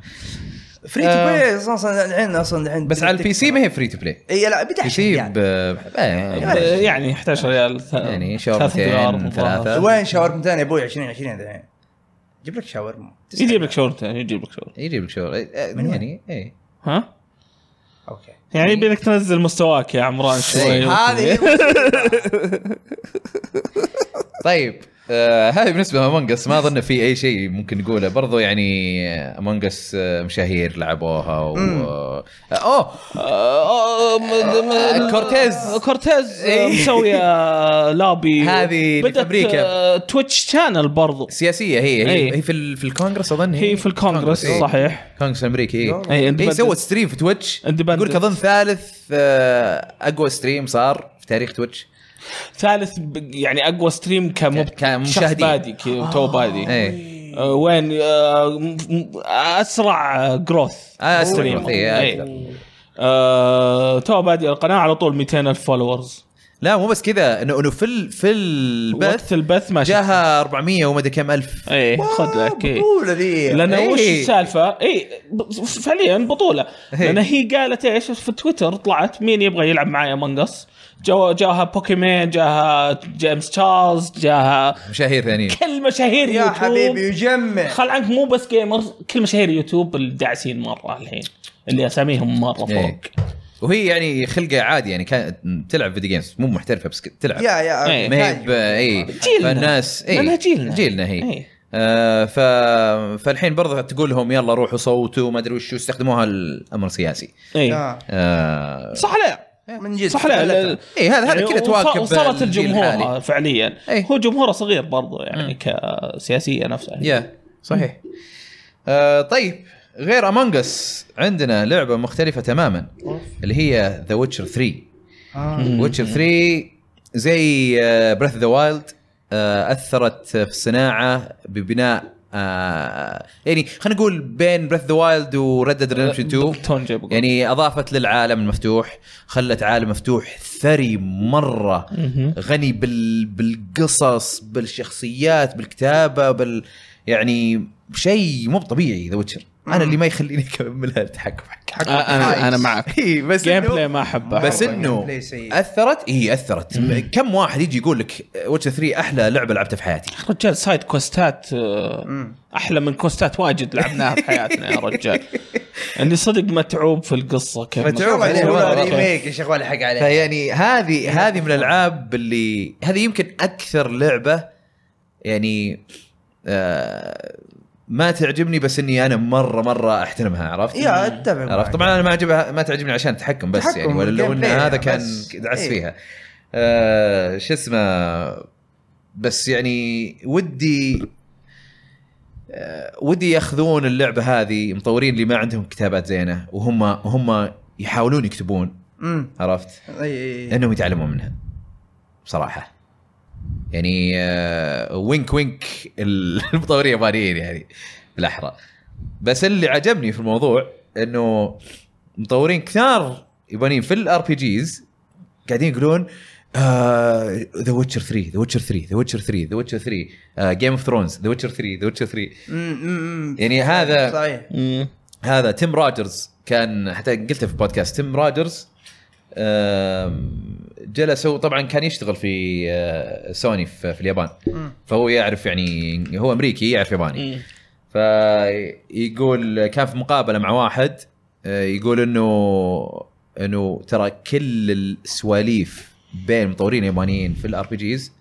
فري تو آه. بلاي اصلا الحين اصلا الحين بس على البي سي ما هي فري تو بلاي اي لا بي بدعش سي يعني يعني يعني 11 ريال ث- يعني ثلاثة شاورمتين، دولار ثلاثة. وين شاورمتين يا ابوي 20 20 الحين جيب لك شاورما يجيب لك شاورتين يجيب لك شاور يجيب لك شغل آه، من وين؟ يعني اي ها اوكي يعني يبي لك تنزل مستواك يا عمران إيه، شوي هذه طيب آه هذه بالنسبه لامونج اس ما اظن في اي شيء ممكن نقوله برضو يعني امونج اس آه، مشاهير لعبوها و... مم. آه، اوه آه، كورتيز كورتيز إيه. مسوية لابي هذه اللي في بدت أمريكا. آه، تويتش شانل برضو سياسيه هي هي, إيه. هي في ال- في الكونغرس اظن هي في الكونغرس إيه. صحيح إيه، كونغرس الامريكي هي اي هي independent. سوت ستريم في تويتش Independent. يقول لك اظن ثالث آه، اقوى ستريم صار في تاريخ تويتش ثالث ب- يعني اقوى ستريم كمب... شخص كمشاهدين. آه. بادي كي- تو بادي ايه آه، وين آه، م- م- اسرع جروث آه، أسرع ستريم. growth، إيه، إيه. أكثر. آه، تو بادي القناه على طول 200 الف فولورز لا مو بس كذا انه إنه في ال- في البث وقت البث ما شفت. جاها 400 وما ادري كم الف ايه خذ لك إيه. البطوله ذي لان إيه. إيه. وش إيه، السالفه؟ اي ب- فعليا بطوله لان هي قالت ايش في تويتر طلعت مين يبغى يلعب معي امونجس جو جاها بوكيمين جاها جيمس تشارلز جاها مشاهير ثانيين كل مشاهير يا يوتيوب حبيبي يجمع خل عنك مو بس جيمرز كل مشاهير يوتيوب الداعسين مره الحين اللي اساميهم مره إيه. فوق وهي يعني خلقه عادي يعني كانت تلعب فيديو جيمز مو محترفه بس كنت تلعب يا يا إيه. ما هي ب- اي جيلنا. فالناس لأنها اي جيلنا. جيلنا هي إيه. آه ف... فالحين برضه تقول لهم يلا روحوا صوتوا ما ادري وش استخدموها الامر سياسي ايه آه. آه صح لا من جد إيه. صح لا اي هذا هذا كذا تواكب وصلت الجيل الحالي. يعني الجمهور فعليا إيه. هو جمهوره صغير برضه يعني كسياسيه نفسها يا صحيح آه طيب غير امونج اس عندنا لعبه مختلفه تماما اللي هي ذا ويتشر 3 آه. ويتشر 3 زي آه، بريث ذا وايلد اثرت آه، في الصناعه ببناء آه، يعني خلينا نقول بين بريث ذا وايلد وردد آه، ريدمشن 2 تون جايب يعني يعني اضافت للعالم المفتوح خلت عالم مفتوح ثري مره مهم. غني بال بالقصص بالشخصيات بالكتابه بال يعني شيء مو طبيعي ذا ويتشر انا اللي ما يخليني اكملها التحكم حق آه. انا انا معك إي، بس جيم إنه- بلاي ما احبه بس حرفياً. انه Gameplay سيء. اثرت اي اثرت إيه، كم واحد يجي يقول لك ويتشر 3 احلى لعبه لعبتها في حياتي رجال سايد كوستات آه، احلى من كوستات واجد لعبناها في حياتنا يا رجال اللي صدق متعوب في القصه كيف متعوب والله عليه يقولون مرة. ريميك يا شيخ ولا حق طيب. عليه فيعني إيه، هذه هذه من الالعاب اللي هذه يمكن اكثر لعبه يعني آه ما تعجبني بس اني انا مره مره احترمها عرفت؟ يا اتفق معك. عرفت طبعا انا ما اعجبها ما تعجبني عشان التحكم بس تحكم يعني ولا لو ان والجيم بلاي هذا كان بس. دعس إيه. فيها آه شو اسمه بس يعني ودي آه، ودي ياخذون اللعبه هذه مطورين اللي ما عندهم كتابات زينه وهم هم يحاولون يكتبون امم عرفت؟ اي اي انهم يتعلمون منها بصراحه يعني آه، وينك وينك ال- المطورين اليابانيين يعني بالاحرى بس اللي عجبني في الموضوع انه مطورين كثار يابانيين في الار بي جيز قاعدين يقولون آه، ذا ويتشر 3 ذا ويتشر 3 ذا ويتشر 3 ذا ويتشر 3 جيم اوف ثرونز ذا ويتشر 3 ذا ويتشر 3 يعني هذا- صحيح مم. هذا تيم راجرز كان حتى قلته في بودكاست تيم راجرز آم، جلسوا طبعا كان يشتغل في آه، سوني في في اليابان مم. فهو يعرف يعني هو امريكي يعرف ياباني مم. فيقول كان في مقابله مع واحد آه، يقول انه انه ترى كل السواليف بين مطورين يابانيين في الار بي جيز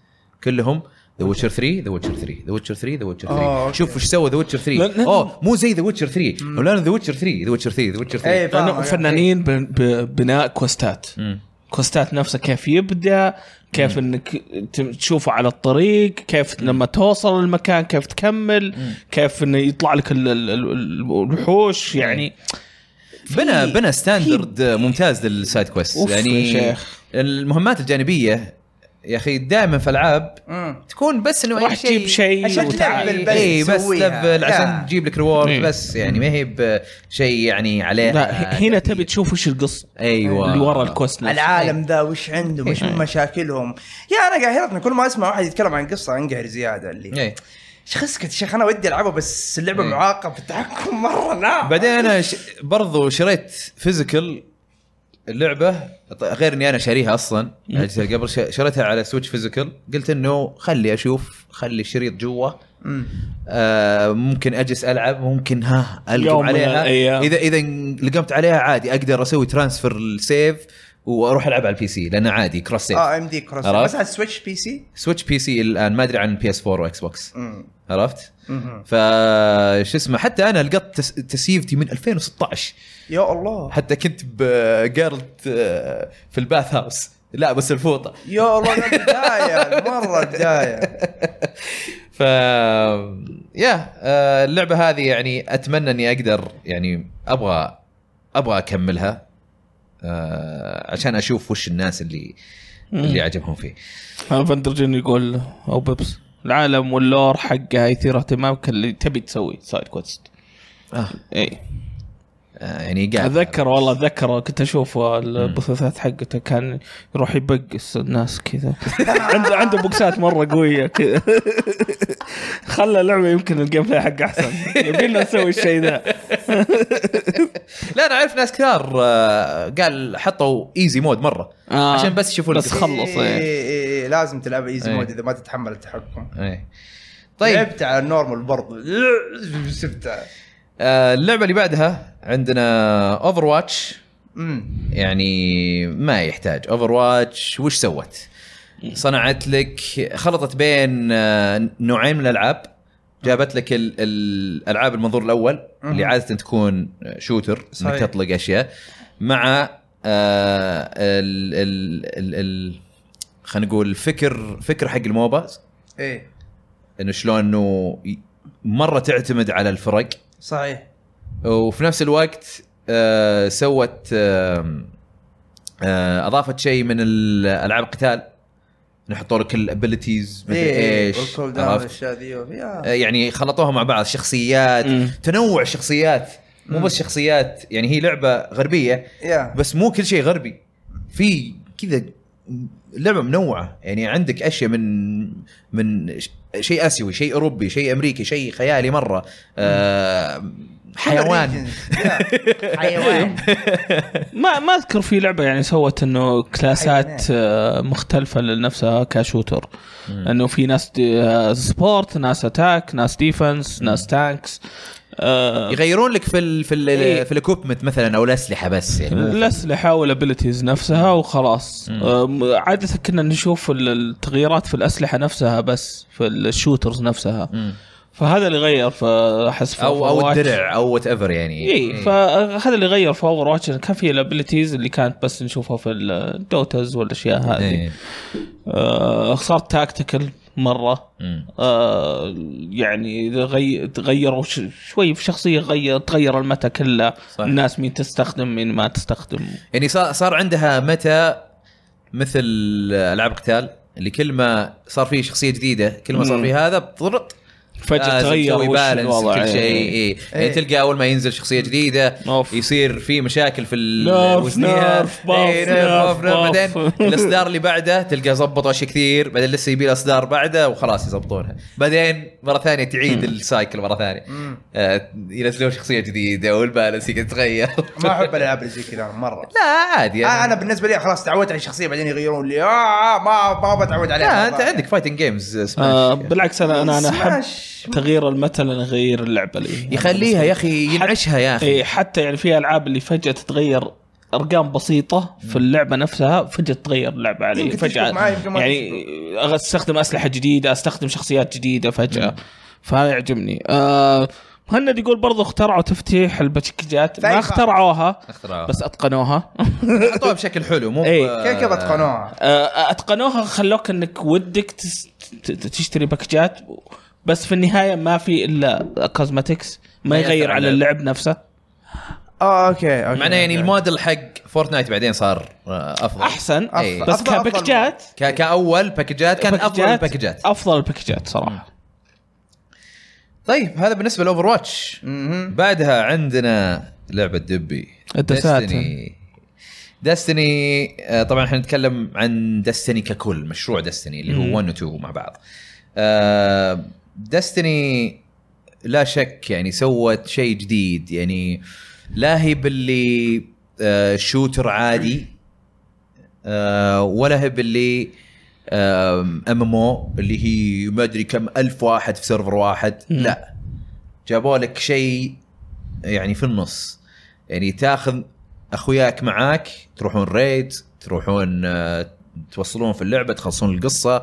كلهم ذا ويتشر 3 ذا ويتشر 3 ذا ويتشر 3 ذا ويتشر آه، 3 أوكي. شوف وش سوى ذا ويتشر 3 لأن- اوه مو زي ذا ويتشر 3 ولا ذا ويتشر 3 ذا ويتشر 3 ذا ويتشر 3 إيه، فاهم. لأنه فنانين ب- ببناء كوستات مم. كوستات نفسه كيف يبدا كيف انك ت- تشوفه على الطريق كيف لما توصل المكان كيف تكمل كيف انه يطلع لك ال- ال- ال- الوحوش يعني بنى بنى ستاندرد ممتاز للسايد كويست أوف يا يعني شيخ. المهمات الجانبيه يا اخي دائما في العاب مم. تكون بس انه روح أي جيب شيء عشان وتعال. تلعب بس اي إيه، بس تسويها. لفل عشان لا. تجيب لك ريورد إيه. بس يعني ما هي بشيء يعني عليه لا ه- هنا تبي تشوف وش القصه ايوه اللي ورا الكوست نفسه. العالم ذا وش عنده إيه. وش مشاكلهم يا انا قاهرتني كل ما اسمع واحد يتكلم عن قصه انقهر زياده اللي إيه. شيخ اسكت يا شيخ انا ودي العبه بس اللعبه إيه. معاقه في التحكم مره لا بعدين انا ش... برضو شريت فيزيكال اللعبه ط- غير اني انا شاريها اصلا الأجهزة اللي قبل ش- شريتها على سويتش فيزيكال قلت انه خلي اشوف خلي الشريط جوا مم. آه ممكن اجلس العب ممكن ها القم يوم من عليها الأيام. اذا اذا لقمت عليها عادي اقدر اسوي ترانسفير السيف واروح العب على البي سي لانه عادي كروس سيف آه. اه ام دي كروس إيه. عرفت؟ بس على السويتش بي سي سويتش بي سي الان ما ادري عن بي اس 4 واكس بوكس مم. عرفت؟ مهم. ف شو اسمه حتى انا لقطت تس- تسييفتي من 2016 يا الله حتى كنت بقرد في الباث هاوس لا بس الفوطه يا الله أنا بدايه مره بدايه ف يا آه، اللعبه هذه يعني اتمنى اني اقدر يعني ابغى ابغى اكملها آه، عشان اشوف وش الناس اللي اللي عجبهم فيه فاندرجن يقول او بيبس العالم واللور حقها يثير اهتمامك اللي تبي تسوي سايد كويست آه. اي آه، يعني قاعد اتذكر والله اتذكر كنت اشوف البثوثات حقته كان يروح يبقس الناس كذا عنده عنده بوكسات مره قويه كذا خلى اللعبه يمكن الجيم بلاي حقه احسن يبي لنا نسوي الشيء ذا لا انا اعرف ناس كثار آه، قال حطوا ايزي مود مره آه. عشان بس يشوفوا بس القصة. خلص، إيه، إيه. إيه، إيه، لازم تلعب ايزي إيه. مود اذا ما تتحمل التحكم إيه. طيب طيب لعبت على النورمال برضو سبتها آه، اللعبه اللي بعدها عندنا اوفر واتش امم يعني ما يحتاج اوفر واتش وش سوت؟ إيه. صنعت لك خلطت بين آه، نوعين من الالعاب جابت لك ال- ال- الالعاب المنظور الاول اللي مهم. عاده تكون شوتر انك صحيح. تطلق اشياء مع آه، ال ال ال ال خلينا نقول فكر فكر حق الموبا ايه انه شلون انه ي- مره تعتمد على الفرق صحيح وفي نفس الوقت آه، سوت آه، آه، اضافت شيء من ال- العاب القتال نحطوا لك الابيلتيز إيه، مدري ايش والكول داون عرفت؟ والاشياء ذي يا. آه، يعني خلطوها مع بعض شخصيات مم. تنوع شخصيات مو بس شخصيات يعني هي لعبه غربيه يا بس مو كل شيء غربي في كذا لعبه منوعه يعني عندك اشياء من من ش- شيء اسيوي شيء اوروبي شيء امريكي شيء خيالي مره آه حيوان يا. إيه. حيوان ما ما اذكر في لعبه يعني سوت انه كلاسات آه، مختلفه لنفسها كشوتر انه في ناس دي- آه، سبورت ناس اتاك ناس ديفنس ناس تانكس آه، يغيرون لك في ال في ال إيه. في الاكوبمنت مثلا او الاسلحه بس يعني مو- الاسلحه والابيلتيز نفسها وخلاص أم، عاده كنا نشوف ال- التغييرات في الاسلحه نفسها بس في الشوترز نفسها مم. فهذا اللي غير فاحس او او الدرع او وات ايفر يعني اي إيه، فهذا اللي غير في اوفر واتش كان في الابيلتيز اللي كانت بس نشوفها في الدوتز والاشياء هذه إيه. آه، صارت تاكتيكال مره مم. آه، يعني غي... تغيروا ش... شوي في شخصيه غير تغير المتا كله صح. الناس مين تستخدم مين ما تستخدم يعني صار صار عندها متى مثل العاب قتال اللي كل ما صار فيه شخصيه جديده كل ما صار مم. فيه هذا بطرط فجاه لازم تغير تسوي وش بالانس الوضع. كل شيء إيه. إيه. يعني تلقى اول ما ينزل شخصيه جديده أوف. يصير في مشاكل في ال- نيرف، وزنها. نيرف، باف، إيه، نيرف، نيرف، باف، نيرف. بعدين باف. الاصدار اللي بعده تلقى ظبطوا اشياء كثير بعدين لسه يبي اصدار بعده وخلاص يظبطونها بعدين مره ثانيه تعيد السايكل مره ثانيه مم. آه، ينزلون شخصيه جديده والبالانس يتغير ما احب الالعاب اللي زي كذا أنا مره لا عادي آه، انا بالنسبه لي خلاص تعودت على الشخصيه بعدين يغيرون لي آه آه، ما ما بتعود عليها لا انت ما- عندك فايتنج جيمز آه سماش بالعكس انا انا انا احب سماش. تغيير المتا لان غير اللعبه اللي يخليها يا اخي ينعشها يا اخي اي حتى يعني في العاب اللي فجاه تتغير ارقام بسيطه في اللعبه نفسها فجاه تتغير اللعبه علي يمكن تشبك فجاه معي، يمكن ما يعني أغ- استخدم اسلحه جديده استخدم شخصيات جديده فجاه فهذا يعجبني آه مهند يقول برضو اخترعوا تفتيح البشكجات ما فايفة. اخترعوها اختراعها. بس اتقنوها حطوها بشكل حلو مو إيه. ب- كيف كيف اتقنوها؟ آه، اتقنوها خلوك انك ودك تس- ت- ت- تشتري باكجات بس في النهايه ما في الا كوزمتكس ما ما يأثر يغير على على اللعب نفسه اه اوكي اوكي معناه يعني أوكي. الموديل حق فورتنايت بعدين صار آه، افضل احسن إيه. بس أفضل- أفضل. كباكجات ك- كاول باكجات كان افضل الباكجات افضل الباكجات صراحه طيب هذا بالنسبه لاوفر واتش مهم. بعدها عندنا لعبه دبي الدساتة. دستني طبعا احنا نتكلم عن دستني ككل مشروع دستني اللي مم. هو 1 و 2 مع بعض آه، دستني لا شك يعني سوت شيء جديد يعني لا هي باللي آه، شوتر عادي آه، ولا هي باللي ام ام او اللي هي ما ادري كم الف واحد في سيرفر واحد مم. لا جابوا لك شيء يعني في النص يعني تاخذ اخوياك معاك تروحون ريد تروحون آه، توصلون في اللعبه تخلصون القصه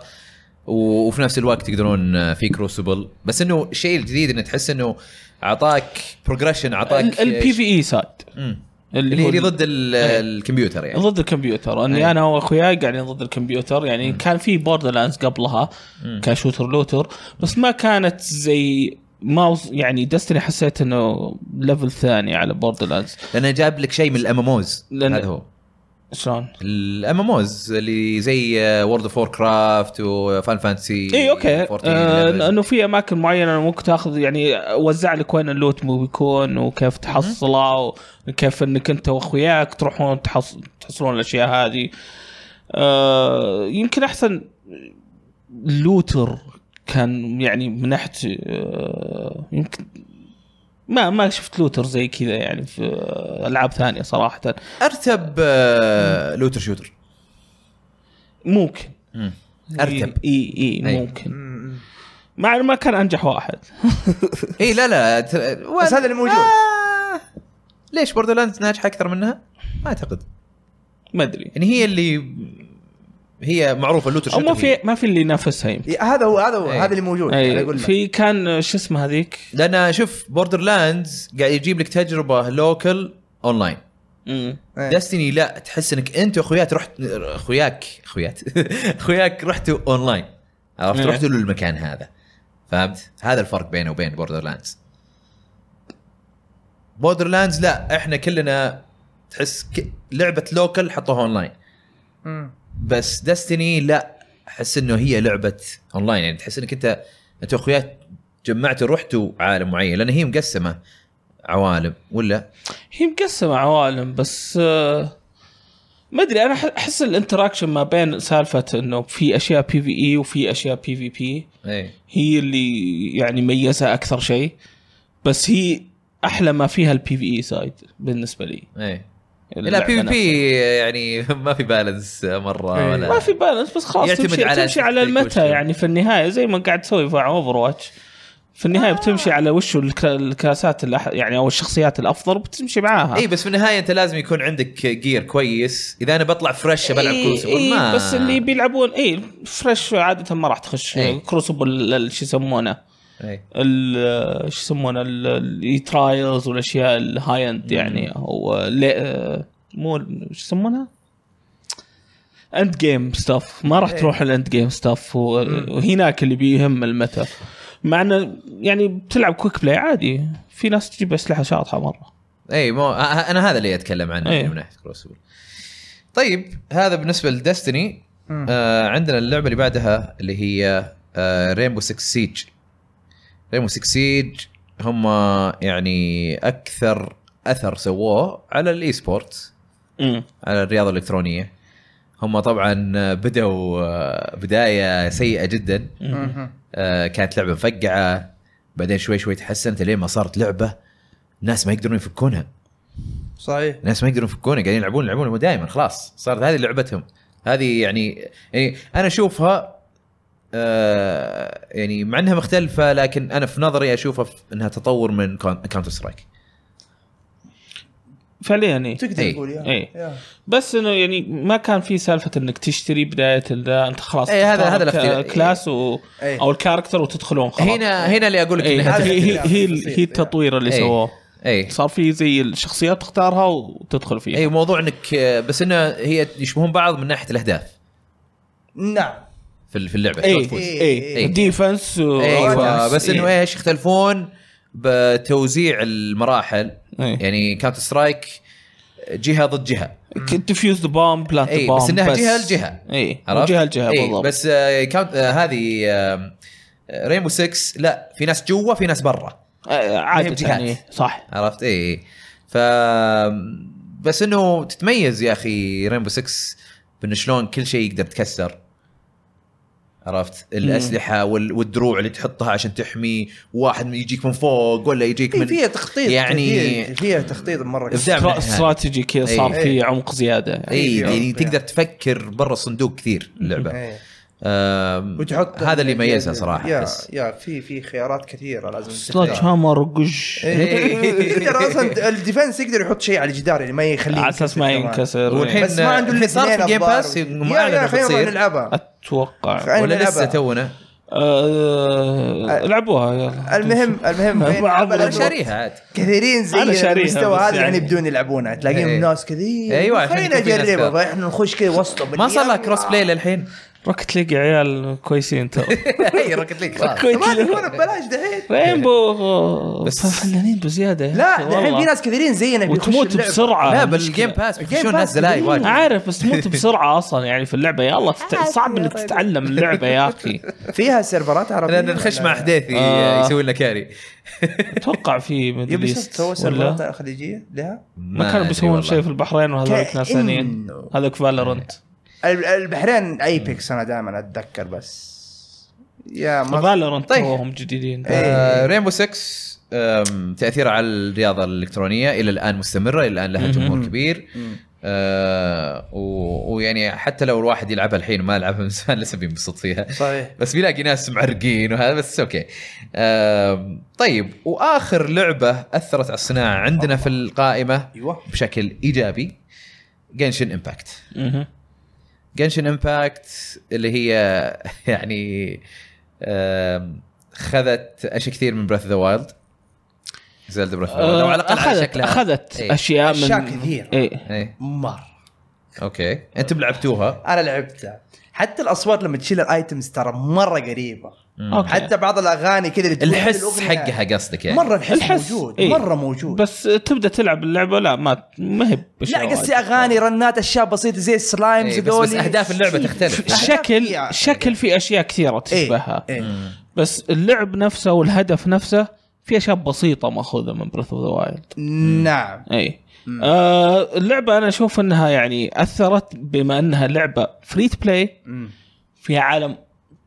و- وفي نفس الوقت تقدرون آه، في كروسبل بس انه الشيء الجديد انه تحس انه اعطاك بروجريشن اعطاك البي في اي سايد مم. E هو اللي اللي ضد ال- إيه. الكمبيوتر يعني ضد الكمبيوتر اني أي. انا واخوياي قاعدين ضد الكمبيوتر يعني كان في بوردر لاندز قبلها مم. كشوتر لوتر بس ما كانت زي ما وص- يعني دستني حسيت انه ليفل ثاني على بوردر لاندز لانه جاب لك شيء من الاماموز لأن- هذا هو شلون؟ الاماموز اللي زي آه، وورد اوف وور كرافت وفان فانتسي إيه، اي اوكي إيه، آه انه في اماكن معينه ممكن تاخذ يعني وزع لك وين اللوت مو بيكون وكيف تحصله وكيف انك انت واخوياك تروحون تحص... تحصلون الاشياء هذه آه يمكن احسن لوتر كان يعني من ناحيه آه يمكن ما ما شفت لوتر زي كذا يعني في آه، العاب ثانيه صراحه ارتب آه لوتر شوتر ممكن إيه. ارتب اي اي أي. ممكن مم. مع إنه ما كان انجح واحد اي إيه، لا لا تر- و- بس هذا اللي موجود. آه ليش بوردرلاندز ناجحه اكثر منها؟ ما اعتقد ما ادري يعني هي اللي هي معروفه اللوتر او شوتر ما في هي. ما في اللي ينافسها يمكن إيه، هذا هو هذا هو أي. هذا اللي موجود أنا اي أقول لك. إيه، في كان شو اسمه هذيك لان شوف بوردرلاندز قاعد يجيب لك تجربه لوكل اونلاين إيه. دستني لا تحس انك انت واخوياك رحت اخوياك اخويات اخوياك رحتوا اونلاين عرفت إيه. رحتوا للمكان هذا فهمت؟ هذا الفرق بينه وبين بوردرلاندز بوردرلاندز لا احنا كلنا تحس ك... لعبه لوكل حطوها اونلاين مم. بس دستني لا احس انه هي لعبه اونلاين يعني تحس انك انت انت واخوياك جمعتوا رحتوا عالم معين لان هي مقسمه عوالم ولا هي مقسمه عوالم بس آه، ما ادري انا أح- احس الانتراكشن ما بين سالفه انه في اشياء بي في اي E وفي اشياء بي في بي ايه هي اللي يعني ميزها اكثر شيء بس هي احلى ما فيها البي في اي سايد بالنسبه E لي ايه لا اللعبة بي نفسها. بي يعني ما في بالانس مره إيه. ولا ما في بالانس بس خلاص يعتمد تمشي على على تمشي على أسلحتك المتى وش- يعني في النهايه زي ما قاعد تسوي في اوفر واتش في النهايه آه. بتمشي على وش الك- الكلاسات الأح... يعني او الشخصيات الافضل بتمشي معاها اي إيه، بس في النهايه انت لازم يكون عندك جير كويس اذا انا بطلع فريش بلعب إي- كروسبل إي، ما إيه، بس اللي بيلعبون اي فريش عاده ما راح تخش إي. كروسبل ال- ال- شو يسمونه إيه. ال- آه، شو يسمونه الاي ترايلز والاشياء الهاي اند يعني او لي- آه، مو شو يسمونها؟ اند جيم ستاف ما راح إيه. تروح الاند جيم ستاف وهناك اللي بيهم المتى مع انه يعني بتلعب كويك بلاي عادي في ناس تجيب اسلحه شاطحه مره اي مو آه، آه، انا هذا اللي اتكلم عنه إيه. يعني من ناحيه كروسبل طيب هذا بالنسبه لدستني مم. آه عندنا اللعبه اللي بعدها اللي هي آه ريمبو 6 سيج ريمبو 6 سيج هم يعني اكثر اثر سووه على الاي سبورت امم على الرياضه الالكترونيه هم آه، طبعا بدوا بدايه سيئه جدا مهم. آه، كانت لعبه مفقعه بعدين شوي شوي تحسنت لين ما صارت لعبه ناس ما يقدرون يفكونها صحيح ناس ما يقدرون يفكونها قاعدين يلعبون يلعبون دائما خلاص صارت هذه لعبتهم هذه يعني يعني انا اشوفها آه، يعني مع انها مختلفه لكن انا في نظري اشوفها في- انها تطور من كاونتر سترايك فعليا إيه. تقدر إيه. تقول يا إيه. يا. بس انه يعني ما كان في سالفه انك تشتري بدايه ذا انت خلاص إيه، هذا- تختار هذا الك- الاختيار. كلاس و... إيه. او الكاركتر وتدخلون خلاص هنا هنا اللي اقول لك إيه، انها هذا هي هي الاختيار هي, بسيط، هي التطوير اللي إيه. سووه اي صار في زي الشخصيات تختارها وتدخل فيها اي موضوع انك آه، بس انه هي يشبهون بعض من ناحيه الاهداف نعم في ال- في اللعبه شلون اي تفوز. إيه. اي ديفنس و- ايوه uh, offense. بس انه إيه. ايش يختلفون بتوزيع المراحل إيه. يعني كاونتر سترايك جهه ضد جهه تفيوز ذا بومب بلانت إيه، ذا بس بومب إنها جهة لجهة. اي جهه لجهه إيه، بالضبط بس آه كاونت آه هذه آه ريمبو 6 لا في ناس جوا في ناس برا آه، ما هي عاده بجهات. يعني صح عرفت اي ف بس انه تتميز يا اخي رينبو 6 بانه شلون كل شيء يقدر يتكسر عرفت الاسلحه وال... والدروع اللي تحطها عشان تحمي واحد من- يجيك من فوق ولا يجيك إيه، من فيها تخطيط يعني- فيها- فيها تخطيط مره كبير. إبداع. استرا- استراتيجي كذا صار يعني. إيه. فيه عمق زياده يعني. اي فيها- يعني فيها. تقدر تفكر برا الصندوق كثير اللعبه إيه. آم... وتحط يعني هذا اللي يا- يميزها صراحه يا بس يا في في خيارات كثيره لازم سلاج تختار. هامر قش إيه. ترى اصلا الديفنس يقدر يحط شيء على الجدار يعني ما يخليه على اساس ينكسر ما كمان. ينكسر والحين- بس ما عنده الا الحين صار في اثنين Game أخبار. Pass يا- معلنة يا خلينا بتصير. نلعبها اتوقع خلينا ولا لسه نلعبها. تونا آه، العبوها يلا المهم المهم بين بعض أبل انا الألعاب شاريها عاد كثيرين زي أنا شاريها المستوى بس هذا يعني يعني. بدون يلعبونها تلاقيهم إيه. ناس كثير أيوة، عشان خلينا يكون في ناس نجربها كثير. فاحنا نخش كذا وسطهم ما صار لها كروس بلاي للحين روكت ليج يا عيال كويسين ترى اي روكت ليج خلاص ما يكون ببلاش دحين رينبو بس- بس فنانين بزياده يا لا أخي دحين والله. في ناس كثيرين زينا بيخشوا وتموت اللعبة. بسرعه لا المشكلة. بالجيم باس Game بيخشون Pass ناس زلايل كثير. واجد عارف بس تموت بسرعه اصلا يعني في اللعبه يلا تت- صعب انك تتعلم اللعبه يا اخي فيها سيرفرات عربيه لان نخش مع حديثي آه. يسوي لنا كاري اتوقع في ميدل يبي سووا ايست ولا سيرفرات خليجيه لها ما ما كانوا أدري بيسوون والله. شيء في البحرين وهذول ناس ثانيين كأنه. هذاك فالورنت ال- البحرين ايبكس انا دائما اتذكر بس يا ما إيه. فالورنت طيب. هم جديدين رينبو 6 أم، تاثيرها على الرياضه الالكترونيه الى الان مستمره الى الان لها مهم. جمهور كبير مم. أه، و- ويعني حتى لو الواحد يلعبها الحين وما يلعبها من زمان لسه بينبسط فيها صحيح بس بيلاقي ناس معرقين وهذا بس اوكي أم، طيب واخر لعبه اثرت على الصناعه عندنا في القائمه ايوه بشكل ايجابي جنشن امباكت مهم. جنشن امباكت اللي هي يعني آم، خذت اشياء كثير من بريث ذا وايلد زلد بريث ذا وايلد أه، او على الاقل على اخذت شكلها اخذت إيه. اشياء من أشياء كثير. ايه ايه مره اوكي انتم لعبتوها انا لعبتها حتى الاصوات لما تشيل الايتمز ترى مره قريبه أوكي. حتى بعض الاغاني كذا اللي تكون في الحس الأغنية. حقها قصدك يعني مره الحس, الحس، موجود إيه. مره موجود بس تبدا تلعب اللعبه لا ما ما هي لا بأشياء قصدي وايد. اغاني رنات اشياء بسيطه زي السلايمز إيه، بس, بس اهداف اللعبه تختلف الشكل يعني. الشكل في اشياء كثيره تشبهها إيه. بس اللعب نفسه والهدف نفسه في اشياء بسيطه ماخوذه من بريث اوف ذا وايلد نعم اي إيه. آه اللعبه انا اشوف انها يعني اثرت بما انها لعبه فري بلاي مم. فيها عالم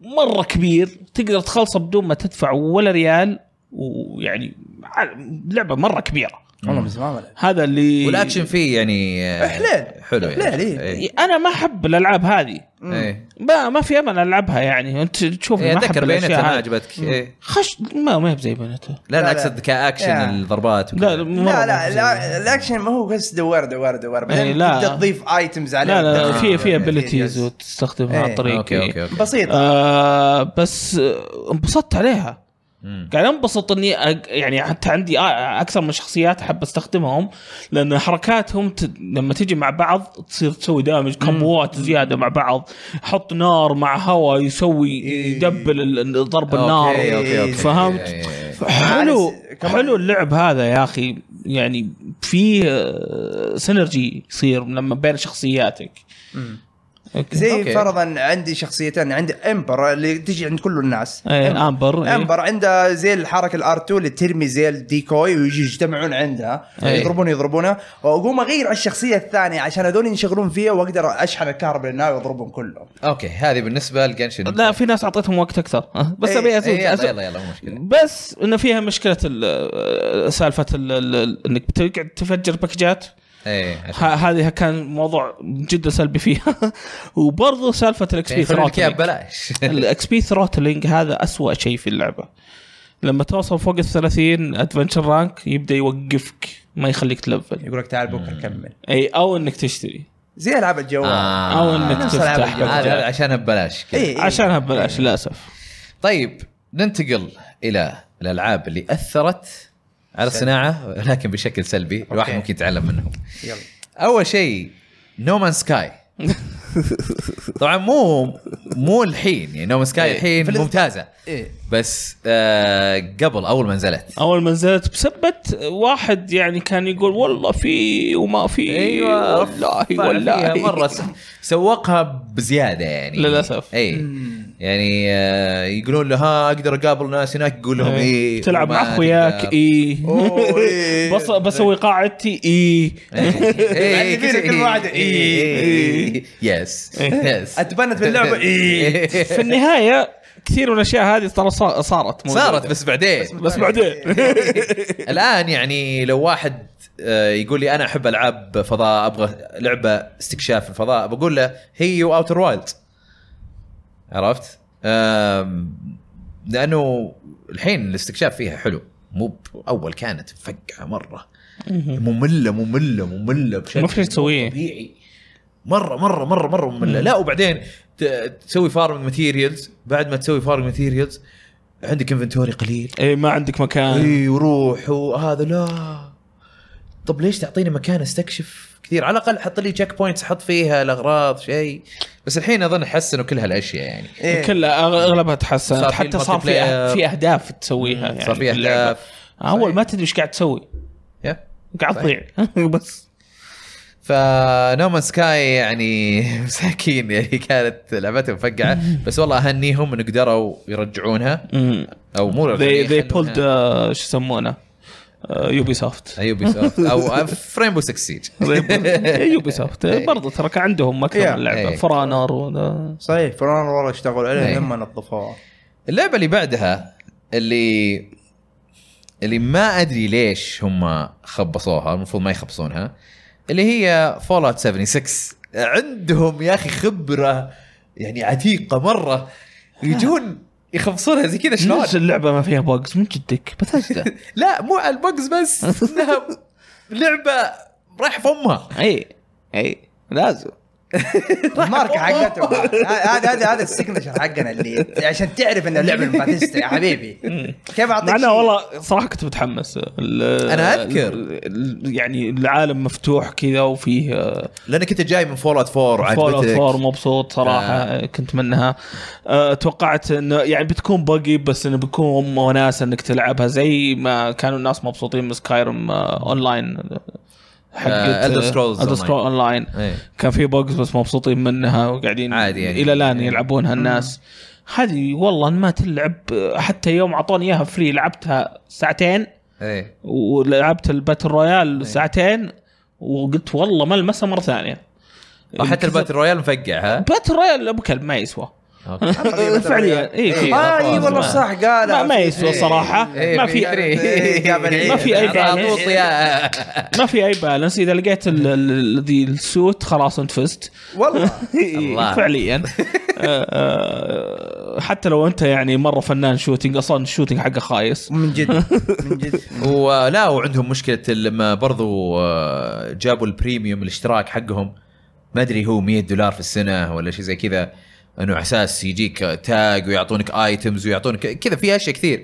مره كبير تقدر تخلصه بدون ما تدفع ولا ريال ويعني عالم- لعبه مره كبيره والله من زمان ما لعبت. هذا اللي والاكشن فيه يعني آه، حليل. حلو يعني حليل، إيه. إيه. انا ما احب الالعاب هذه ايه ما ما في امل العبها يعني انت تشوف إيه، ما احب اتذكر بينتها الاشياء ما هذه عجبتك إيه. خش ما ما هي بزي بنته لا لا، انا لا. اقصد كاكشن يا. الضربات لا وكذا. لا مرة لا ما لا, هي بزي لا الاكشن ما هو بس دوار دوار دوار إيه، بعدين لا. تبدا تضيف آه، ايتمز عليه لا لا وتدخل في في فيها ابيلتيز videos. وتستخدمها عن إيه. طريق اوكي اوكي اوكي بسيطه آه بس آه، انبسطت عليها مم. قاعد انبسط اني أق- يعني حتى عندي آه، اكثر من شخصيات حاب استخدمهم لان حركاتهم ت... لما تجي مع بعض تصير تسوي دامج كمبوات زياده مع بعض حط نار مع هواء يسوي يدبل ال- ال- ضرب النار أوكي، أوكي، أوكي. فهمت؟ إيه، إيه، إيه. حلو معلش، كمان- حلو اللعب هذا يا اخي يعني في آه، سينرجي يصير لما بين شخصياتك أوكي. زي أوكي. فرضا عندي شخصيتين عندي امبر اللي تجي عند كل الناس إيه، امبر إيه. امبر عندها زي الحركه الار 2 اللي ترمي زي الديكوي ويجي يجتمعون عندها أي. يضربون يضربونها واقوم اغير على الشخصيه الثانيه عشان هذول ينشغلون فيها واقدر اشحن الكهرباء للنار واضربهم كلهم اوكي هذه بالنسبه لجنشن لا في ناس اعطيتهم وقت اكثر أه، بس إيه، ابي أزود- إيه، يلا أزود- يلا يلا مو مشكله بس انه فيها مشكله ال- سالفه ال- ال- انك بتقعد تفجر باكجات ايه ه- عشان- هذه كان موضوع جدا سلبي فيها وبرضه سالفه الاكس يعني بي يخلون لك اياها ثروتلينج ببلاش الاكس بي ثروتلينج هذا أسوأ شيء في اللعبه لما توصل فوق ال 30 ادفنشر رانك يبدا يوقفك ما يخليك تلفل يقول لك تعال بكره كمل اي او انك تشتري زي العاب الجوال آه. أو إنك نفس تفتح الألعاب الجوال. بجوال. هذا عشانها ببلاش كذا. إيه. عشانها ببلاش للاسف طيب ننتقل الى الالعاب اللي اثرت على الصناعه لكن بشكل سلبي الواحد ممكن يتعلم منهم يلا اول شيء نومان سكاي طبعا مو مو الحين يعني نوم سكاي إيه. الحين في الإصدار. ممتازه إيه. بس آه قبل اول ما نزلت اول ما نزلت بسبت واحد يعني كان يقول والله في وما في والله طلع أيوة، فيها والله مره س- سوقها بزياده يعني للأسف. اي يعني آه يقولون له ها اقدر اقابل ناس هناك يقول لهم اي إيه. تلعب مع وما اخوياك إيه. تقدر. اي أوه، إيه. بس بسوي قاعدتي اي إيه، فينا كل واحد، إيه. إيه. يس يس اتبنت باللعبه اي في النهايه كثير من الاشياء هذه ترى صا- صارت موجودة. صارت بس إيه. بعدين بس بعدين الان يعني لو واحد آه، يقول لي انا احب العاب فضاء ابغى لعبه استكشاف الفضاء بقول له هي واوتر وايلد عرفت؟ آم، لانه الحين الاستكشاف فيها حلو مو اول كانت فقعه مره ممله ممله ممله بشكل ما في شي تسويه. طبيعي مره مره مره مره ممله لا وبعدين ت- تسوي فارمنج ماتيريالز بعد ما تسوي فارمنج ماتيريالز عندك انفنتوري قليل اي إيه، ما عندك مكان اي وروح وهذا لا طب ليش تعطيني مكان استكشف كثير على الاقل حط لي تشيك بوينتس احط فيها الاغراض شيء بس الحين اظن حسنوا كل هالاشياء يعني كلها أغ- اغلبها تحسنت صار في حتى صار في الملتي أه- بلاير. في اهداف تسويها يعني صار في في اللعبة. اهداف اول ما تدري ايش قاعد تسوي يا. قاعد تضيع بس فنومان سكاي يعني مساكين يعني كانت لعبتهم مفقعه بس والله اهنيهم ان قدروا يرجعونها او مو they they يخلونها. pulled uh, شو يسمونه آه، يوبي سوفت يوبي سوفت او فريمبو 6 سيج يوبي سوفت إيه. برضه إيه، ترى كان عندهم مكتب Yeah. اللعبه Hey. فرانر ولا صحيح فران والله اشتغلوا إيه. عليه لما نظفوها اللعبه اللي بعدها اللي اللي ما ادري ليش هم خبصوها المفروض ما يخبصونها اللي هي فول اوت 76 عندهم يا اخي خبره يعني عتيقه مره يجون يخبصونها زي كذا شلون؟ نفس اللعبه ما فيها بوكس من جدك بثجده لا مو على البوكس بس انها لعبه رايح في امها اي اي إيه. لازم الماركه حقتهم هذا هذا هذا السيجنتشر حقنا اللي عشان تعرف ان اللعبه الباتيستا يا حبيبي كيف اعطيك مع انه شيء؟ والله صراحه كنت متحمس ال- أنا أذكر. ال- يعني العالم مفتوح كذا وفيه آه، لانك انت جاي من فول اوت 4 فول اوت وعجبتك 4 مبسوط صراحه آه. كنت منها آه، توقعت انه يعني بتكون بقي بس انه بيكون وناسه انك تلعبها زي ما كانوا الناس مبسوطين من سكايرم اون لاين حقت آه، Elder Scrolls الدر Online. سكرول اون لاين إيه. كان في بقز بس مبسوطين منها وقاعدين عادي يعني. الى الان إيه. يلعبونها الناس هذه والله ما تلعب آه، حتى يوم اعطوني اياها فري لعبتها ساعتين ايه ولعبت الباتل إيه. رويال ساعتين وقلت والله ما المسها مره ثانيه حتى الباتل رويال مفقع ها باتل رويال ابو كلب ما يسوى أوكي. فعليا اي آه، اي والله صح قال إيه، ما, ما يسوى صراحه إيه، ما في إيه، ما في اي عطوط بالانس يا ما في اي بالانس اذا لقيت ال- ال- ذي السوت خلاص انت فزت والله إيه. الله. فعليا آه، آه، حتى لو انت يعني مره فنان شوتينج اصلا الشوتينج حقه خايس من جد من جد ولا وعندهم مشكله لما برضو آه، جابوا البريميوم الاشتراك حقهم ما ادري هو 100 دولار في السنه ولا شيء زي كذا انه على اساس يجيك تاج ويعطونك ايتمز ويعطونك كذا في اشياء كثير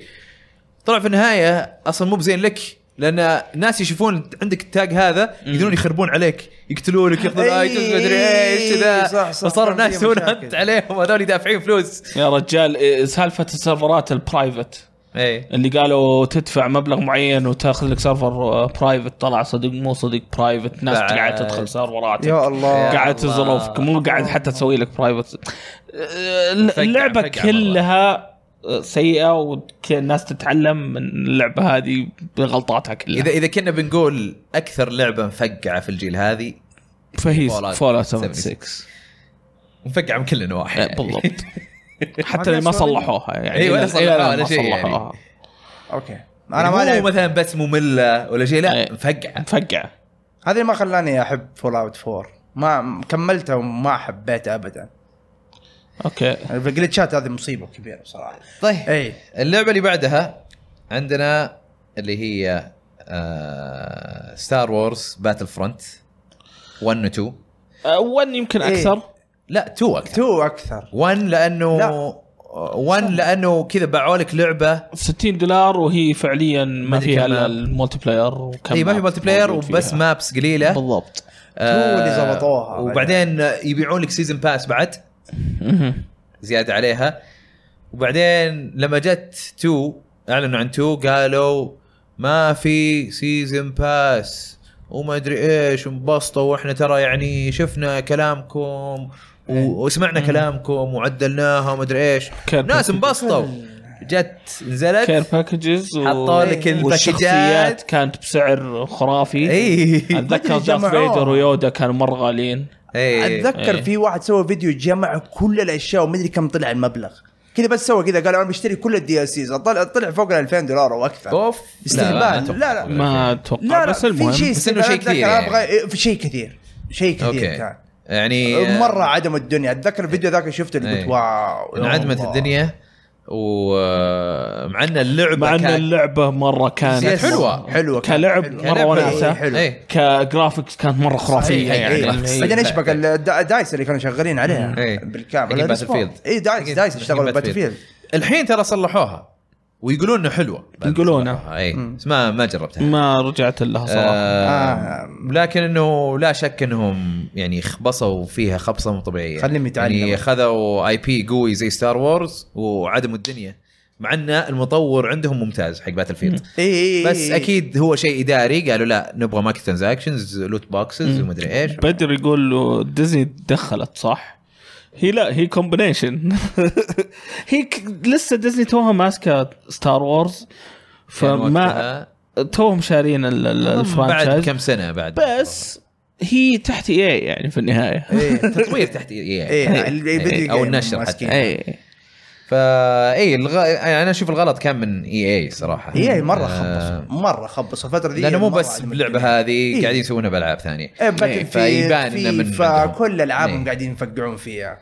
طلع في النهايه اصلا مو بزين لك لان ناس يشوفون عندك التاج هذا يقدرون يخربون عليك يقتلونك ياخذون أي، ايتمز ما ادري ايش كذا صح، صح، فصاروا صار الناس فيها يسوون مشاكل. هنت عليهم هذول دافعين فلوس يا رجال إيه، سالفه السيرفرات البرايفت اي اللي قالوا تدفع مبلغ معين وتاخذ لك سيرفر برايفت طلع صدق مو صدق برايفت ناس بعد. قاعد تدخل سيرفرات يا الله قاعد الله. تزرفك مو قاعد حتى تسوي لك برايفت فقع- اللعبه فقع كلها أه، سيئه والناس تتعلم من اللعبه هذه بغلطاتها كلها اذا اذا كنا بنقول اكثر لعبه مفقعه في الجيل هذه فهي Fallout فولا 76 76. مفقعه من كل النواحي إيه، يعني. بالضبط حتى اللي ما صلحوها يعني إيه، ولا إلى- إلى صلحوها الآن ولا ما شيء يعني. صلحوها. اوكي يعني انا ما مو لعب مثلا بس ممله ولا شيء إيه. لا مفقعه مفقعه هذا ما خلاني احب فول اوت 4 ما كملته وما حبيته ابدا اوكي إيه. الجلتشات هذه مصيبه كبيره بصراحه طيب اي اللعبه اللي بعدها عندنا اللي هي آه، ستار وورز باتل فرونت 1 و 2 1 أه، يمكن إيه. اكثر لا 2 اكثر تو اكثر 1 لانه لا. 1 لانه آه، كذا باعوا لك لعبه 60 دولار وهي فعليا ما أدري فيها كم الا ماب. المولتي بلاير وكم اي إيه، ما في ماب مالتي بلاير موجود وبس فيها. مابس قليله بالضبط آه، اللي زبطوها. وبعدين يبيعون لك سيزن باس بعد زياده عليها وبعدين لما جت 2 اعلنوا عن 2 قالوا ما في سيزن باس وما ادري ايش انبسطوا واحنا ترى يعني شفنا كلامكم و- وسمعنا كلامكم وعدلناها وما ادري ايش كير ناس باكج- انبسطوا جت نزلت كير باكجز و... حطوا لك والشخصيات الباكجات كانت بسعر خرافي اي اتذكر دارث جمعوها. فيدر ويودا كانوا مره غاليين اي اتذكر إيه. في واحد سوى فيديو جمع كل الاشياء ومدري كم طلع المبلغ كذا بس سوى كذا قال انا بشتري كل الدي اس سيز طلع طلع فوق ال 2000 دولار او اكثر اوف استهبال. أتوقع. لا، لا. ما اتوقع لا لا بس في المهم شيء بس إنه شيء أتذكر كثير يعني. ابغى إيه، في شيء كثير شيء كثير اوكي كان يعني مره عدم الدنيا اتذكر الفيديو ذاك شفته اللي إيه. قلت واو انعدمت الله. الدنيا ومع ان اللعبه مع ان كانت- اللعبه مره كانت زيادة حلوة. حلوه كانت، كلعب حلوة. مرة حلوة، وناسة. حلوة. إيه. كجرافيكس كانت مره خرافيه صحيح، يعني إيه. اللي هي- بعدين ايش بقى- بقى الدا- دايس اللي كانوا شغالين عليها إيه. بالكامل أكيد هذا باتل سبورت. فيلد. اي دايس أكيد- دايس أكيد اشتغلوا باتل باتل فيلد. فيلد الحين ترى صلحوها ويقولون انه حلوه يقولون. اي إيه. بس ما ما جربتها ما رجعت لها صراحه آه آه. لكن انه لا شك انهم يعني خبصوا فيها خبصه مو طبيعيه خليهم يتعلموا. يعني خذوا اي بي قوي زي ستار وورز وعدموا الدنيا مع ان المطور عندهم ممتاز حق باتل فيلد اي بس اكيد هو شيء اداري قالوا لا نبغى مايكرو ترانزاكشنز لوت بوكسز ومدري ايش بدر يقول له ديزني تدخلت صح؟ هي لا هي كومبينيشن هي ك... لسه ديزني توها ماسكه ستار وورز كان فما يعني وقتها- توهم شارين ال- ال- بعد الفرانشايز كم سنه بعد بس هي تحت اي يعني في النهايه إيه، تطوير تحت اي إيه، الفيديو إيه، او جيم النشر ماسكين. حتى اي فا اي إيه، الغ... انا اشوف الغلط كان من اي اي صراحه اي مره آه، خبصوا مره خبصوا الفتره دي لانه مو مرة بس عدم باللعبه الدنيا. هذه إيه. قاعدين يسوونها بالعاب ثانيه إيه إيه، باتل فيبان فيبان إنه من في عندهم. فكل إيه. العابهم قاعدين يفقعون فيها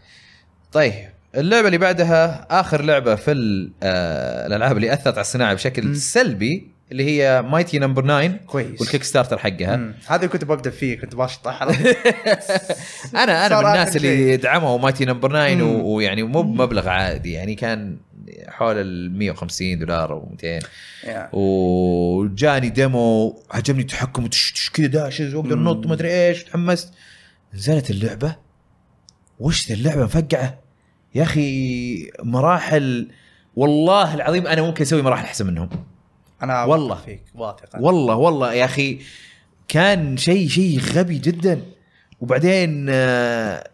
طيب اللعبه اللي بعدها اخر لعبه في ال- آه، الالعاب اللي اثرت على الصناعه بشكل سلبي اللي هي مايتي نمبر 9 كويس. والكيك ستارتر حقها مم. هذا كنت ببدا فيه كنت بشطح انا انا من صراحة الناس اللي شيء. دعموا مايتي نمبر 9 و- ويعني مو بمبلغ عادي يعني كان حول ال 150 دولار او 200 يا. وجاني ديمو عجبني التحكم تش تش كذا داشز واقدر انط ما ادري ايش تحمست نزلت اللعبه وش ذا اللعبه مفقعه يا اخي مراحل والله العظيم انا ممكن اسوي مراحل احسن منهم انا والله. واثق فيك واثق أنا. والله والله يا اخي كان شيء شيء غبي جدا وبعدين آه،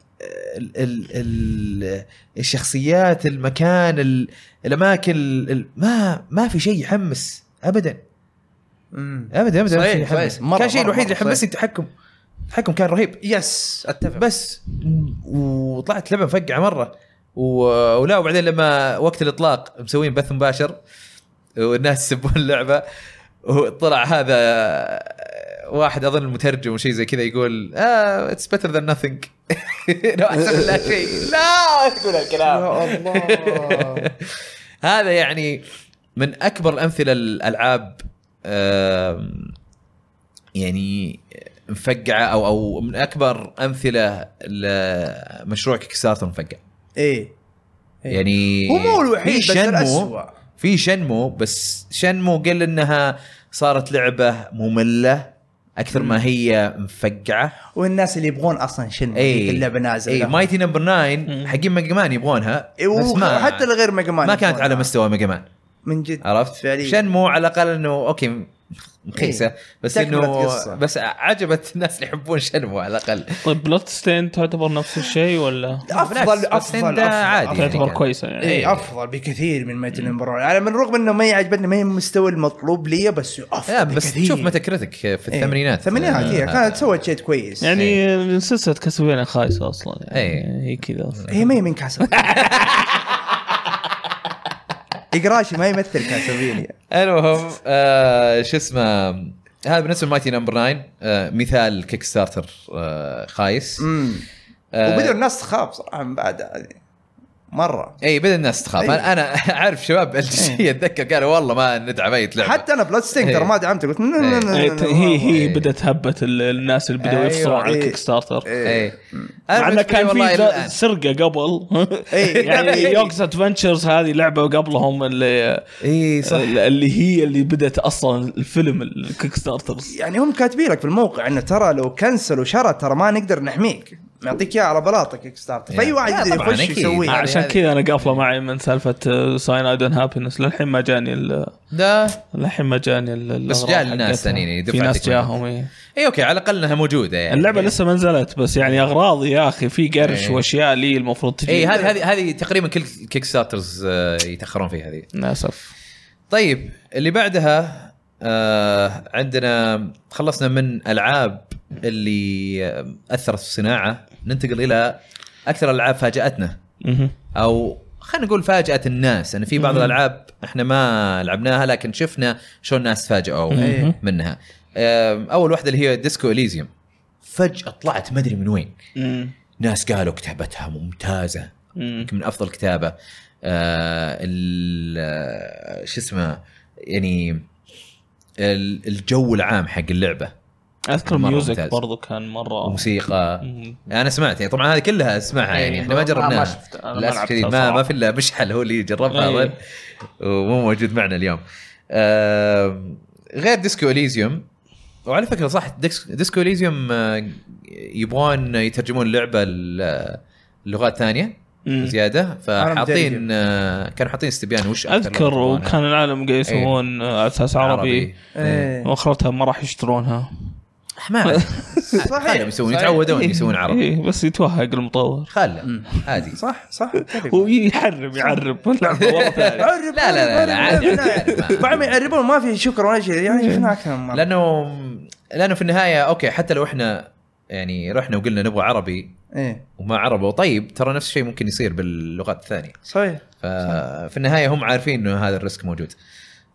ال ال ال الشخصيات المكان ال- الاماكن ال- ال- ما ما في شيء يحمس ابدا مم. ابدا ابدا صحيح، ما في شيء يحمس. صحيح. مرة- كان الشيء مرة- الوحيد اللي مرة صحيح. حمسني التحكم التحكم كان رهيب يس اتفق بس وطلعت لعبه مفقعه مره و- ولا وبعدين لما وقت الاطلاق مسوين بث مباشر والناس يسبون اللعبه وطلع هذا واحد اظن المترجم وشي زي كذا يقول اه اتس بيتر ذان نثينج لو احسن من لا شيء لا تقول هالكلام يا الله هذا يعني من اكبر الامثله الالعاب آم، يعني مفقعه او او من اكبر امثله لمشروع كيك ستارتر مفقع ايه إيه. يعني هو مو الوحيد، في بس شنمو- الأسوأ. في شنمو بس شنمو قل انها صارت لعبه ممله اكثر ما هي مفقعه والناس اللي يبغون اصلا شنو اي اللعبه نازله اي إيه، مايتي نمبر 9 حقين ميجا مان يبغونها بس ما حتى إيه، الغير ميجا مان ما كانت على يبغونها. مستوى ميجا مان من جد عرفت؟ فعليا. شنمو على الاقل انه اوكي مخيسه إيه. بس تكملة انه قصة. بس عجبت الناس اللي يحبون شنمو على الاقل طيب بلوت ستين تعتبر نفس الشيء ولا بالعكس، افضل بس إنت افضل عادي يعني. تعتبر كويسه يعني اي افضل إيه، بكثير من ميتن امبرور انا من رغم انه ما يعجبني ما هي المستوى المطلوب لي بس لا افضل بس بكثير. شوف متى كريتك في إيه. الثمانينات آه. الثمانينات هي كانت سوت شيء كويس يعني يعني سلسله كاسلفينيا خايسه اصلا إيه. يعني هي كذا أصلاً. هي ما هي من كاسلفينيا اقراشي ما يمثل كاسلفينيا المهم آه شو اسمه هذا بالنسبه لمايتي نمبر 9 آه مثال كيك ستارتر آه خايس امم آه، وبدوا الناس تخاف صراحه من بعدها يعني. مره اي بدا إيه، الناس تخاف أي. انا انا اعرف شباب الجي اتذكر قالوا والله ما ندعم اي لعبه إيه. حتى انا بلاد ستينج ترى ما دعمته قلت لا، لا، لا، لا، إيه، لا، ت- هي هي إيه. بدات هبه ال- الناس اللي بداوا أيوة، يفصلوا عن إيه. الكيك ستارتر اي إيه. أنا مع انه بالنسبة لي كان والله في إلى الآن. ز- سرقه قبل إيه. يعني إيه. يوكس ادفنتشرز هذه لعبه قبلهم اللي إيه، اي إيه، صح اللي هي اللي بدات اصلا الفيلم الكيك ستارترز يعني هم كاتبين لك في الموقع انه ترى لو كنسلوا شرى ترى ما نقدر نحميك معطيك اياه على بلاطك كيك ستارتر يا. فاي واحد يا يقدر إيه. طبعاً، يخش أكيد. يسويه هذه- عشان يعني هذه- كذا انا قافله معي من آه، سالفه ساين ايدن هابينس للحين ما جاني ال- لا للحين ما جاني ال- بس الأغراض جاء لناس حقتها. ثانيين، يعني في دفعتك يعني ناس جاهم إيه. اي اوكي على الاقل انها موجوده يعني اللعبه لسه ما نزلت بس يعني اغراض يا اخي في قرش إيه. واشياء لي المفروض تجي اي إيه، هذه هذه هذه تقريبا كل كيك ستارترز آه، يتاخرون فيها هذه للاسف طيب اللي بعدها آه عندنا خلصنا من العاب اللي آه، اثرت في الصناعه ننتقل الى اكثر الالعاب فاجاتنا مهم. او خلينا نقول فاجات الناس ان في بعض مم. الالعاب احنا ما لعبناها لكن شفنا شلون الناس تفاجئوا مم. منها آه، اول واحده اللي هي ديسكو اليزيوم فجاه طلعت ما ادري من وين مم. ناس قالوا كتابتها ممتازه مم. يمكن من افضل كتابه آه ال- آه، شو اسمه يعني ال- الجو العام حق اللعبه اذكر مرة الميوزك ممتاز. برضو كان مره وموسيقى مم. انا سمعت يعني طبعا هذه كلها اسمعها يعني احنا ما إيه، ما جربناها شفت- أنا ما للاسف لعبتها الشديد ما, صراحة. إيه. ما في الا مشعل هو اللي جربها أي. اظن ومو موجود معنا اليوم آه غير ديسكو اليزيوم وعلى فكره صح ديسك- ديسكو اليزيوم آه، يبغون يترجمون اللعبه ل- لغات ثانيه مم. زياده فحاطين مدرجة. آه، كانوا حاطين استبيان وش أكثر إيه. اذكر لغة يبغونها. وكان العالم قاعد يسوون آه، على اساس عربي إيه. واخرتها ما راح يشترونها حمار صحيح. خلهم يسوون صحيح. يتعودون يسوون عربي إيه بس يتوهق المطور خله عادي صح صح طيب. هو يحرم يعرب اللعبة والله ثاني. عرب لا، لا، لا، لا، عرب، عادي، عرب، عادي، عرب. ما- بعد ما يعربون ما في شكر ولا شيء يعني شفناه اكثر من مره لانه لانه في النهايه اوكي حتى لو احنا يعني رحنا وقلنا نبغى عربي ايه وما عربوا طيب ترى نفس الشيء ممكن يصير باللغات الثانيه صحيح ففي النهايه هم عارفين انه هذا الريسك موجود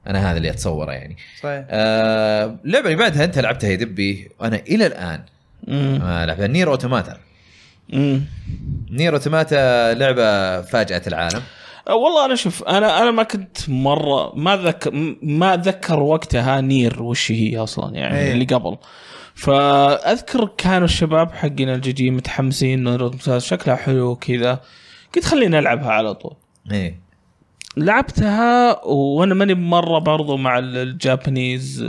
انا هذا اللي اتصوره يعني صحيح آه، اللعبه اللي بعدها انت لعبتها يا دبي وانا الى الان مم. ما لعبتها نير اوتوماتا مم. نير اوتوماتا لعبه فاجات العالم أه والله انا شوف انا انا ما كنت مره ما ذك ما اتذكر وقتها نير وش هي اصلا يعني إيه. اللي قبل فاذكر كانوا الشباب حقنا الجي جي متحمسين نير ممتاز، شكلها حلو كذا قلت خليني العبها على طول ايه لعبتها وانا ماني مره برضو مع ال- الجابانيز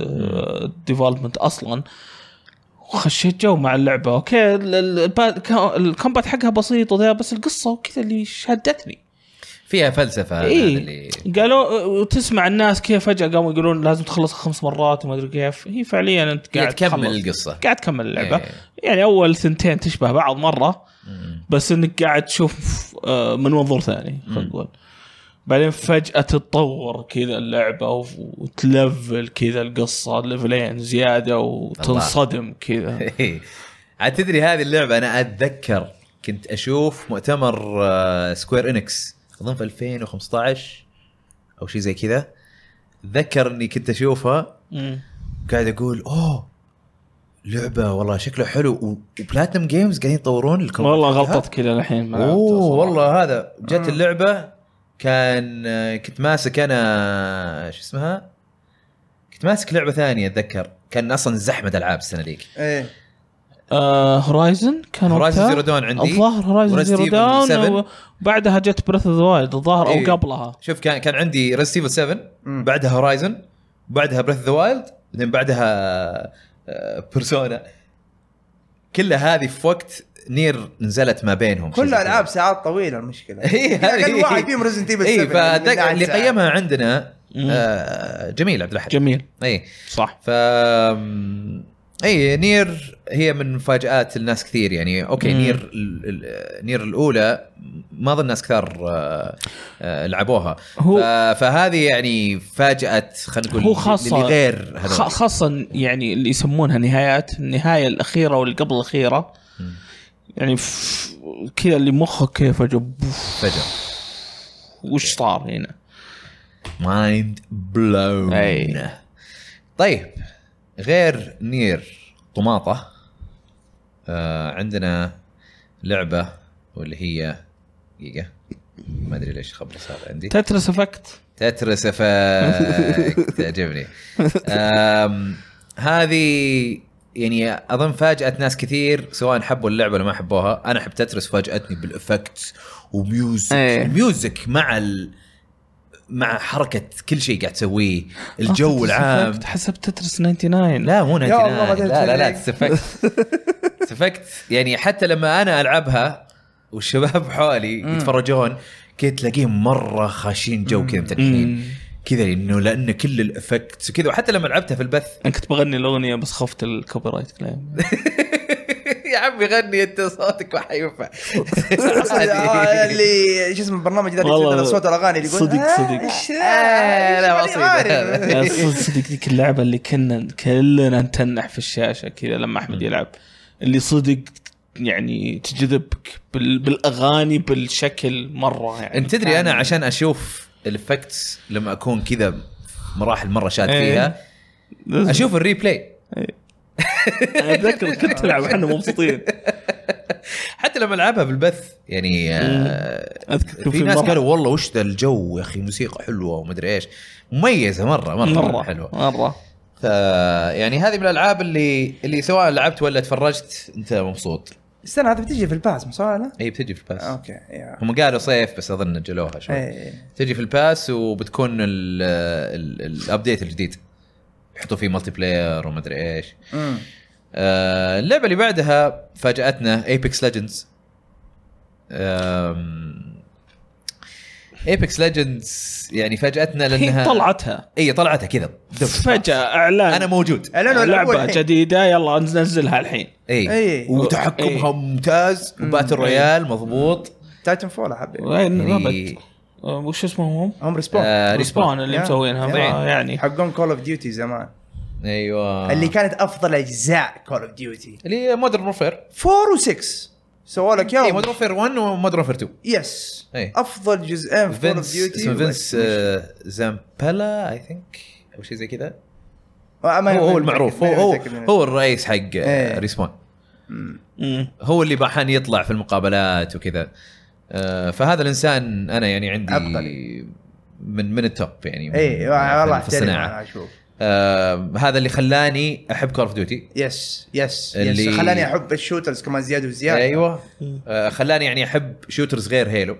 ديفلوبمنت اصلا وخشيت جو مع اللعبه اوكي ال- ال- البا- كا- الكومبات حقها بسيط وذا، بس القصه وكذا اللي شدتني فيها فلسفه إيه. هذا اللي قالوا وتسمع الناس كيف فجاه قاموا يقولون لازم تخلصها خمس مرات وما ادري كيف هي فعليا انت هي قاعد تكمل تخلص. القصه قاعد تكمل اللعبه إيه. يعني اول ثنتين تشبه بعض مره مم. بس انك قاعد تشوف آه، من منظور ثاني خلينا نقول بعدين فجأة تتطور كذا اللعبة و- وتلفل كذا القصة ليفلين زيادة وتنصدم كذا إيه. عاد تدري هذه اللعبه انا اتذكر كنت اشوف مؤتمر آه، سكوير انكس اظن في 2015 او شيء زي كذا ذكر اني كنت اشوفها مم. قاعد اقول اوه لعبه والله شكله حلو و- وبلاتنم جيمز قاعدين يطورون الكومبات والله حقها. غلطت كذا الحين ما لعبتها اوه صراحة. والله هذا جت آه. اللعبه كان كنت ماسك انا شو اسمها؟ كنت ماسك لعبه ثانيه اتذكر كان اصلا زحمه العاب السنه ذيك ايه آه، هورايزن كان هورايزن وقتها زيرو دون عندي الظاهر هورايزن ورست زيرو ايفل داون 7. وبعدها جت بريث اوف ذا وايلد الظاهر إيه. او قبلها شوف كان كان عندي ريزيفل 7 مم. بعدها هورايزن بعدها بريث ذا وايلد بعدين بعدها بيرسونا كلها هذه في وقت نير نزلت ما بينهم شيء زي كل كذا. العاب ساعات طويله المشكله إيه، هذه- كان واحد فيهم ريزنت ايفل اي 7 يعني إيه، فأتذكر عن اللي ساعة. قيمها عندنا مم. آه، جميل عبد إيه. الحليم جميل اي صح ف اي نير هي من مفاجات الناس كثير يعني اوكي مم. نير ال- ال- نير الاولى ما اظن ناس كثار آه، آه، لعبوها هو- ف- فهذه يعني فاجات خلينا نقول هو خاصة- اللي غير هذول. خ- خاصة يعني اللي يسمونها نهايات النهاية الأخيرة والقبل الأخيرة مم. يعني ف- كذا اللي مخك كيف جب فجأة وش صار هنا مايند بلون أي. طيب غير نير طماطة آه عندنا لعبة واللي هي دقيقة ما ادري ليش خبر صار عندي تترس افكت تترس افكت تعجبني آم، هذه يعني اظن فاجات ناس كثير سواء حبوا اللعبه ولا ما حبوها انا حب تترس فاجاتني بالافكت وميوزك إيه. الميوزك مع ال... مع حركه كل شيء قاعد تسويه Oh, الجو العام آه، حسب تترس 99 لا مو 99 الله، ما لا لا لا تترس تترس افكت سفكت يعني حتى لما انا العبها والشباب حولي يتفرجون كنت تلاقيهم مره خاشين جو كذا متنحين كذا انه لان كل الافكتس وكذا وحتى لما لعبتها في البث انا كنت بغني الاغنيه بس خفت الكوبي رايت كلايم يا عمي غني انت صوتك ما حينفع آه، اللي شو اسمه البرنامج ذا اللي والله يسجل صوت الاغاني اللي يقول صدق، آه، صدق. إيش- آه، لا، إيش بسيط. ماني عارف. يا صدق- صدق ذيك اللعبه اللي كنا كلنا نتنح في الشاشه كذا لما احمد يلعب اللي صدق يعني تجذبك بال- بالاغاني بالشكل مره يعني انت تدري انا عشان اشوف الافكتس لما اكون كذا مراحل مره شاد إيه. فيها لازم- اشوف الريبلاي انا اتذكر كنت تلعب احنا مبسوطين حتى لما العبها بالبث يعني آه، اذكر كان في ناس مرة- قالوا والله وش ذا الجو يا اخي موسيقى حلوه ومدري ايش مميزه مره مره, مرة, مرة حلوه مره ف يعني هذه من الالعاب اللي اللي سواء لعبت ولا تفرجت انت مبسوط استنى هذا بتجي في الباس مو صح لا؟ هي بتجي في الباس اوكي يا. هم قالوا صيف بس اظن نجلوها شوي آه. إيه. تجي في الباس وبتكون ال- ال- الابديت الجديد يحطوا فيه ملتي بلاير ومدري ايش أمم. آه، اللعبه اللي بعدها فاجاتنا ايبكس ليجندز ايبكس ليجندز يعني فاجاتنا لانها هي طلعتها اي طلعتها كذا فجاه اعلان انا موجود اعلنوا اللعبة لعبه الحين. جديده يلا ننزلها الحين اي إي. وتحكمها إي. ممتاز وباتل إي. ريال مضبوط تايتن فول يا حبيبي وين يعني- لعبة- آه، وش اسمهم هم؟ هم ريسبون آه، ريسبون ريسبون اللي يا. مسوينها يا. ما- يعني حقون كول اوف ديوتي زمان ايوه اللي كانت افضل اجزاء كول اوف ديوتي اللي مودرن وورفير 4 و6 سووا لك اي يلا مودرن وورفير 1 ومودرن وورفير 2 يس إيه. افضل جزئين في كول اوف فينس اسمه ديوتي فينس آه، زامبلا اي ثينك او شيء زي كذا هو هو هو المعروف هو هو هو الرئيس حق إيه. ريسبون مم. هو اللي بحان يطلع في المقابلات وكذا آه، فهذا الانسان انا يعني عندي عبقري. من من التوب يعني من- اي إيه، والله في احترم الصناعه انا اشوف آه هذا اللي خلاني احب كول اوف ديوتي يس يس اللي- يس خلاني احب الشوترز كمان زياده وزياده ايوه آه خلاني يعني احب شوترز غير هيلو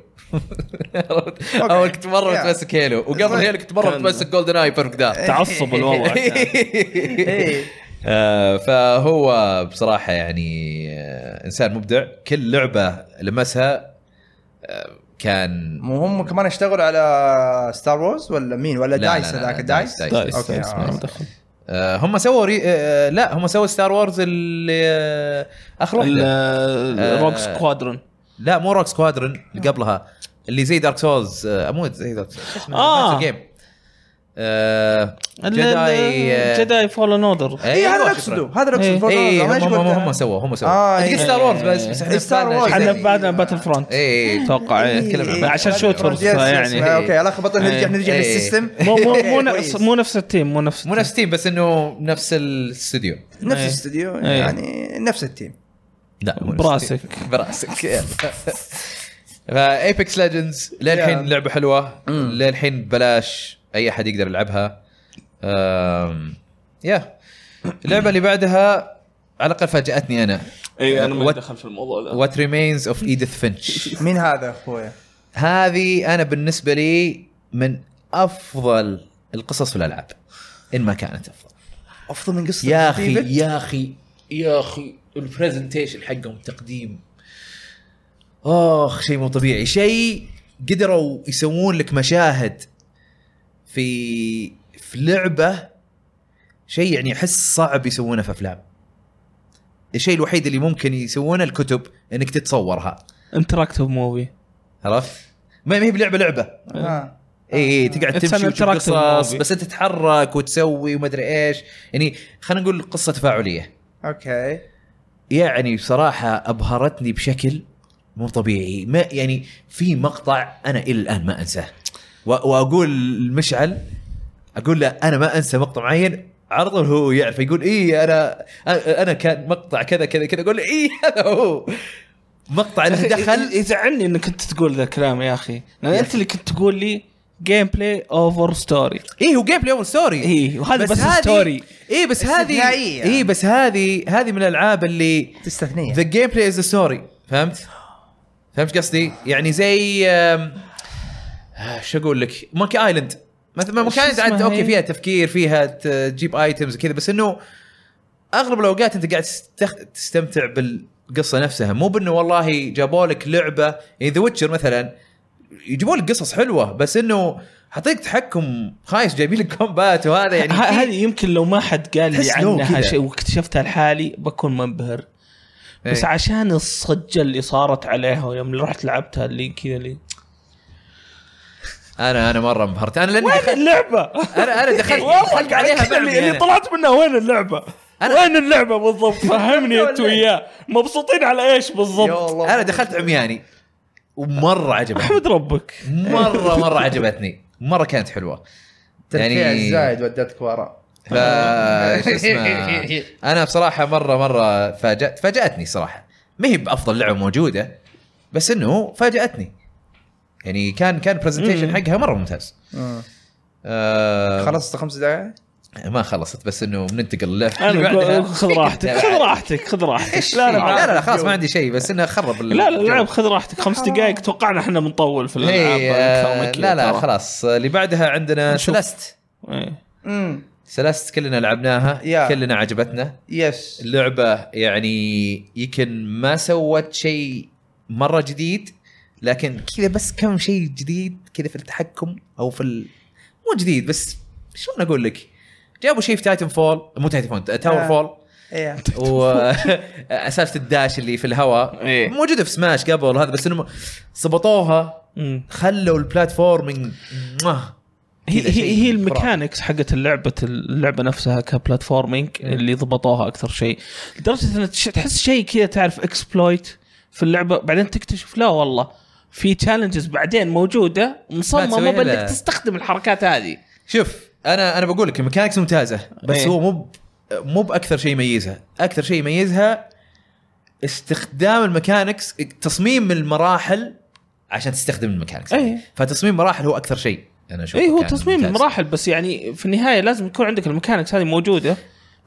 اول كنت يا. مره إيه. متمسك هيلو وقبل هيلو كنت مره كان- متمسك جولدن اي بيرفكت دارك تعصب الوضع كان. إيه. آه، فهو بصراحه يعني آه، انسان مبدع كل لعبه لمسها آه، كان مو هم كمان اشتغلوا على ستار وورز ولا مين ولا لا، لا، دايس لا، لا، هذاك دايس، دايس دايس. دايس أوكي، دايس آه. ما مدخل. آه، هم سووا ري... آه، لا هم سووا ستار وورز اللي آه، اخر ال- واحده آه. روك سكوادرون لا مو روك سكوادرون اللي قبلها اللي زي دارك سولز آه، مو زي دارك سولز شو اسمه؟ آه. نفس الجيم آه، جداي آه، جداي فولن اوردر اي إيه، هذا اللي أيوة، اقصده شكراً. هذا اللي إيه. اقصده فوق اي الأرض. هم أنا إيش هم قلت؟ هم سووا هم آه، سووا إيه. أنت قلت ستار وورز بس بس احنا ستار بالنا وورز. شيء احنا إيه. ثاني. بعدنا باتل فرونت اي اتوقع إيه. نتكلم إيه. عن عشان شوتر يس، يس، يس. فيعني اوكي لا خبطنا إيه. نرجع نرجع إيه. للسيستم مو مو مو إيه، نفس كويس. مو نفس التيم مو نفس مو نفس تيم بس انه نفس الاستوديو نفس إيه. الاستوديو إيه. يعني نفس التيم لا مو نفس براسك. تيم. براسك يلا. فايبكس ليجندز للحين Yeah. لعبه حلوه للحين بلاش اي احد يقدر يلعبها أم، يا اللعبه اللي بعدها على الاقل فاجاتني انا اي انا إيه، ما What- دخل في الموضوع ذا وات ريمينز اوف ايديث فينش مين هذا اخويا؟ هذه انا بالنسبه لي من افضل القصص في الالعاب ان ما كانت افضل افضل من قصه يا اخي ستيفن؟ يا اخي يا اخي البرزنتيشن حقهم تقديم اخ شيء مو طبيعي شيء قدروا يسوون لك مشاهد في في لعبه شيء يعني احس صعب يسوونه في افلام الشيء الوحيد اللي ممكن يسوونه الكتب انك تتصورها انتراكتيف موفي عرفت؟ ما ما هي بلعبه لعبه آه. اي اي إيه، تقعد It's تمشي an وتشوف interactive قصص movie. بس انت تتحرك وتسوي ومدري ايش يعني خلينا نقول قصه تفاعليه اوكي يعني بصراحه ابهرتني بشكل مو طبيعي ما يعني في مقطع انا الى الان ما انساه و- واقول لمشعل اقول له انا ما انسى مقطع معين على طول هو يعرف يقول اي انا انا كان مقطع كذا كذا كذا اقول له اي هذا هو مقطع اللي دخل دخل يزعلني انك انت تقول ذا الكلام يا اخي لان انت اللي كنت تقول لي جيم بلاي اوفر ستوري اي إيه، هو جيم بلاي اول ستوري اي إيه، وهذا بس, ستوري اي إيه، بس هذه استثنائية. اي بس هذه هذه من الالعاب اللي تستثنيه ذا جيم بلاي از ستوري فهمت؟ فهمت قصدي؟ يعني زي أم، آه، شو اقول لك؟ مونكي ايلاند مثلا شو مونكي ايلاند اسمها عاد اوكي هي؟ فيها تفكير فيها تجيب ايتمز وكذا بس انه اغلب الاوقات انت قاعد تستخ... تستمتع بالقصه نفسها مو بانه والله جابوا لك لعبه يعني ذا ويتشر مثلا يجيبوا لك قصص حلوه بس انه حطيك تحكم خايس جايبين لك كومبات وهذا يعني ه- في- هذه يمكن لو ما حد قال لي تحس لو عنها كذا. شيء واكتشفتها لحالي بكون منبهر بس إيه. عشان الصجه اللي صارت عليها يوم رحت لعبتها اللي كذا اللي انا انا مره انبهرت انا لاني وين دخلت اللعبه؟ انا انا دخلت دخلت عليها والله عليها بعمي اللي, اللي أنا. طلعت منها وين اللعبه؟ أنا- وين اللعبه بالضبط؟ فهمني انت ولا إيه؟ وياه مبسوطين على ايش بالضبط؟ انا دخلت عمياني ومره عجبتني احمد ربك مره مره عجبتني مره كانت حلوه ترفيع يعني- الزايد ودتك ورا ف شو اسمه انا بصراحه مره مره فاجأت فاجاتني صراحه ما هي بافضل لعبه موجوده بس انه فاجاتني يعني كان كان برزنتيشن مم. حقها مره ممتاز مم. آه خلصت خمس دقائق ما خلصت بس انه بننتقل للعبة اللي انا بعدها. أقول خذ راحتك خذ راحتك خذ راحتك يعني. إيش؟ لا لا لا خلاص ما عندي شيء بس انه خرب لا لا العب خذ راحتك خمس دقائق توقعنا احنا بنطول في الالعاب إيه، أكثر آه، من كذا لا لا ترى. خلاص اللي بعدها عندنا نشوف. سلست إيه. امم سلست كلنا لعبناها يا. كلنا عجبتنا يس اللعبة يعني يمكن ما سوت شيء مرة جديد لكن كذا بس كم شيء جديد كذا في التحكم او في ال... مو جديد بس شلون اقول لك؟ جابوا شيء في تايتن فول مو تايتن فول تاور آه. فول ايه وسالفه الداش اللي في الهواء إيه. موجوده في سماش قبل هذا بس انهم سبطوها مم. خلوا البلاتفورمينج موه. هي كذا شيء هي هي خرافي. الميكانكس حقت اللعبه اللعبه نفسها كبلاتفورمينج إيه. اللي ضبطوها اكثر شيء لدرجه ان تش- تحس شيء كذا تعرف اكسبلويت في اللعبه بعدين تكتشف لا والله في تشالنجز بعدين موجوده مصممه تسويها لا. بانك تستخدم الحركات هذه شوف انا انا بقول لك الميكانكس ممتازه بس إيه. هو مو ب- مو باكثر شيء يميزها اكثر شيء يميزها استخدام الميكانكس تصميم المراحل عشان تستخدم الميكانكس إيه. فتصميم المراحل هو اكثر شيء انا اشوفه اي إيه، هو كان تصميم ممتاز. مراحل بس يعني في النهايه لازم يكون عندك الميكانكس هذه موجوده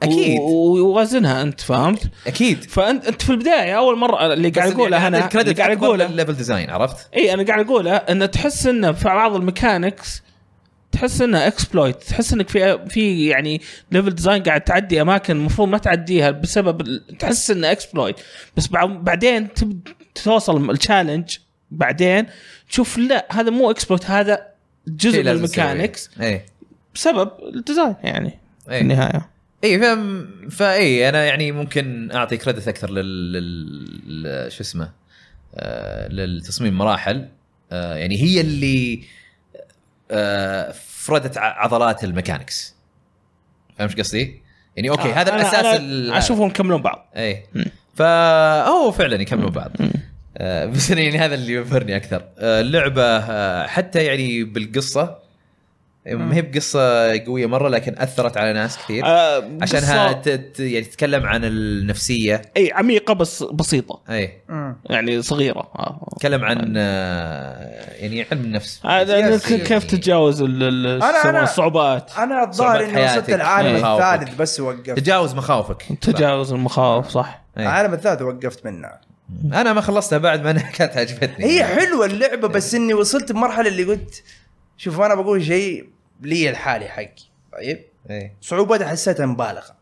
أكيد. و- ووازنها انت فهمت اكيد فانت انت في البدايه اول مره اللي قاعد بس يعني اقوله هذا انا اللي الكريدت قاعد اقوله الليفل ديزاين عرفت؟ اي انا إيه، قاعد اقوله ان تحس انه في بعض الميكانكس تحس انها اكسبلويت تحس انك في في يعني ليفل ديزاين قاعد تعدي اماكن المفروض ما تعديها بسبب ال- تحس انه اكسبلويت بس بع- بعدين تب- توصل التشالنج بعدين تشوف لا هذا مو اكسبلويت هذا جزء شيء من لازم تسويه. الميكانكس ايه بسبب الديزاين يعني في ايه النهايه اي فاهم فاي انا يعني ممكن اعطي كريدت اكثر لل, لل... شو اسمه آه، للتصميم مراحل آه، يعني هي اللي آه، فردت ع- عضلات الميكانكس فاهم ايش قصدي؟ يعني اوكي هذا آه، أنا- الاساس أنا ال- إيه. اشوفهم يكملون بعض اي مم. فهو فعلا يكملوا بعض مم. آه، بس أنا يعني هذا اللي يبهرني اكثر آه، اللعبه آه، حتى يعني بالقصه ما هي بقصه قويه مره لكن اثرت على ناس كثير إيه. آه، عشانها قصة- ت- ت- يعني تتكلم عن النفسيه اي عميقه إيه، بس بسيطه اي مم. يعني صغيره آه. تتكلم عن آه، يعني علم النفس يعني هذا سياسي. كيف تتجاوز ال- ال- أنا- يسمونها أنا- الصعوبات انا الظاهر صعبة اني وصلت حياتك. العالم إيه. الثالث بس وقفت تتجاوز مخاوفك تجاوز المخاوف صح إيه. العالم الثالث وقفت منه انا ما خلصتها بعد ما انا كانت عجبتني هي حلوه اللعبه إيه. بس اني وصلت بمرحله اللي قلت شوف انا بقول شيء لي الحالي حقي طيب إيه. صعوبتها حسيتها مبالغه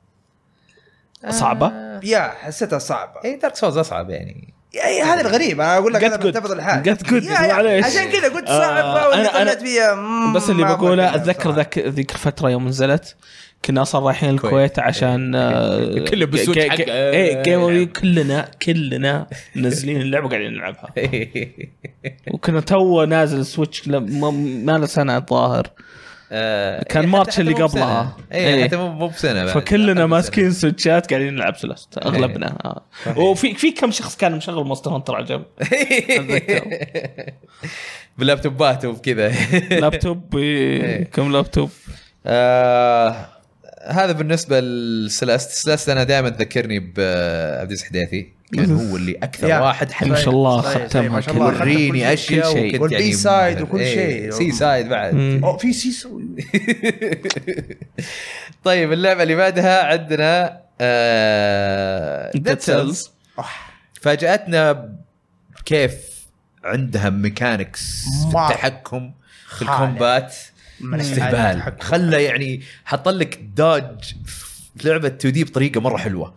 آه، صعبه إيه. يا حسيتها صعبه اي دارك سولز اصعب يعني يعني هذا الغريب انا اقول لك Get انا good. بنتفض الحال Get good. يا- يا. معليش. عشان كذا قلت آه، صعبه أنا- واللي أنا- طلعت فيها مم، بس اللي ما بقوله أقدر اتذكر صراحة. ذاك ذيك الفتره يوم نزلت كنا اصلا رايحين الكويت عشان آه، كله آه، بالسوق ج- ج- حقه. ايه جيم أوف يعني. يو كلنا كلنا نازلين اللعبه قاعدين نلعبها وكنا تو نازل السويتش لم- ما- ما له سنه الظاهر آه، كان إيه، حتى- مارتش حتى اللي مو بسنة. قبلها. إيه. اي حتى مو مو بسنه بعد. فكلنا أقل ماسكين سويتشات قاعدين نلعب سلست اغلبنا آه. إيه. صحيح. وفي في كم شخص كان مشغل مونستر هانتر على جنب أتذكر. سنة. باللابتوبات وبكذا لابتوب إيه، كم لابتوب آه هذا بالنسبه للسلاست سلاست انا دائما تذكرني بعبد العزيز حديثي كان هو اللي اكثر يا. واحد ما شاء حمس الله صحيح، صحيح، ختمها ما شاء الله. كلها. أخذت كل وريني اشياء شيء. وكنت والبي يعني سايد وكل إيه، شيء. سي سايد يعني بعد مم. أوه، في سيسو طيب اللعبه اللي بعدها عندنا آه Dead Dead Cells. Cells. فاجاتنا كيف عندها ميكانكس في مرة. التحكم في خالع. الكومبات من استهبال خلى يعني حط لك داج لعبه 2 دي بطريقه مره حلوه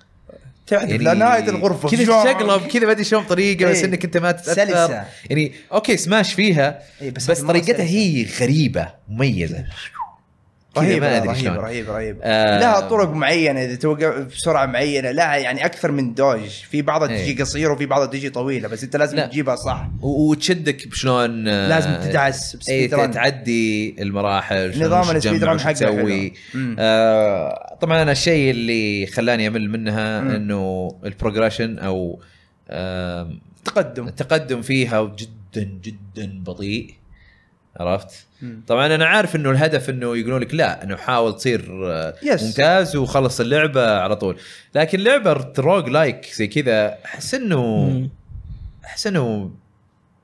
تحذف يعني نهايه الغرفه كذا جوع. تشقلب كذا ما ادري شلون طريقه بس إيه. انك انت ما تتاثر سلسة. يعني اوكي سماش فيها إيه، بس, بس بس مرة طريقتها سلسة. هي غريبه مميزه كذا رهيبة ما ادري رهيبة شلون رهيبة رهيبة آه. لها طرق معينة إذا توقف بسرعة معينة لها يعني أكثر من دوج في بعضها إيه. تجي قصيرة وفي بعضها تجي طويلة بس أنت لازم لا. تجيبها صح و- وتشدك بشلون آه، لازم تدعس اي بسبيد رن. تعدي المراحل شلون نظام وش السبيد تجمع رن وش حقه تسوي حلو. مم. آه طبعا انا الشيء اللي خلاني امل منها مم. انه البروجريشن او آم، تقدم التقدم آه، فيها جدا جدا بطيء عرفت؟ مم. طبعا انا عارف انه الهدف انه يقولون لك لا انه حاول تصير آه، Yes. ممتاز وخلص اللعبه على طول، لكن لعبه روج لايك زي كذا احس انه مم. احس انه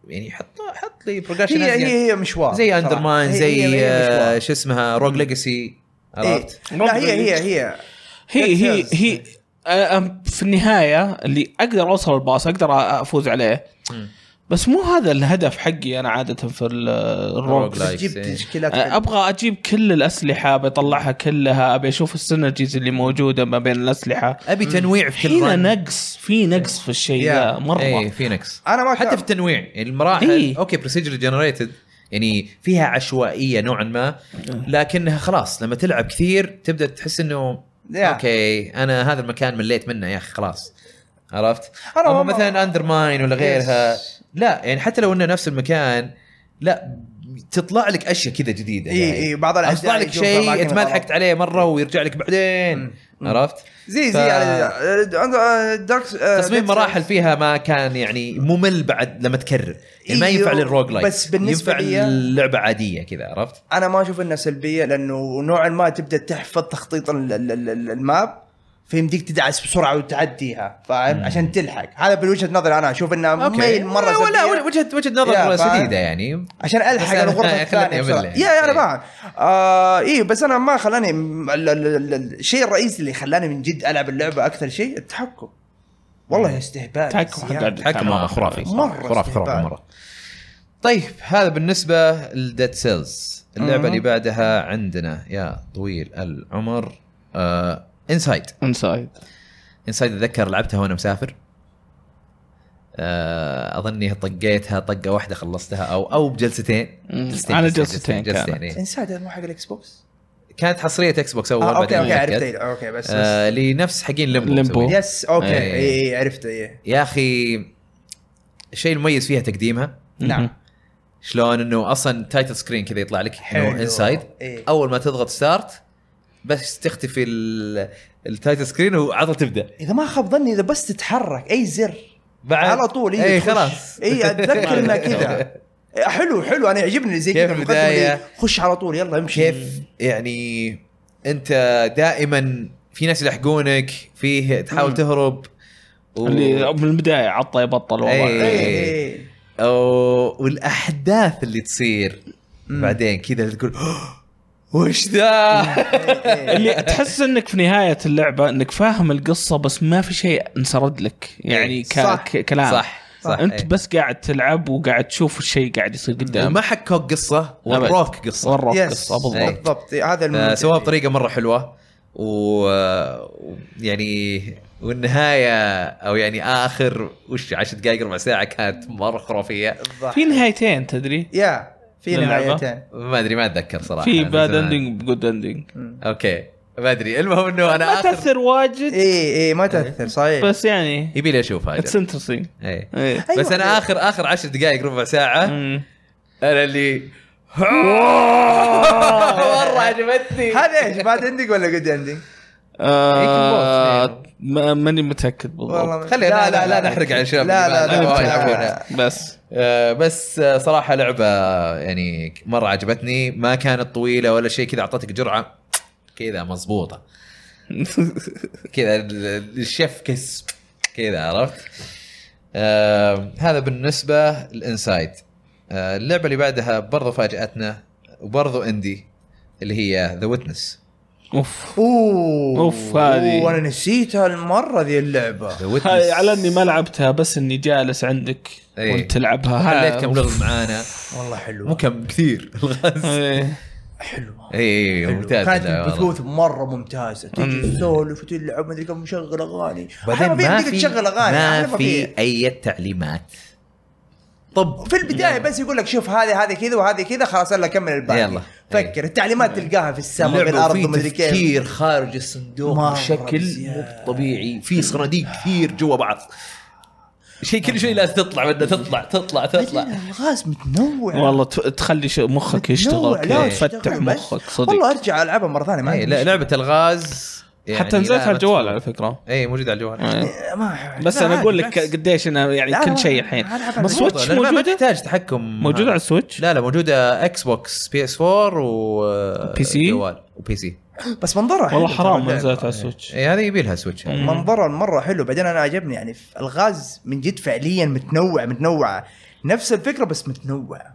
يعني حط حط لي بروجريشن هي هي هي مشوار يعني زي صراحة. اندر ماين هي- زي هي- هي مشوار. آه، شو اسمها روج ليجاسي عرفت؟ إيه. لا هي هي هي هي هي Details. هي آه، آم، في النهايه اللي اقدر اوصل الباص اقدر افوز عليه مم. بس مو هذا الهدف حقي انا عاده في ال- Roguelike. الروج بس تجيب إيه. تشكيلات آه، ابغى اجيب كل الاسلحه بطلعها كلها ابي اشوف السينرجيز اللي موجوده ما بين الاسلحه ابي تنويع في كل هنا run. نقص في نقص في الشيء يا، ذا مره ايه في نقص أنا ما حتى كان- في التنويع يعني المراحل إيه. اوكي بروسيجر جنريتد يعني فيها عشوائيه نوعا ما إيه. لكنها خلاص لما تلعب كثير تبدا تحس انه يا. اوكي انا هذا المكان مليت منه يا اخي خلاص عرفت؟ أنا اما والله- مثلا اندر ماين ولا غيرها يس. لا يعني حتى لو انه نفس المكان لا تطلع لك اشياء كذا جديده إيه، يعني. إيه، بعض الأعداء يطلع لك يجوا في شيء أماكن انت ما غلط. لحقت عليه مره ويرجع لك بعدين مم. عرفت؟ زي ف- زي يعني، آه، دارك تصميم آه، مراحل فيها ما كان يعني ممل بعد لما تكرر يعني ما إيوه، ينفع للروج لايك بس بالنسبة ينفع لي- للعبه عاديه كذا عرفت؟ انا ما اشوف انها سلبيه لانه نوعا ما تبدا تحفظ تخطيط ال- ال- ال- ال- الماب فيمديك تدعس بسرعه وتعديها فاهم عشان تلحق هذا بالوجهه نظري انا اشوف انها ميل مره إيه، ولا- سلبيه ولا وجهه وجهه يا، نظر فاهم؟ سديده يعني عشان بس الحق أنا- الغرفه خلاني الثانيه أمل بسرعة. يعني. يا انا إيه. فاهم آه ايه بس انا ما خلاني ال- ال- ال- ال- الشيء الرئيسي اللي خلاني من جد العب اللعبه اكثر شيء التحكم والله استهبال تحكم زيادة. حق إيه. تحكم خرافي مرة خرافي خرافي استهبال. مره طيب هذا بالنسبه لديد سيلز اللعبه مم. اللي بعدها عندنا يا طويل العمر آه، انسايد انسايد انسايد اتذكر لعبتها وانا مسافر آه، اظني طقيتها طقه واحده خلصتها او او بجلستين مم. أنا جلستين جلستين كانت. إيه. انسايد هذا مو حق الاكس بوكس كانت حصريه اكس بوكس اول إيه. آه اوكي بعدين اوكي أتأكد. عرفت اوكي بس, بس. آه، لنفس حقين ليمبو ليمبو. مسوينها. يس اوكي إيه. اي اي عرفت إيه. اي يا اخي الشيء المميز فيها تقديمها نعم. شلون انه اصلا تايتل سكرين كذا يطلع لك انه حلو. انسايد إيه. اول ما تضغط ستارت بس تختفي ال- التايتل سكرين وعطل تبدا اذا ما خاب ظني اذا بس تتحرك اي زر بعد على طول إيه، اي تخش. إيه، خلاص اي اتذكر انها كذا إيه، حلو حلو انا يعجبني زي كيف كذا المقدمة البداية؟ اللي خش على طول يلا امشي كيف يعني انت دائما في ناس يلحقونك فيه تحاول مم. تهرب و... اللي من البدايه عطى يبطل إيه، والله إيه. إيه. أو... والاحداث اللي تصير مم. بعدين كذا تقول "Oh، وش ذا؟ إيه، إيه. اللي تحس انك في نهايه اللعبه انك فاهم القصه بس ما في شيء انسرد لك يعني ك... صح. ك... كلام إيه، صح صح انت إيه. بس قاعد تلعب وقاعد تشوف الشيء قاعد يصير قدامك ما حكوك قصه وروك قصه وراك يس. قصه بالضبط إيه. بالضبط إيه، هذا الممتع آه، سواها فيه. بطريقه مره حلوه و يعني والنهايه او يعني اخر وش 10 دقائق ربع ساعه كانت مره خرافيه بالضبط. في نهايتين تدري يا في للعبة. نهايتين ما ادري ما اتذكر صراحه في من باد زمان. اندنج جود اندنج اوكي ما ادري المهم انه انا ما اخر تاثر إيه. واجد اي اي إيه، ما تاثر صحيح بس يعني يبي لي اشوف اتس هذا انترستنج إيه. ايه أيوة. بس انا اخر اخر 10 دقائق ربع ساعه مم. انا اللي مره عجبتني إيه، هذا ايش باد اندنج ولا جود اندنج؟ آه، يمكن ما- ماني متاكد بالضبط والله خلي- لا- لا- لا نحرق على الشباب لا اللي لا ما- ما لا يلعبونها. بس آه، بس آه، صراحه لعبه يعني مره عجبتني ما كانت طويله ولا شيء كذا اعطتك جرعه كذا مضبوطه كذا ال- الشيف كس كذا عرفت آه هذا بالنسبه للانسايد آه اللعبه اللي بعدها برضو فاجاتنا وبرضو اندي اللي هي ذا ويتنس اوف اوه أوف، هذه. أوه، انا نسيتها المره ذي اللعبه ذا هاي على اني ما لعبتها بس اني جالس عندك إيه. وانت تلعبها ها- خليت كم لغز معانا والله حلو مو كم كثير الغاز إيه. حلوه اي اي إيه، ممتاز كانت أيوة، لا، والله. البثوث مره ممتازه تجي تسولف وتلعب مدري كم مشغل اغاني بعدين أحيانا ما يمديك في تشغل اغاني أحيانا ما في اي تعليمات طب في البدايه بس يقول لك شوف هذه هذه كذا وهذه كذا خلاص يلا كمل الباقي يلا. أيوه. فكر التعليمات تلقاها في السماء في اللعبة الارض وفي ومدري كيف تفكير خارج الصندوق مرة بشكل بزيادة. مو طبيعي في صناديق كثير جوا بعض شيء كل شيء لازم تطلع بدها تطلع تطلع لا، تطلع الغاز متنوع والله ت- تخلي ش- مخك متنوع، يشتغل لا، كذا، يشتغل تفتح بس. مخك إيه، صدق والله ارجع العبها مره ثانيه ما اي عندي لا لعبه الغاز يعني حتى نزلتها لا على الجوال تفوت. على فكره اي موجود على الجوال إيه. مشكلة. ما بس لا، انا عادي، اقول لك بالعكس. قديش انا يعني لا، كل لا، شيء ألعب على الحين الجوال. بس سويتش لأن ما- ما موجوده تحتاج تحكم موجوده على السويتش لا لا موجوده اكس بوكس بي اس 4 و آه، بي سي؟ جوال وبي سي بس منظرها حلو والله ترى حرام ما اللعبة. نزلت على إيه. السويتش اي هذه يبي لها سويتش يعني. منظرها مره حلو بعدين انا عجبني يعني في الغاز من جد فعليا متنوع متنوعه نفس الفكره بس متنوعه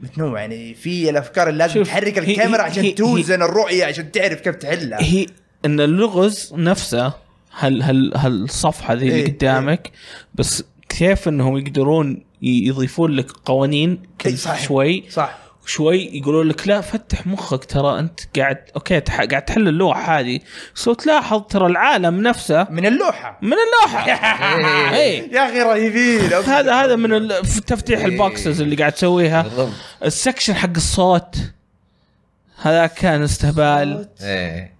متنوع يعني في الافكار اللي لازم شوف، تحرك هي- الكاميرا هي- عشان هي- توزن الرؤيه عشان تعرف كيف تحلها هي ان اللغز نفسه هل هل هل الصفحه ذي اللي إيه، قدامك بس كيف انهم يقدرون ي- يضيفون لك قوانين إيه، كل صحيح. شوي صح شوي يقولون لك لا فتح مخك ترى انت قاعد اوكي تح... قاعد تحل اللوحه هذه بس لو تلاحظ ترى العالم نفسه من اللوحه من اللوحه اي يا اخي رهيبين آه، هذا هذا من ال- في تفتيح إيه. البوكسز اللي قاعد تسويها بالضبط السكشن حق الصوت هذا كان استهبال ايه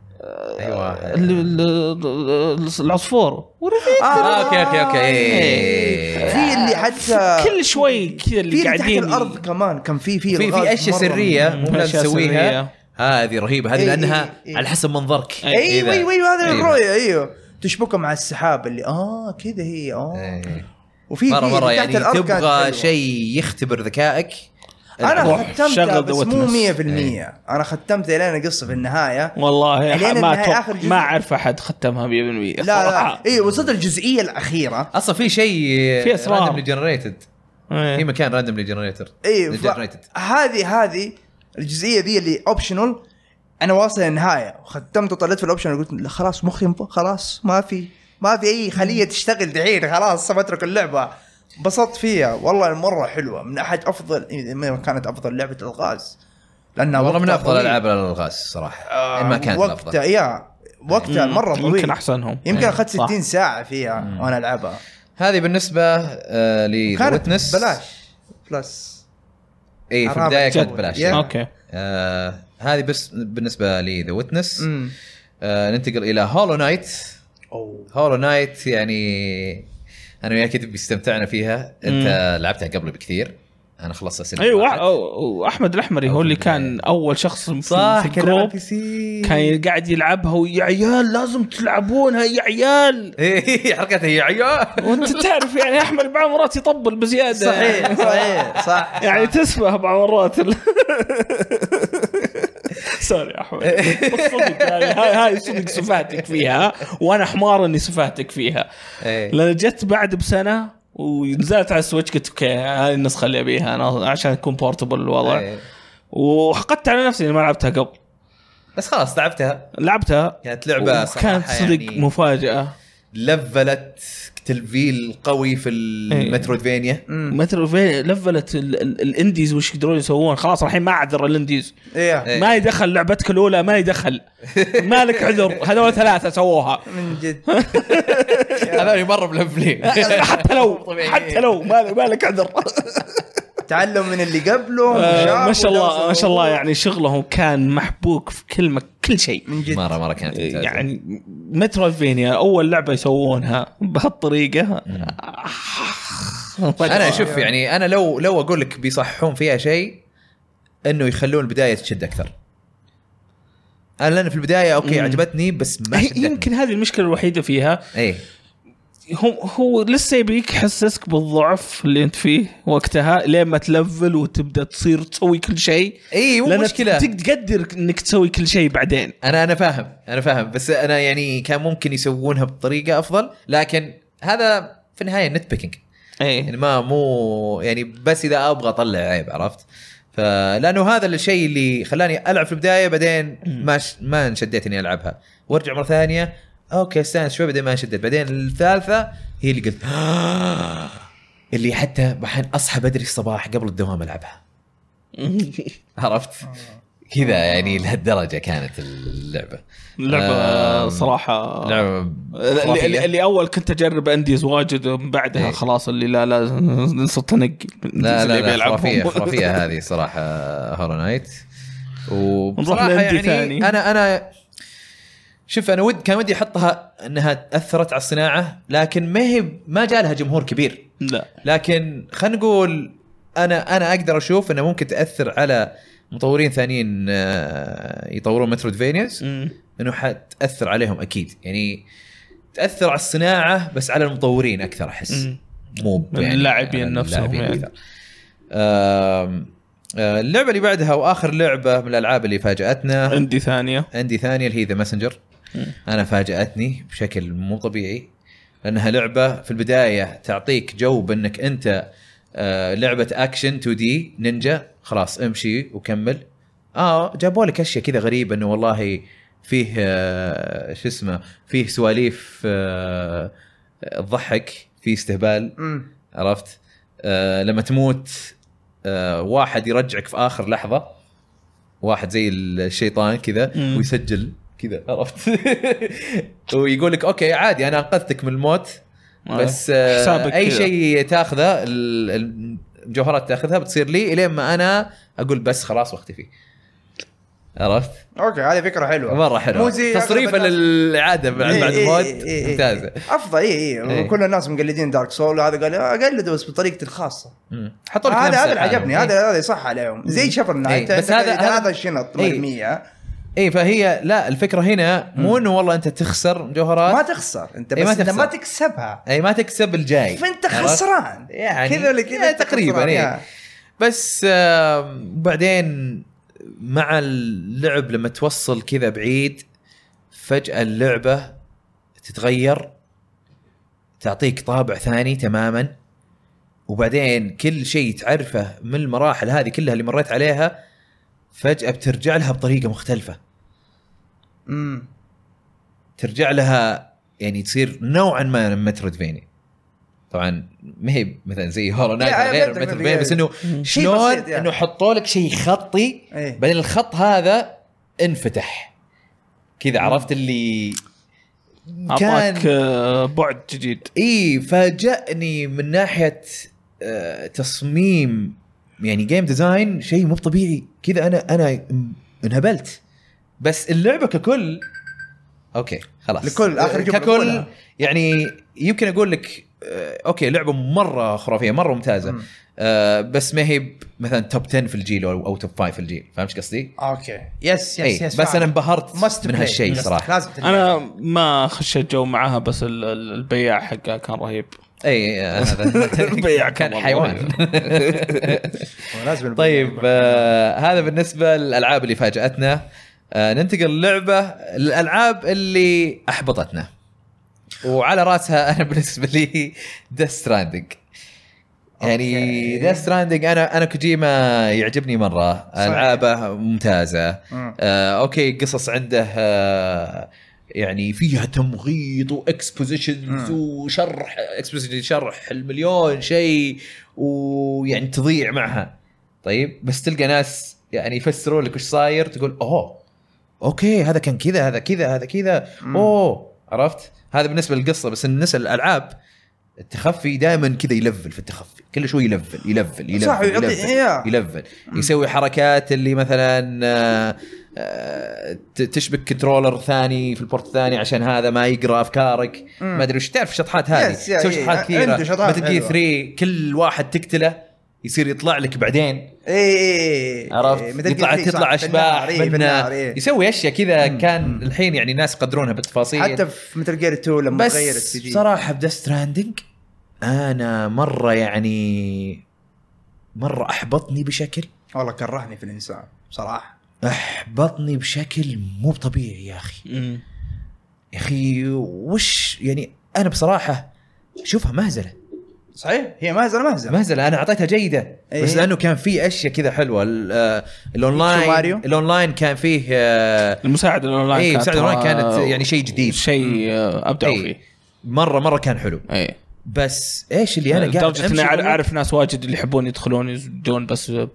ايوه ال- ال- ال- العصفور ورفيق آه، اوكي اوكي اوكي إيه. آه، في اللي حتى كل شوي كذا اللي في اللي تحت قاعدين الارض كمان كان في في في الغاز في اشياء مرة سريه من- مو لازم أشياء تسويها سرية. هذه رهيبه هذه إيه، لانها إيه، إيه. على حسب منظرك إذا- ايوه ايوه ايوه هذه أيوة. الرؤيه ايوه تشبكها مع السحاب اللي اه كذا هي اه إيه. وفي مره في مره اللي تحت يعني الأرض كانت حلوة. تبغى شيء يختبر ذكائك انا روح ختمتها شغل بس The مو 100% Witness. انا ختمت الين القصه في النهايه والله الين ما النهاية، آخر أتوقع جزء. ما اعرف احد ختمها 100% لا لا صراحة. اي وصلت الجزئيه الاخيره اصلا في شيء في أسرار. راندملي جنريتد إيه. في مكان راندملي جنريتر اي إيه، ف- جنريتد هذه هذه الجزئيه ذي اللي اوبشنال انا واصل النهايه وختمت وطلعت في الاوبشن قلت لا خلاص مخي انف- خلاص ما في ما في اي خليه تشتغل دحين خلاص بترك اللعبه انبسطت فيها والله مره حلوه من احد افضل إذا ما كانت افضل لعبه الغاز لانها والله من وقتها افضل طويل. العاب الغاز صراحه آه، إن ما كانت وقتها الافضل يا وقتها مره طويل يمكن احسنهم يمكن إيه، اخذت صح. 60 ساعه فيها وانا العبها هذه بالنسبه ل كانت ويتنس بلاش بلس اي إيه، في الرابع البدايه كانت جد. بلاش Yeah. اوكي آه، هذه بس بالنسبه لي ذا ويتنس امم آه، ننتقل الى هولو نايت اوه هولو نايت يعني انا وياك كتب استمتعنا فيها انت لعبتها قبل بكثير انا خلصت سنه ايوه واحد. وأح- أو- واحمد الاحمري هو اللي كان اول شخص في- صح في كان على الجروب البي سي كان قاعد يلعبها ويا عيال لازم تلعبونها يا عيال إيه، حركتها يا عيال وانت تعرف يعني احمد بعض مرات يطبل بزياده صحيح صحيح صح يعني تسبه بعض مرات ال- سوري يا احمد بس صدق يعني هاي هاي صدق صفاتك فيها وانا حمار اني صفاتك فيها إيه. لان جت بعد بسنه ونزلت على السويتش قلت اوكي هاي النسخه اللي ابيها انا عشان يكون بورتبل الوضع إيه. وحقدت على نفسي اني ما لعبتها قبل بس خلاص لعبتها لعبتها كانت لعبه كانت صراحه صدق يعني مفاجاه لفلت تلفيل قوي إيه. في المترويدفينيا مترو لفلت ال- ال- الانديز وش يقدرون يسوون خلاص الحين ما عذر الانديز ايه إيه. ما يدخل لعبتك الاولى ما يدخل مالك عذر هذول ثلاثه سووها من جد هذول مره ملفلين حتى لو حتى لو مالك مالك عذر تعلم من اللي قبله آه، شافوا ما شاء الله درسوا ما شاء الله الموضوع. يعني شغلهم كان محبوك في كل مك كل شيء من جد مره مره كانت ممتازة. يعني متروفينيا اول لعبه يسوونها بهالطريقه انا آه. اشوف يعني انا لو لو اقول لك بيصححون فيها شيء انه يخلون البدايه تشد اكثر انا لان في البدايه اوكي مم. عجبتني بس ما شدتني يمكن هذه المشكله الوحيده فيها ايه هو هو لسه يبيك يحسسك بالضعف اللي انت فيه وقتها لين ما تلفل وتبدا تصير تسوي كل شيء اي إيه، مو لأنك مشكله تق- تقدر انك تسوي كل شيء بعدين انا انا فاهم انا فاهم بس انا يعني كان ممكن يسوونها بطريقه افضل لكن هذا في النهايه نت بيكينج يعني ايه ما مو يعني بس اذا ابغى اطلع عيب عرفت فلانه هذا الشيء اللي خلاني العب في البدايه بعدين ما ش... ما انشديت اني العبها وارجع مره ثانيه اوكي استانس شوي بعدين ما انشدت بعدين الثالثه هي اللي قلت "آه." اللي حتى بحين اصحى بدري الصباح قبل الدوام العبها عرفت كذا يعني لهالدرجه كانت اللعبه اللعبه آم، صراحه لعبه آه. اللي, اللي, اللي اول كنت اجرب انديز واجد ومن بعدها إيه. خلاص اللي لا لا صرت انقي لا اللي لا, لا بيلعبهم. خرافيه خرافيه هذه صراحه هورو نايت وبصراحه نروح يعني لعندي ثاني. انا انا شوف انا ود كان ودي احطها انها اثرت على الصناعه لكن ما هي ما جاء لها جمهور كبير لا لكن خلينا نقول انا انا اقدر اشوف انه ممكن تاثر على مطورين ثانيين آه، يطورون مترودفينياز مم. انه حتاثر عليهم اكيد يعني تاثر على الصناعه بس على المطورين اكثر احس مم. مو من اللاعبين نفسهم يعني. يعني. اللعبه آه، اللي بعدها واخر لعبه من الالعاب اللي فاجاتنا عندي ثانيه عندي ثانيه اللي هي ذا ماسنجر مم. انا فاجاتني بشكل مو طبيعي لانها لعبه في البدايه تعطيك جو بانك انت آه، لعبه اكشن 2 دي نينجا خلاص امشي وكمل اه جابوا لك اشياء كذا غريبه انه والله فيه آه، شو اسمه فيه سواليف آه، تضحك فيه استهبال مم. عرفت آه لما تموت آه واحد يرجعك في اخر لحظه واحد زي الشيطان كذا مم. ويسجل كذا عرفت ويقول لك اوكي عادي انا انقذتك من الموت بس آه حسابك اي كذا. شيء تاخذه ال- الجوهرات تاخذها بتصير لي الين ما انا اقول بس خلاص واختفي عرفت؟ اوكي هذه فكره حلوه مره حلو مو زي تصريفا أغلب الناس. للاعاده بعد بعد إيه، الموت إيه، إيه، إيه. ممتازه افضل اي اي إيه. كل الناس مقلدين دارك سول هذا قال آه، قلده بس بطريقتي الخاصه مم. حطوا لك نفس هذا هذا اللي العالم. عجبني إيه. هذا هذا صح عليهم زي شفر نايت إيه، بس بس هذا هذا- هذا الشنط إيه. مرميه اي إيه، فهي لا الفكره هنا مو انه والله انت تخسر جوهرات ما تخسر انت بس إيه، ما انت تخسر. ما تكسبها اي ما تكسب الجاي فانت عرفت؟ خسران يعني إيه. كذا ولا كذا يا أنت تقريبا خسران، اي يا. بس آم، بعدين مع اللعب لما توصل كذا بعيد فجاه اللعبه تتغير تعطيك طابع ثاني تماما وبعدين كل شيء تعرفه من المراحل هذه كلها اللي مريت عليها فجاه بترجع لها بطريقه مختلفه امم ترجع لها يعني تصير نوعا ما مترودفيني طبعا ما هي مثلا زي هولو نايت إيه، غير بدك- مترودفيني بس انه شيء شلون بسيط يعني. انه حطوا لك شيء خطي إيه. بعدين الخط هذا انفتح كذا عرفت اللي اعطاك آه، بعد جديد اي فاجأني من ناحيه آه، تصميم يعني جيم ديزاين شيء مو طبيعي كذا انا انا انهبلت بس اللعبه ككل اوكي خلاص لكل، آخر جملة ككل بقولها. يعني يمكن اقول لك آه، اوكي لعبه مره خرافيه مره ممتازه مم. آه بس ما هي ب- مثلا توب 10 في الجيل او أو توب 5 في الجيل فاهم ايش قصدي؟ اوكي يس إيه، يس يس بس انا فاهم. انبهرت Must من play. هالشيء Yes. صراحه لازم تلعب. انا ما خشيت جو معاها بس ال- ال- البياع حقها كان رهيب اي هذا البياع آه، كان كان حيوان ولازم طيب آه هذا بالنسبه للالعاب اللي فاجاتنا آه ننتقل للعبه الالعاب اللي احبطتنا وعلى راسها انا بالنسبه لي ديث ستراندنج يعني أوكي. ديث ستراندنج انا انا كوجيما يعجبني مره صحيح. العابه ممتازه مم. آه اوكي قصص عنده آه يعني فيها تمغيط واكسبوزيشنز مم. وشرح اكسبوزيشن شرح المليون شيء ويعني تضيع معها طيب بس تلقى ناس يعني يفسروا لك وش صاير تقول اوه اوكي هذا كان كذا هذا كذا هذا كذا مم. اوه عرفت هذا بالنسبه للقصه بس بالنسبه للالعاب التخفي دائما كذا يلفل في التخفي كل شوي يلفل يلفل يلفل صح، يلفل, ويعطي- إيه. يلفل يسوي حركات اللي مثلا آه، آه، ت- تشبك كنترولر ثاني في البورت الثاني عشان هذا ما يقرا افكارك مم. ما ادري وش تعرف الشطحات هذه Yes, yeah, تسوي yeah. شطحات عنده كثيره شطحات مثل جي حلوة. 3 كل واحد تقتله يصير يطلع لك بعدين اي اي إي. عرفت إي، إيه، مثل يطلع قلت لي، صح، إيه، تطلع نعم، في النار، اشباح إي، في منه النار، إي. يسوي اشياء كذا كان الحين يعني الناس يقدرونها بالتفاصيل حتى في مثل جير 2 لما غير بس السي جي صراحه بديث ستراندنج انا مره يعني مره احبطني بشكل والله كرهني في الانسان بصراحه احبطني بشكل مو طبيعي يا اخي مم. يا اخي وش يعني انا بصراحه شوفها مهزله صحيح هي مهزله مهزله مهزله انا اعطيتها جيده إيه. بس لانه كان في اشياء كذا حلوه ال- آه، شو ماريو؟ الاونلاين الاونلاين كان فيه آه، المساعده الاونلاين إيه، كانت المساعدة الأونلاين آه، كانت يعني شيء جديد. شيء آه، ابدعوا إيه. فيه مره مره كان حلو اي بس ايش اللي انا يعني قاعد لدرجه اني أمشي آه، أعرف- والله؟ اعرف ناس واجد اللي يحبون يدخلون يجون بس ب-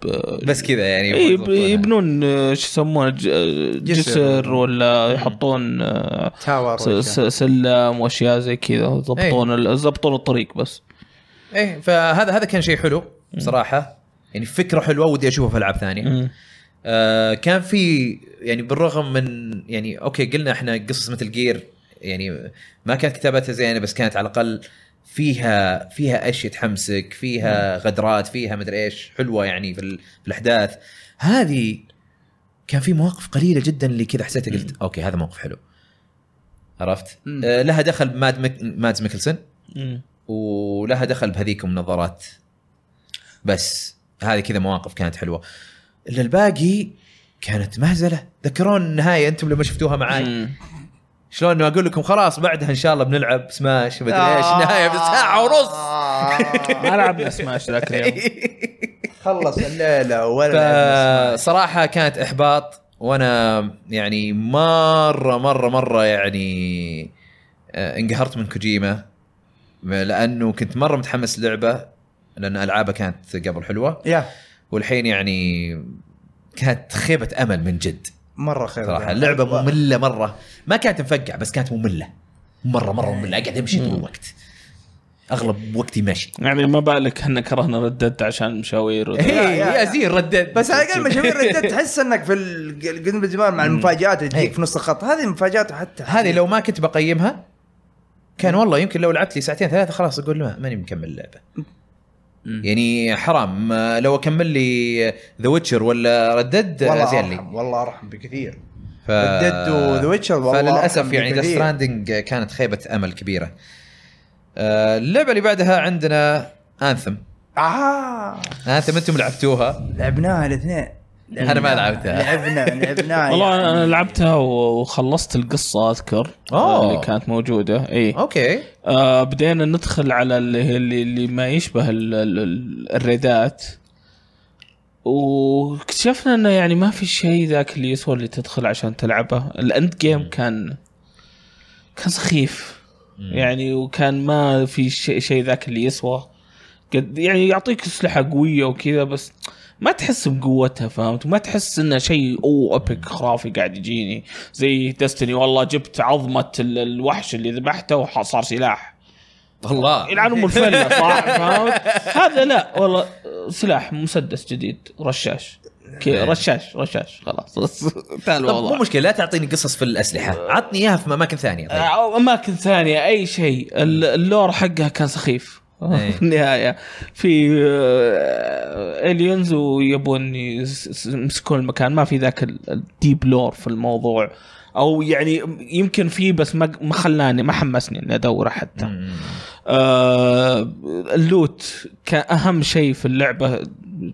بس كذا يعني إيه، يب- يضبطونها. يبنون آه، شو يسمونه ج- آه، جسر ولا يحطون آه، تاور س- س- سلم واشياء زي كذا يضبطون ال- يضبطون الطريق بس ايه فهذا هذا كان شيء حلو بصراحه يعني فكره حلوه ودي اشوفها في العاب ثانيه آه كان في يعني بالرغم من يعني اوكي قلنا احنا قصص مثل جير يعني ما كانت كتابتها زينه بس كانت على الاقل فيها فيها اشياء تحمسك فيها غدرات فيها مدري ايش حلوه يعني في, ال- في الاحداث هذه كان في مواقف قليله جدا اللي كذا حسيت قلت اوكي هذا موقف حلو عرفت مم. آه لها دخل ماد مك... مادز ميكلسون مم. ولها دخل بهذيك النظارات بس هذه كذا مواقف كانت حلوه الا الباقي كانت مهزله ذكرون النهايه انتم لما شفتوها معاي مم. شلون انه اقول لكم خلاص بعدها ان شاء الله بنلعب سماش مدري ايش آه. النهايه بساعه ونص ما لعبنا سماش ذاك اليوم خلص الليله ولا لعبنا سماش. فصراحه كانت احباط وانا يعني مره مره مره يعني آه، انقهرت من كوجيما لانه كنت مره متحمس للعبه لان العابه كانت قبل حلوه يا والحين يعني كانت خيبه امل من جد مره خير صراحه اللعبه أيوة. ممله مره ما كانت مفقعه بس كانت ممله مره مره ممله اقعد امشي طول الوقت اغلب وقتي ماشي إيه، يعني ما بالك احنا كرهنا ردت عشان مشاوير وذا. يا- يا- يا زين ردد بس على الاقل مشاوير ردت تحس انك في القدم الزمان مع المفاجات اللي إيه. تجيك في نص الخط هذه المفاجات حتى هذه لو ما كنت بقيمها كان والله يمكن لو لعبت لي ساعتين ثلاثه خلاص اقول ما ماني مكمل اللعبه يعني حرام آه، لو اكمل لي ذا ويتشر ولا ردد والله ازين لي ارحم والله ارحم بكثير ف... ردد وذا ويتشر والله فللاسف أرحم يعني ذا بكثير. ستراندنج كانت خيبه امل كبيره آه، اللعبه اللي بعدها عندنا انثم اه انثم انتم لعبتوها لعبناها الاثنين انا ما لعبتها لعبنا لعبناها والله يعني. أنا- انا لعبتها و- وخلصت القصه اذكر أوه. اللي كانت إيه. موجوده اي اوكي آه بدينا ندخل على اللي هي- اللي, اللي ما يشبه ال- ال- ال- الريدات واكتشفنا انه يعني ما في شيء ذاك اللي يسوى اللي تدخل عشان تلعبه الاند جيم كان كان سخيف يعني وكان ما في شيء شيء ذاك اللي يسوى قد يعني يعطيك اسلحه قويه وكذا بس ما تحس بقوتها فهمت وما تحس انه شيء او ابيك خرافي قاعد يجيني زي دستني والله جبت عظمه ال- الوحش اللي ذبحته وصار سلاح والله يلعن ام الفله صح فهمت؟ هذا لا والله سلاح مسدس جديد رشاش إيه. كي رشاش رشاش خلاص تعال طب مو والله مشكله لا تعطيني قصص في الاسلحه عطني اياها في اماكن ثانيه طيب. أو اماكن ثانيه اي شيء ال- اللور حقها كان سخيف إيه. في النهايه في اليونز ويبون يس- يس- يمسكون المكان ما في ذاك ال- الديب لور في الموضوع او يعني يمكن في بس ما ما خلاني ما حمسني اني ادوره حتى مم. آه اللوت كان اهم شيء في اللعبه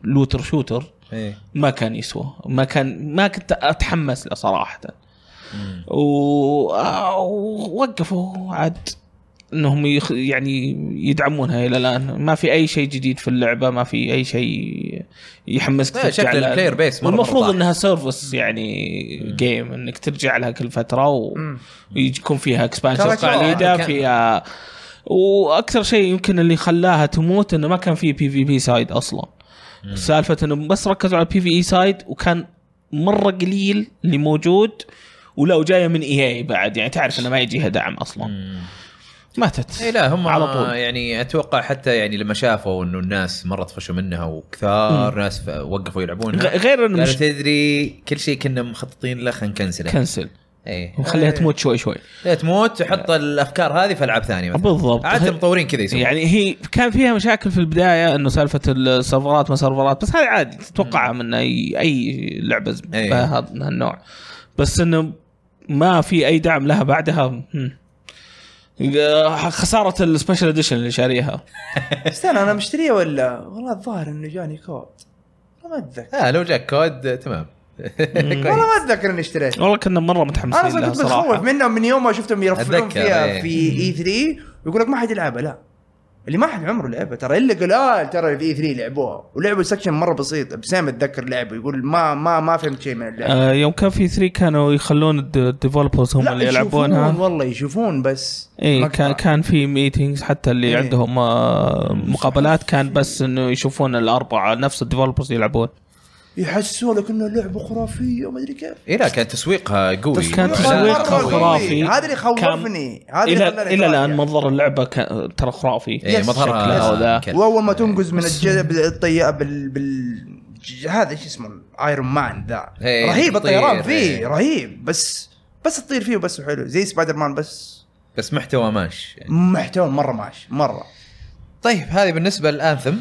لوتر شوتر إيه. ما كان يسوى ما كان ما كنت اتحمس له صراحه و- آه، ووقفوا عاد انهم يخ... يعني يدعمونها الى الان ما في اي شيء جديد في اللعبه ما في اي شيء يحمسك لا، ترجع شكل لها. البلاير بيس مرة والمفروض مرة ضاع. انها سيرفس يعني جيم انك ترجع لها كل فتره و... مم. ويكون فيها اكسبانشن كاركتر. جديده كان- فيها واكثر شيء يمكن اللي خلاها تموت انه ما كان في بي في بي سايد اصلا سالفه انه بس ركزوا على البي في اي سايد وكان مره قليل اللي موجود ولو جايه من اي اي بعد يعني تعرف انه ما يجيها دعم اصلا مم. ماتت اي إيه، لا هم على طول يعني اتوقع حتى يعني لما شافوا انه الناس مره طفشوا منها وكثار ناس ف- وقفوا يلعبونها غ- غير انه قالوا مش تدري كل شيء كنا مخططين له خلينا نكنسله كنسل اي وخليها تموت شوي شوي لا تموت وحط الافكار هذه في العاب ثانيه مثلا. بالضبط. عاده المطورين كذا يسوون طيب. يعني هي كان فيها مشاكل في البدايه انه سالفه السيرفرات ما سيرفرات بس هذه عادي تتوقعها من اي اي لعبه ز- أي. بها- من هالنوع بس انه ما في اي دعم لها بعدها مم. خساره السبيشل اديشن اللي شاريها استنى انا مشتريه ولا والله الظاهر انه جاني كود والله ما اتذكر آه لو جاك كود تمام والله ما اتذكر اني اشتريت والله كنا مره انا متحمسين اصلا لها كنت متخوف صراحه منهم من يوم ما شفتهم يرفعون أتذكر، فيها إيه. في اي 3 ويقول لك ما حد يلعبها لا اللي ما حد عمره لعبها ترى الا قلال ترى في 3 لعبوها ولعبوا سكشن مره بسيط بسام اتذكر لعبه يقول ما ما ما فهمت شيء من اللعبه آه يوم كان في 3 كانوا يخلون الديفلوبرز هم لا، اللي يشوفون يلعبونها والله يشوفون بس اي ما كان قطع. كان في ميتينجز حتى اللي إيه. عندهم آه، مقابلات كان بس انه يشوفون الاربعه نفس الديفلوبرز يلعبون يحسوا لك انه لعبه خرافيه وما ادري كيف اي إيه، لا كان تسويقها قوي كان مرة تسويق مرة خرافي. قوي. هذا اللي كان- خوفني هذا اللي الى خلاني الى الان أتراجع. منظر اللعبه كان ترى خرافي اي يس، مظهرها شكلها وذا. إيه، كان- واول ما تنقز من الجذب الطياره بال بال ج- هذا ايش اسمه ايرون مان ذا إيه، رهيب الطيران تطير، إيه. فيه رهيب بس بس تطير فيه وبس وحلو زي سبايدر مان بس بس محتوى ماش يعني. محتوى مره ماشي مره طيب هذه بالنسبه للانثم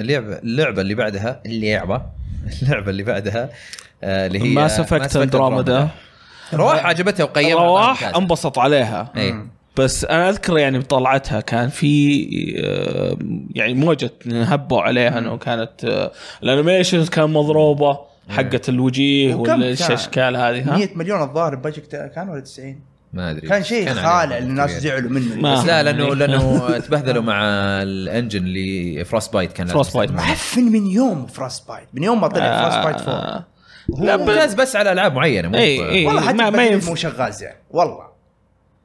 اللعبه اللعبه اللي بعدها اللعبه اللعبه اللي بعدها آه، اللي هي ماس افكت اندروميدا رواح عجبتها وقيمها رواح بالممتاز. انبسط عليها إيه. بس انا اذكر يعني مطلعتها كان في آه، يعني موجه هبوا عليها انه كانت آه، الانيميشنز كان مضروبه إيه. حقت الوجيه وكم كان؟ ولا ايش اشكال هذه إيه، ها؟ 100 مليون الظاهر البجت كان ولا 90 ما ادري كان شيء إيه، كان يعني خالع عليها الناس كبير. زعلوا ما- منه بس لا لانه آه. لانه تبهذلوا مع الانجن اللي فروست بايت كان لازم Frostbite. يستخدمه. معفن من يوم فراست بايت من يوم ما طلع فراست بايت 4 آه. لا، إيه، هو ممتاز بس على العاب معينه مو إي، إي. والله حتى ما- ما ما ينفع. مو شغال زين والله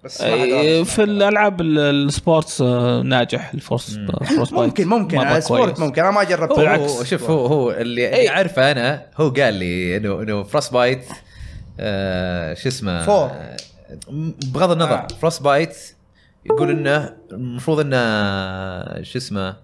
بس ما حد آه، عارف. في الالعاب ال- السبورتس آه، ناجح الفورس فروست بايت. ممكن ممكن مرة على سبورت كويس. ممكن انا ما جربت هو بالعكس. هو شوف هو هو اللي اللي اعرفه انا هو قال لي انه انه فروست بايت آه شو اسمه فور. آه، بغض النظر آه. آه. فروست بايت يقول انه المفروض انه شو اسمه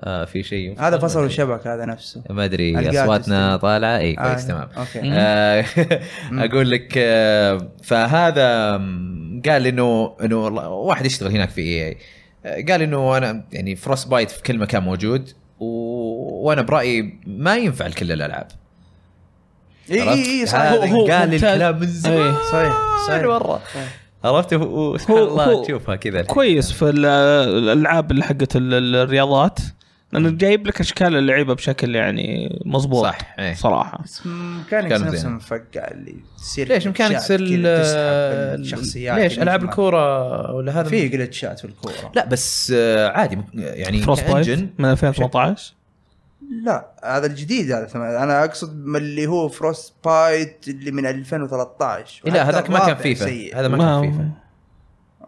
آه في شيء هذا فصل الشبك هذا نفسه ما ادري القاعد اصواتنا تستمع. طالعه اي آه، كويس تمام اوكي آه، اقول لك آه، فهذا مم، قال انه انه والله واحد يشتغل هناك في اي اي قال انه انا يعني فروست بايت في كل مكان موجود و... وانا برايي ما ينفع لكل الالعاب اي عرفت؟ اي اي هذا صحيح هو- هو قال ممتاز. الكلام من زمان إيه. صحيح صحيح مره عرفت هو سبحان هو- الله هو تشوفها كذا الحين. كويس في ال- الالعاب اللي حقت ال- ال- الرياضات لانه جايب لك اشكال اللعيبه بشكل يعني مضبوط صح، إيه. صراحه بس ميكانكس كانوا نفسها زين. مفقعه اللي تصير ليش مكانك جلتشات كذا تسحب الشخصيات الشخصيات ليش اللي العاب ما- الكوره ولا هذا في جلتشات في الكوره لا بس آه، عادي مك- يعني فروست كأنجن بايت من 2018 لا هذا الجديد هذا ثم- انا اقصد من اللي هو فروست بايت اللي من 2013 لا وحتى هذاك ما كان الرابع فيفا سيء. هذا ما كان فيفا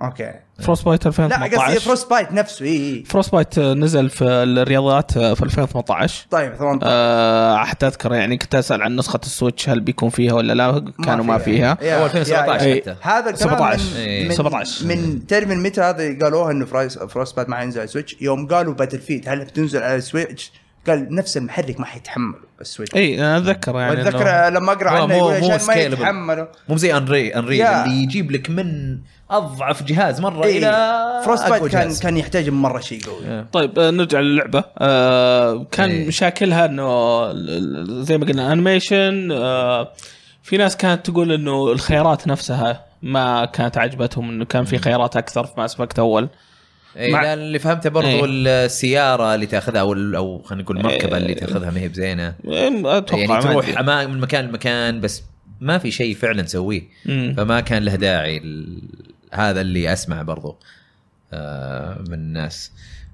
اوكي فروست بايت لا قصدي 2018 فروست بايت نفسه اي اي فروست بايت نزل في الرياضات في 2018 طيب 18 أه حتى اذكر يعني كنت اسال عن نسخه السويتش هل بيكون فيها ولا لا كانوا ما فيها يا- هو يا- 2017 يا- حتى. هذا الكلام 17. من إيه. من 17. من تدري من متى هذا قالوها انه فرايس فروست باد ما حينزل على سويتش يوم قالوا باتل فيد هل بتنزل على سويتش قال نفس المحرك ما حيتحمل السويتش اي انا اتذكر يعني واتذكر إنه- لما اقرا مو- عنه مو- يقول مو عشان ما scalable. يتحملوا مو زي انري انري يا. اللي يجيب لك من اضعف جهاز مره إيه. الى فروست أقوى بايت كان جهاز. كان يحتاج مره شيء قوي طيب آه، نرجع للعبه آه، كان إيه. مشاكلها انه ال- ال- زي ما قلنا انيميشن آه، في ناس كانت تقول انه الخيارات نفسها ما كانت عجبتهم انه كان في خيارات اكثر في ماس افكت اول إيه مع- مع... اللي فهمته برضو إيه. السياره اللي تاخذها او ال- او خلينا نقول المركبه اللي تاخذها ما هي بزينه إيه، اتوقع يعني إيه. ما تروح أدري. أما... من مكان لمكان بس ما في شيء فعلا تسويه مم. فما كان له داعي ال... هذا اللي اسمع برضو آه من الناس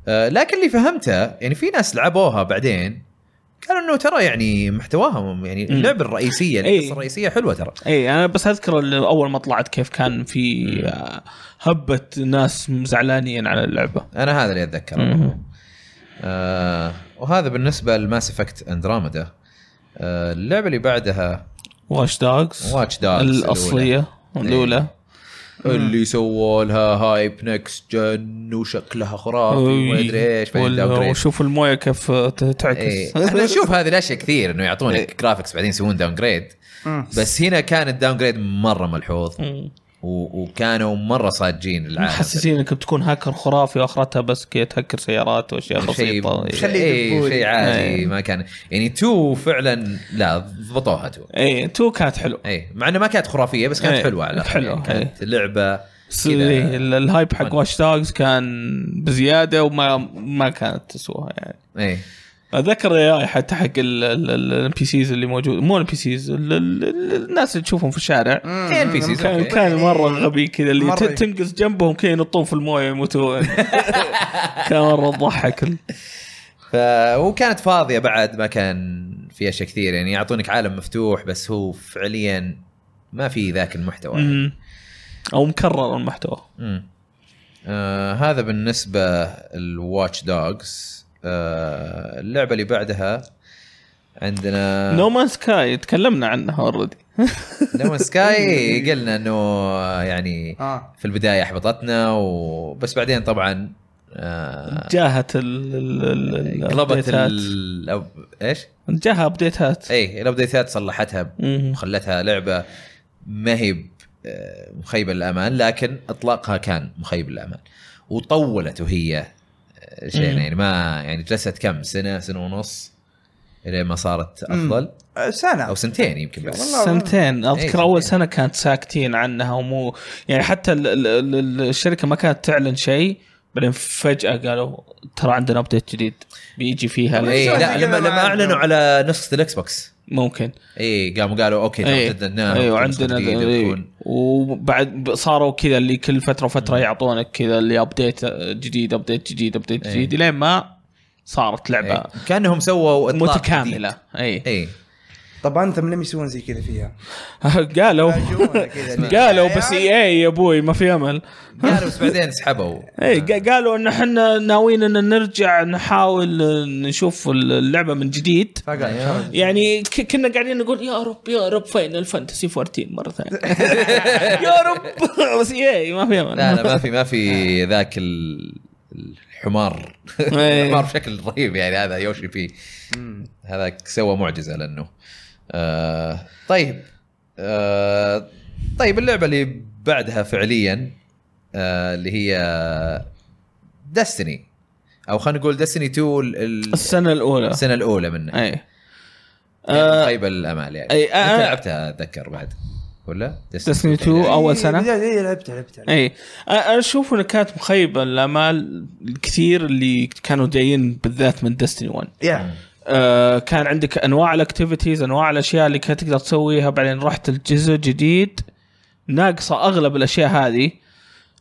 آه لكن اللي فهمته يعني في ناس لعبوها بعدين كانوا انه ترى يعني محتواها يعني مم. اللعبه الرئيسيه القصه إيه. الرئيسيه حلوه ترى اي انا إيه، بس اذكر ال- اول ما طلعت كيف كان في آه، هبه ناس زعلانين على اللعبه انا هذا اللي اتذكره آه وهذا بالنسبه لماس افكت اندروميدا آه اللعبه اللي بعدها واش داجز واتش داجز الاصليه الاولى إيه. اللي سووا لها هايب نكست جن وشكلها خرافي وما ادري ايش بعدين وال- downgrade. وشوف المويه كيف ت- إيه. تعكس احنا نشوف هذه الاشياء كثير انه يعطونك إيه. جرافيكس بعدين يسوون داون جريد مم. بس هنا كان الداون جريد مره ملحوظ مم. و- وكانوا مره صادقين العالم محسسين انك بتكون هاكر خرافي واخرتها بس كي تهكر سيارات واشياء بسيطه شيء خليه شيء يدبولي. إيه، شيء إيه. عادي ما كان يعني تو فعلا لا ضبطوها تو اي إيه، تو كانت حلو اي مع انها ما كانت خرافيه بس كانت إيه، حلوه على الأقل. حلوة، إيه. يعني كانت لعبه بس كذا. إيه، ال- الهايب حق فن. إيه. واتش دوجز كان بزياده وما ما كانت تسواها يعني اي اتذكر اي حتى حق الام بي سيز اللي موجود مو الام بي سيز الناس اللي تشوفهم في الشارع كان في سيزون. كان أوكي. كان مره إيه. غبي كذا اللي مرة. ت- تنقز جنبهم كذا ينطون في المويه يموتون كان مره تضحك ف... وكانت فاضيه بعد ما كان في اشياء كثير يعني يعطونك عالم مفتوح بس هو فعليا ما في ذاك المحتوى يعني. مم. او مكرر المحتوى مم. آه هذا بالنسبة الواتش دوجز آه اللعبة اللي بعدها عندنا نو مان سكاي تكلمنا عنها اوريدي نو سكاي قلنا انه يعني اه في البداية احبطتنا وبس بعدين طبعا آه جاهت ال ال- ال- قلبت الابديتات إيه، ال الأب- ايش؟ جاها ابديتات اي الابديتات صلحتها مم. خلتها لعبة ما هي ب- آه، مخيبة للأمان لكن إطلاقها كان مخيب للأمان وطولت وهي آه، شيء مم. يعني ما يعني جلست كم سنة سنة ونص إلى ما صارت أفضل آه، سنه أو سنتين يمكن بس والله. سنتين اذكر إيه، اول سنتين. سنه كانت ساكتين عنها ومو يعني حتى ال ال ال الشركه ما كانت تعلن شيء بعدين فجاه قالوا ترى عندنا ابديت جديد بيجي فيها طب إيه شلون لا كذا لما ما لما أعلنوا عندهم؟ على نسخة الإكس بوكس ممكن إي قاموا قالوا أوكي ترى ايه جددناها ايوه بتكون نسخة عندنا جديدة ايه بتكون- وبعد ب- صاروا كذا اللي كل فتره وفتره يعطونك كذا اللي ابديت جديد ابديت جديد ابديت إيه. جديد لين ما صارت لعبه إيه. كأنهم سووا إطلاق إيه. متكامله اي إي طب انثم لم يسوون زي كذا فيها قالوا يجونا كذا ليه؟ قالوا بس اي اي يا ابوي ما في امل قالوا بس بعدين سحبوا اي ق- قالوا ان احنا ناويين ان نرجع نحاول نشوف اللعبه من جديد فقال إيه. إن شاء الله. يعني ك- كنا قاعدين نقول يا رب يا رب فاينل فانتسي 14 مره ثانيه يا رب بس اي ما في امل لا لا ما في ما في ذاك ال- الحمار إيه. الحمار بشكل رهيب يعني هذا يوشي فيه هذاك سوى معجزه لانه آه طيب آه طيب اللعبه اللي بعدها فعليا آه اللي هي دستني او خلينا نقول دستني 2 ال- ال- السنه الاولى السنه الاولى منها اي يعني خيبه الامال يعني آه، أي، آه، انت آه. لعبتها اتذكر بعد ولا دستني 2 يعني. اول إيه، سنه بداية- إيه، لعبتها لعبتها اي أ- انا اشوف انها كانت مخيبه الامال الكثير اللي كانوا جايين بالذات من ديستني 1 يا آه، كان عندك انواع الاكتيفيتيز انواع الاشياء اللي كنت تقدر تسويها بعدين رحت الجزء جديد ناقصه اغلب الاشياء هذه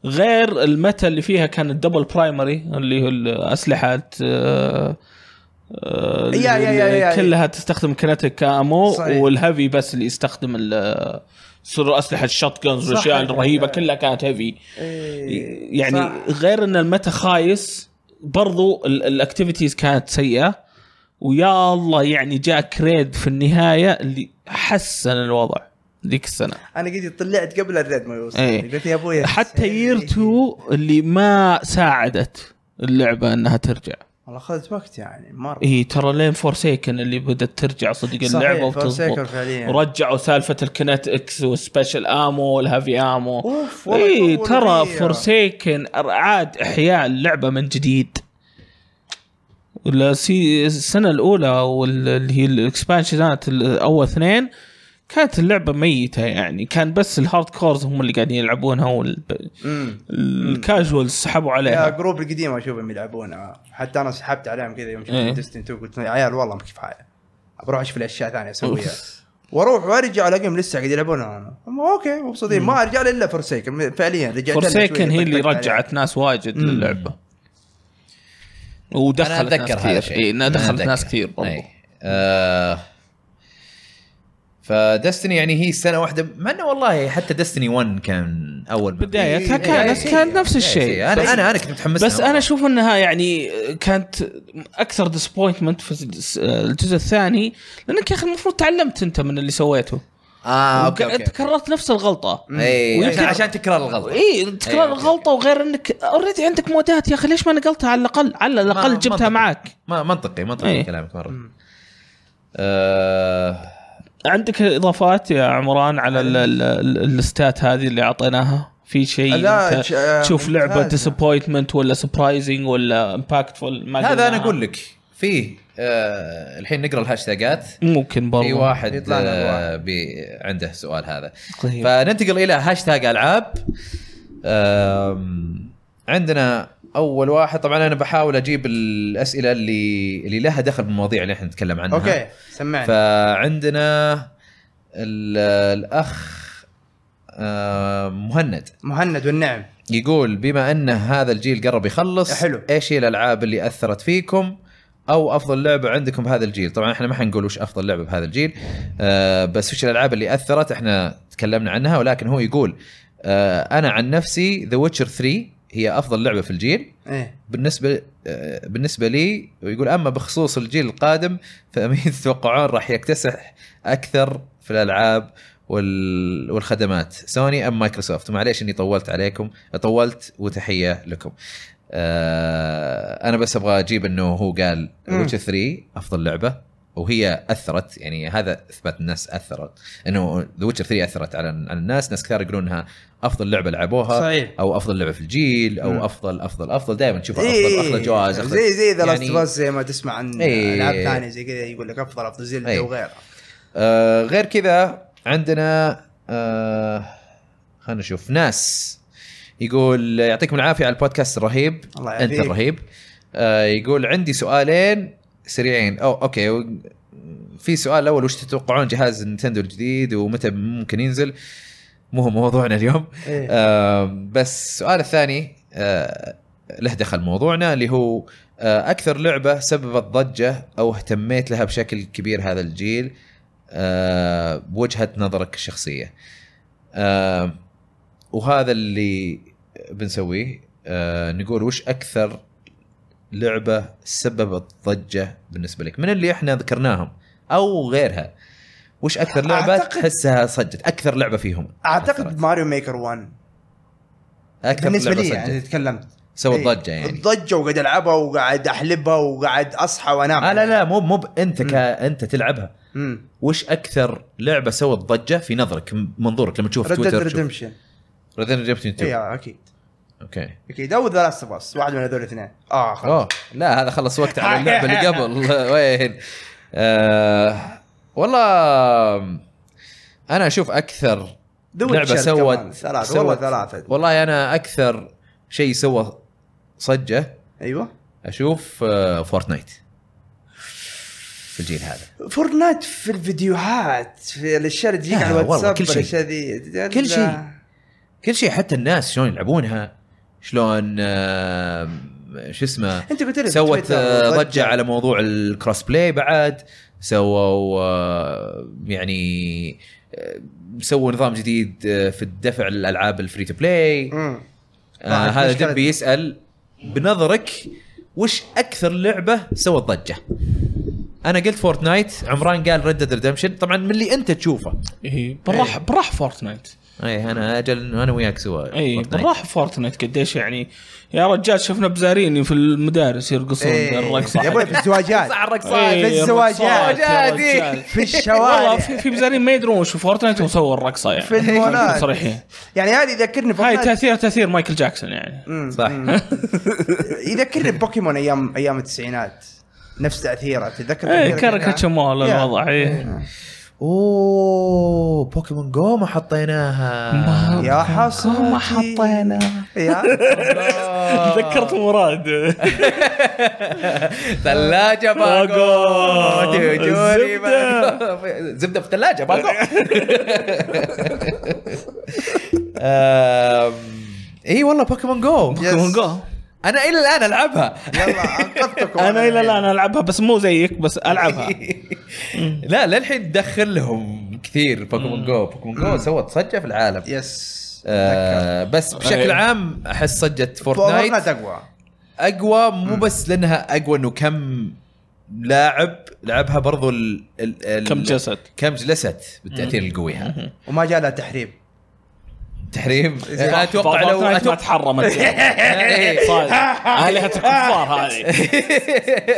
غير المتا اللي فيها كان الدبل برايمري اللي هو الاسلحه آه، آه، يا- يا- يا- يا- كلها تستخدم كنتيك كامو صحيح. والهيفي بس اللي يستخدم ال- آه، صر اسلحه الشوت جنز والاشياء صحيح. الرهيبه كلها كانت هيفي إيه، يعني غير ان المتا خايس برضو ال- الاكتيفيتيز كانت سيئه ويا الله يعني جاء كريد في النهايه اللي حسن الوضع ذيك السنه انا قد طلعت قبل الريد ما يوصل إيه. قلت يا ابوي حتى يير يرتو 2 اللي ما ساعدت اللعبه انها ترجع والله اخذت وقت يعني مره هي ترى لين فورسيكن اللي بدات ترجع صدق صحيح، اللعبه Forsaken وتضبط فعليا. ورجعوا سالفه الكنت اكس والسبيشل امو والهافي امو اوف والله اي طولوا إيه، ترى فيها. فورسيكن عاد احياء اللعبه من جديد ولا سي- السنه الاولى واللي هي الاكسبانشنات الاول اثنين كانت اللعبه ميته يعني كان بس الهارد كورز هم اللي قاعدين يلعبونها أمم. والكاجوال سحبوا يا عليها جروب القديم اشوفهم يلعبونها حتى انا سحبت عليهم كذا يوم شفت إيه. ديستني 2 قلت يا عيال والله ما كفايه بروح اشوف الاشياء ثانيه اسويها واروح وارجع الاقيهم لسه قاعد يلعبونها انا أم اوكي مبسوطين ما ارجع لها الا فورسيكن فعليا رجعت لها شوية، فورسيكن هي اللي طقطقت عليها. رجعت ناس واجد للعبه ودخلت انا اتذكر ناس هذا كثير الشيء اي أنا دخلت أتذكر. ناس كثير برضو أي. آه فدستني يعني هي سنه واحده مع انه والله حتى دستني 1 كان اول ما- بدايتها إيه، كانت إيه، كانت نفس إيه، الشيء إيه، انا انا انا كنت متحمس بس لها انا مرة. اشوف انها يعني كانت اكثر ديسبوينتمنت في الس- الجزء الثاني لانك يا اخي المفروض تعلمت انت من اللي سويته اه اوكي وك- اوكي انت كررت نفس الغلطه اي ويمكن- عشان, عشان تكرار الغلط اي تكرار أوكي، الغلطه وغير انك اوريدي عندك مودات يا اخي ليش ما نقلتها على الاقل على الاقل ما- جبتها منطقي. معك ما منطقي منطقي إيه. كلامك مره آه عندك اضافات يا عمران على ال- ال- ال- الستات هذه اللي اعطيناها في شيء لا، أنت ش- آه، تشوف لعبه ممتازة. ديسابوينتمنت ولا سبرايزنج ولا امباكتفول هذا انا اقول لك فيه آه الحين نقرا الهاشتاجات ممكن برضه في واحد يطلع لنا آه بي عنده سؤال هذا طيب. فننتقل الى هاشتاج العاب آم، عندنا اول واحد طبعا انا بحاول اجيب الاسئله اللي اللي لها دخل بالمواضيع اللي احنا نتكلم عنها اوكي سمعني فعندنا ال- الاخ آه، مهند مهند والنعم يقول بما ان هذا الجيل قرب يخلص حلو. ايش هي الالعاب اللي اثرت فيكم او افضل لعبه عندكم بهذا الجيل طبعا احنا ما حنقول وش افضل لعبه بهذا الجيل آه بس وش الالعاب اللي اثرت احنا تكلمنا عنها ولكن هو يقول آه انا عن نفسي ذا ويتشر 3 هي افضل لعبه في الجيل ايه بالنسبه آه، بالنسبه لي ويقول اما بخصوص الجيل القادم فمين تتوقعون راح يكتسح اكثر في الالعاب وال- والخدمات سوني ام مايكروسوفت معليش اني طولت عليكم طولت وتحيه لكم آه، انا بس ابغى اجيب انه هو قال مم. ويتش 3 افضل لعبه وهي اثرت يعني هذا اثبات الناس اثرت انه ذا ويتشر 3 اثرت على على الناس ناس كثار يقولون انها افضل لعبه لعبوها صحيح او افضل لعبه في الجيل او مم. افضل افضل افضل دائما تشوف افضل افضل جوائز أفضل- إيه. زي زي ذا لاست يعني- اوف زي ما تسمع عن إيه. العاب ثانيه زي كذا يقول لك افضل افضل إيه. زلده وغيرها آه غير كذا عندنا آه خلينا نشوف ناس يقول يعطيكم العافيه على البودكاست الرهيب الله انت يعافيك الرهيب آه يقول عندي سؤالين سريعين او اوكي و- في سؤال اول وش تتوقعون جهاز نينتندو الجديد ومتى ممكن ينزل مو هو موضوعنا اليوم إيه. آه، بس السؤال الثاني آه، له دخل موضوعنا اللي هو آه، اكثر لعبه سببت ضجه او اهتميت لها بشكل كبير هذا الجيل آه، بوجهه نظرك الشخصيه آه، وهذا اللي بنسويه آه، نقول وش اكثر لعبه سببت ضجه بالنسبه لك من اللي احنا ذكرناهم او غيرها وش اكثر لعبه أعتقد- تحسها صجت اكثر لعبه فيهم اعتقد أثرت. ماريو ميكر 1 اكثر بالنسبه لعبة لي صجت. يعني تكلمت سوى إيه. ضجه يعني الضجه وقاعد العبها وقاعد احلبها وقاعد اصحى وانام آه لا لا مو مو ب- انت ك... مم. انت تلعبها لا وش اكثر لعبه سوت ضجه في نظرك م- منظورك لما تشوف ريد ديد تويتر تشوف ريدمشن ريد ديد ريدمشن اي اكيد اوكي اكيد او ذا لاست اوف اس واحد من هذول الاثنين اه خلاص اوه لا هذا خلص وقت على اللعبه اللي قبل وين آه والله انا اشوف اكثر The لعبه Witcher سوت كمان. ثلاثه والله سوت- ثلاثه والله انا اكثر شيء سوى صجه ايوه اشوف آه، فورتنايت في الجيل هذا فورتنايت في الفيديوهات في الاشياء اللي تجيك لا، على آه، والله الواتساب كل شيء. الاشياء ذي كل شيء. لا. كل شيء حتى الناس شلون يلعبونها شلون آه، شو اسمه انت قلت لي سوت بتويتر آه، ضجه على موضوع الكروس بلاي بعد سووا آه، يعني آه، سووا نظام جديد آه، في الدفع للالعاب الفري تو بلاي مم. آه، طيب، هذا مشكلة. دبي يسال بنظرك وش اكثر لعبه سوت ضجه؟ انا قلت فورتنايت عمران قال ريد ديد ريدمشن طبعا من اللي انت تشوفه إيه، اي بالراحه بالراحه فورتنايت اي انا اجل إنه انا وياك سوا اي فورتنايت. بالراحه فورتنايت إيه، قديش يعني يا رجال شفنا بزاريني في المدارس يرقصون إيه. الرقصه يا ابوي في الزواجات إيه، في الزواجات. الرقصات إيه، يا رجال. في والله الشوارع في, في بزارين ما يدرون وش فورتنايت وسووا الرقصه يعني في المولات. صريحين يعني هذه يذكرني هاي فورتنايت تاثير تاثير مايكل جاكسون يعني مم. صح. مم. يذكرني بوكيمون ايام ايام التسعينات نفس تاثيره تذكر ايه تأثيره كركتش كان؟ مول يا. الوضع ايه اوه بوكيمون جو ما حطيناها يا حصل ما حطينا يا إيه. تذكرت مراد ثلاجة باكو باكو. تجوري الزبدة. باكو. زبدة في ثلاجة باكو آم، اي والله بوكيمون جو بوكيمون جو انا الى الان العبها يلا انقذتكم انا الى الان العبها بس مو زيك بس العبها لا للحين تدخل لهم كثير بوكيمون جو بوكيمون جو سوت صجة في العالم يس أتذكر. آه، بس بشكل إيه. عام احس صجة فورتنايت فورتنايت اقوى اقوى مو بس لانها اقوى انه كم لاعب لعبها برضو ال ال ال كم جسد كم جلست بالتاثير القوي هذا وما جاء لها تحريم تحريم انا اتوقع لو فورتنايت ما أتوقع- تحرمت إيه. صادق آلهة الكفار هذه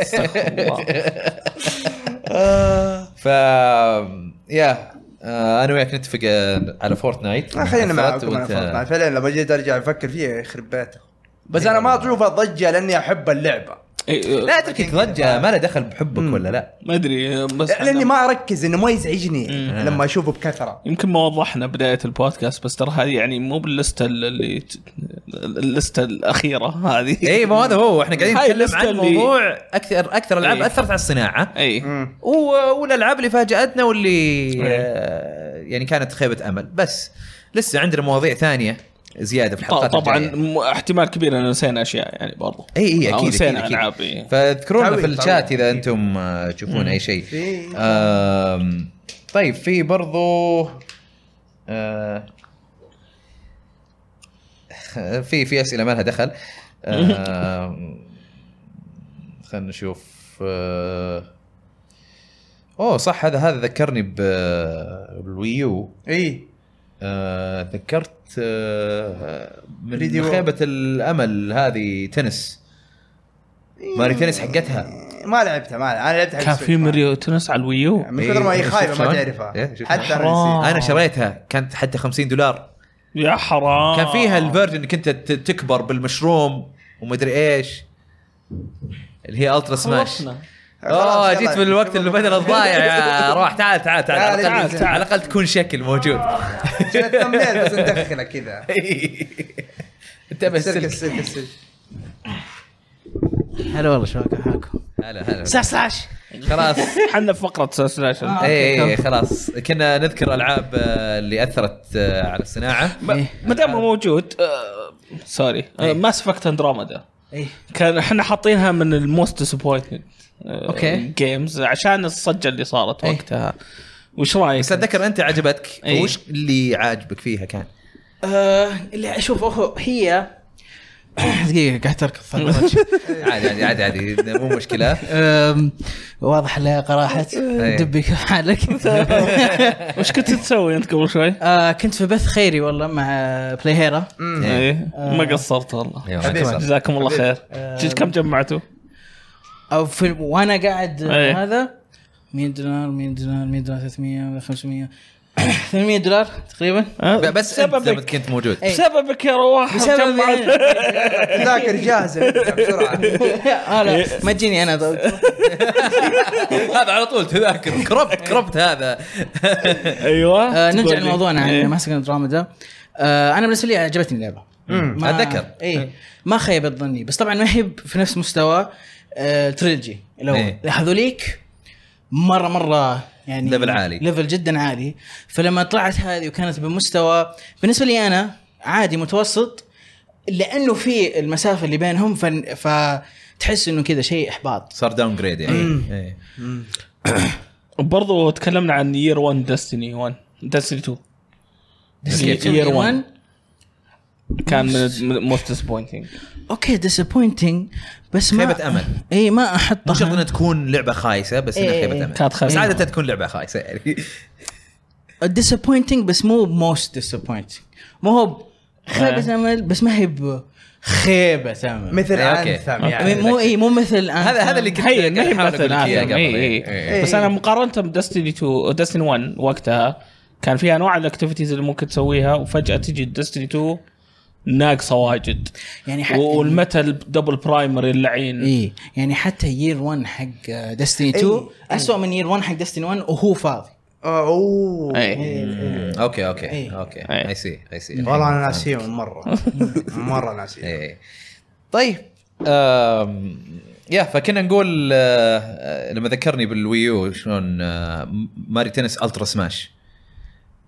استغفر الله. ف يا آه، انا وياك نتفق آه، على فورتنايت آه، خلينا معكم أثرت انا وأنت- فورتنايت فعلا لما جيت ارجع افكر فيها يخرب بيته بس انا ما اشوفها ضجه لاني احب اللعبه إيه، لا اترك آه. يتضجى ما له دخل بحبك ولا لا ما ادري بس لاني يعني ما اركز انه ما يزعجني لما اشوفه بكثره يمكن ما وضحنا بدايه البودكاست بس ترى هذه يعني مو باللسته اللي اللسته الاخيره هذه اي إيه، ما هذا هو احنا قاعدين هاي نتكلم اللستة عن اللي- موضوع اكثر اكثر العاب إيه. اثرت على الصناعه اي و- والالعاب اللي فاجاتنا واللي آه، يعني كانت خيبه امل بس لسه عندنا مواضيع ثانيه زياده في الحلقات طبعا الجاية. م- احتمال كبير ان نسينا اشياء يعني برضو اي اي أو اكيد نسينا اكيد, العاب إيه، أكيد. إيه. فاذكرونا في تعويض، الشات تعويض. اذا انتم آه، تشوفون اي شيء إيه. آم، طيب في برضو آه، في في اسئله ما لها دخل آم، خلنا نشوف آه، اوه صح هذا هذا ذكرني ب- آه، بالويو اي آه، تذكرت آه، من فيديو. خيبة الأمل هذه تنس ماري تنس حقتها ما لعبتها ما لعبتها. انا لعبتها على كان السويتش، في ما مريو تنس على الويو يعني من كثر ما هي إيه، شفت خايبه ما شلون؟ تعرفها إيه، شفت حتى شلون؟ انا نسيت أنا شريتها كانت حتى 50 دولار يا حرام كان آه. فيها الفيرجن انك انت ت- تكبر بالمشروم ومدري ايش اللي هي الترا سماش خلصنا. خلاص، اه يلا، جيت في الوقت اللي بدل الضايع يا روح تعال تعال تعال تعال، على الأقل- تعال، آه. تعال. على الاقل تكون شكل موجود شفت الثمبنيل بس ندخله كذا انتبه السلك السلك السلك السلك هلا والله شلونكم حالكم؟ هلا هلا ساساش خلاص حنا في فقره سلاش آه، اي إي، إيه، خلاص كنا نذكر العاب آه، اللي اثرت آه، على الصناعه ما دام هو موجود آه، سوري إيه. ماس افكت اندروميدا ايه كان احنا حاطينها من الموست ديسابوينتد أوكي. جيمز آه، عشان الصجه اللي صارت إيه. وقتها وش رايك؟ بس اتذكر انت عجبتك إي. وش اللي عاجبك فيها كان؟ آه، اللي اشوف هو هي دقيقة قاعد تركض عادي عادي عادي, عادي مو مشكله أم، واضح اللياقة راحت إيه. دبك حالك إيه. وش كنت تسوي انت قبل شوي؟ آه، كنت في بث خيري والله مع بلاي هيرا إيه. ايه ما قصرت والله أيوة، ما إيه. حبيبي. قصرت. جزاكم الله خير آه، جد كم جمعتوا؟ او في وانا قاعد إيه. هذا 100 دولار 100 دولار 100 دولار 300 500 800 دولار تقريبا ها؟ ب- بس انت لما بسببك كنت موجود إيه. إي. بسببك يا رواح إيه. بسبب إيه. جمعت ذاكر جاهزه بسرعه آه، لا ما تجيني انا هذا على طول تذاكر كربت كربت هذا ايوه آه، نرجع تقول لي. لموضوعنا إيه. عن ماسك دراما انا بالنسبه آه، لي عجبتني اللعبه ما- أتذكر. إيه. اي ما خيبت ظني بس طبعا ما هي في نفس مستوى آه، التريلوجي الاول إيه. هذوليك مره مره يعني ليفل عالي. ليفل جدا عالي فلما طلعت هذه وكانت بمستوى بالنسبه لي انا عادي متوسط لانه في المسافه اللي بينهم فن- فتحس انه كذا شيء احباط صار داون جريد يعني إي. وبرضه تكلمنا عن يير 1 ديستني 1 ديستني 2 Year One. One. كان من موست ديسبوينتنج اوكي ديسابوينتنج بس ما خيبة أمل. اي ما مو شرط احطها انها تكون لعبه خايسه بس انها إيه، إي، خيبه إي. امل كانت خايسة. بس عاده تكون لعبه خايسه يعني ديسابوينتنج بس مو موست ديسابوينتنج مو هو آه. خيبة امل بس ما هي ب- خيبة امل مثل إيه، أوكي. انثم يعني يعني مو اي مو مثل هذا هذا اللي كنت هي ما هي أحاول أقول مثل لك إياه قبل. هذا إي، إي، إي. إي. بس انا مقارنه بدستني 2 دستني 1 وقتها كان في انواع الاكتيفيتيز اللي ممكن تسويها وفجاه تجي دستني 2 ناقصه واجد يعني حتى والمتل دبل برايمري اللعين اي يعني حتى يير 1 حق آه، ديستني إيه. 2 اسوء من يير 1 حق ديستني 1 وهو فاضي آه، اوه إيه. إيه. اوكي اوكي إي. اوكي إي. اي سي اي سي والله انا ناسيهم مره مره ناسيهم إيه. طيب آم، يا فكنا نقول آه، آه، لما ذكرني بالويو شلون آه، ماري تنس الترا سماش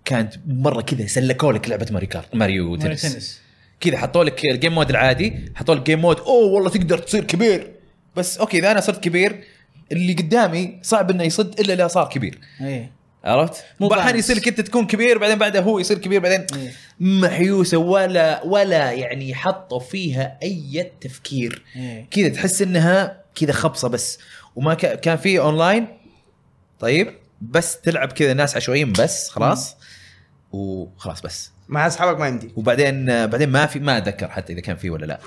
كانت مره كذا سلكوا لك لعبه ماري كارت ماريو تنس كذا حطوا لك الجيم مود العادي حطوا لك جيم مود اوه والله تقدر تصير كبير بس اوكي اذا انا صرت كبير اللي قدامي صعب انه يصد الا اذا صار كبير اي عرفت؟ مو مو احيانا بالانس. يصير لك انت تكون كبير بعدين بعدها هو يصير كبير بعدين محيوسه ولا ولا يعني حطوا فيها اي تفكير إيه. كذا تحس انها كذا خبصه بس وما كا- كان في اونلاين طيب بس تلعب كذا ناس عشوائيين بس خلاص وخلاص بس مع اصحابك ما يمديك وبعدين بعدين ما في ما اتذكر حتى اذا كان في ولا لا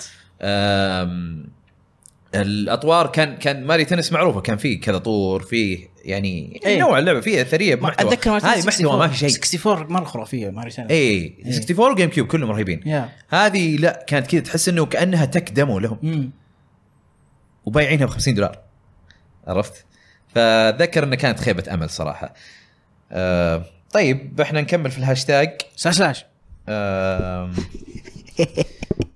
أم، الاطوار كان كان ماري تنس معروفه كان فيه كذا طور فيه يعني إيه. نوع اللعبه فيه اثريه ما- بمحتوى اتذكر ماري هذه تنس إيه. محتوى ما في شيء إيه. 64 مره خرافيه ماري تنس اي 64 وجيم كيوب كلهم رهيبين يا هذه لا كانت كذا تحس انه كانها تك دمو لهم امم وبايعينها ب 50 دولار عرفت؟ فاتذكر انه كانت خيبه امل صراحه. آه طيب احنا نكمل في الهاشتاج سلاش سلاش آم،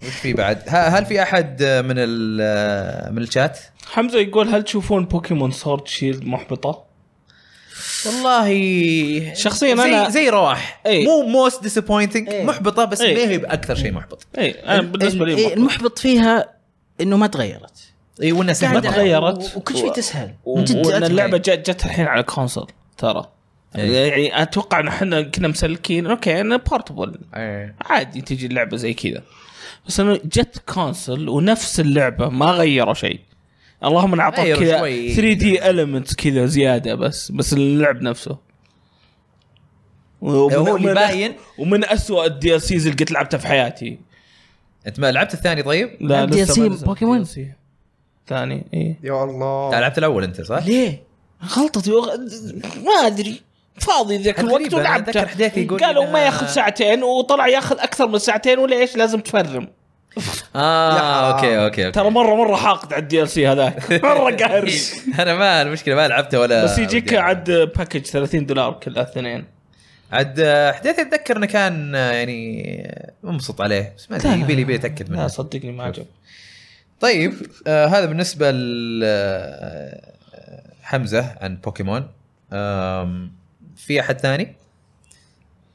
وش في بعد؟ ه- هل في احد من ال من الشات؟ حمزه يقول هل تشوفون بوكيمون سورد شيلد محبطه؟ والله شخصياً زي أنا- إيه. زي رواح إي. مو موست ديسابوينتنج إي. محبطه بس إي. ما هي باكثر شيء محبط اي انا بالنسبه ال- لي محبط. المحبط فيها انه ما تغيرت اي والناس قاعدة- تحبط. تغيرت. وكل شيء تسهل و- جد وان أتفق. اللعبه جت جت الحين على كونسول ترى إي. يعني اتوقع ان احنا كنا مسلكين اوكي انا بورتبل إي. عادي تجي اللعبه زي كذا بس انه جت كونسل ونفس اللعبه ما غيروا شيء اللهم إن اعطوك غيروا كذا شوي. 3 دي المنتس كذا زياده بس بس اللعب نفسه ومن- هو اللي من- باين. ومن اسوء الدي ال سيز اللي قد لعبتها في حياتي انت ما لعبت الثاني طيب؟ لا دي ال لسه سي ما نزل بوكيمون؟ دي ال سي. ثاني إيه. اي يا لا الله لعبت الاول انت صح؟ ليه؟ غلطتي وغ... ما ادري فاضي ذاك غريبة، الوقت أنا ولعبته أتذكر حديثي يقول لي قالوا إنها- ما ياخذ ساعتين وطلع ياخذ اكثر من ساعتين وليش لازم تفرم يا اه حرام. اوكي اوكي, أوكي. ترى مره مره حاقد على الدي ال سي هذاك مره قهر انا ما المشكله ما لعبته ولا بس يجيك ودي ألعب. عاد باكج 30 دولار كل اثنين عاد آه، حديث اتذكر انه كان آه، يعني آه، منبسط عليه بس ما ادري لا، لا، يبي لي يبي لي اتاكد لا منه صدقني ما عجب طيب آه هذا بالنسبه ل آه، حمزه عن بوكيمون آم، في احد ثاني؟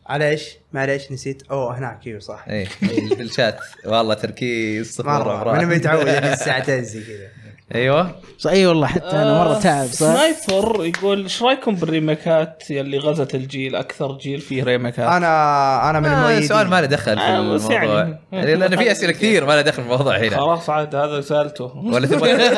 معليش معليش نسيت اوه هناك ايوه صح اي إيه، في الشات والله تركيز صفر مره أمراض. انا متعود اجلس ساعتين زي كذا ايوه صح، اي والله حتى انا مره تعب صح؟ آه، سنايبر يقول ايش رايكم بالريميكات يلي غزت الجيل اكثر جيل فيه ريميكات انا انا من آه المؤيدين سؤال ما له دخل في آه، بس يعني. الموضوع يعني لان في اسئله كثير ما لها دخل في الموضوع هنا خلاص عاد هذا سالته ولا تبغى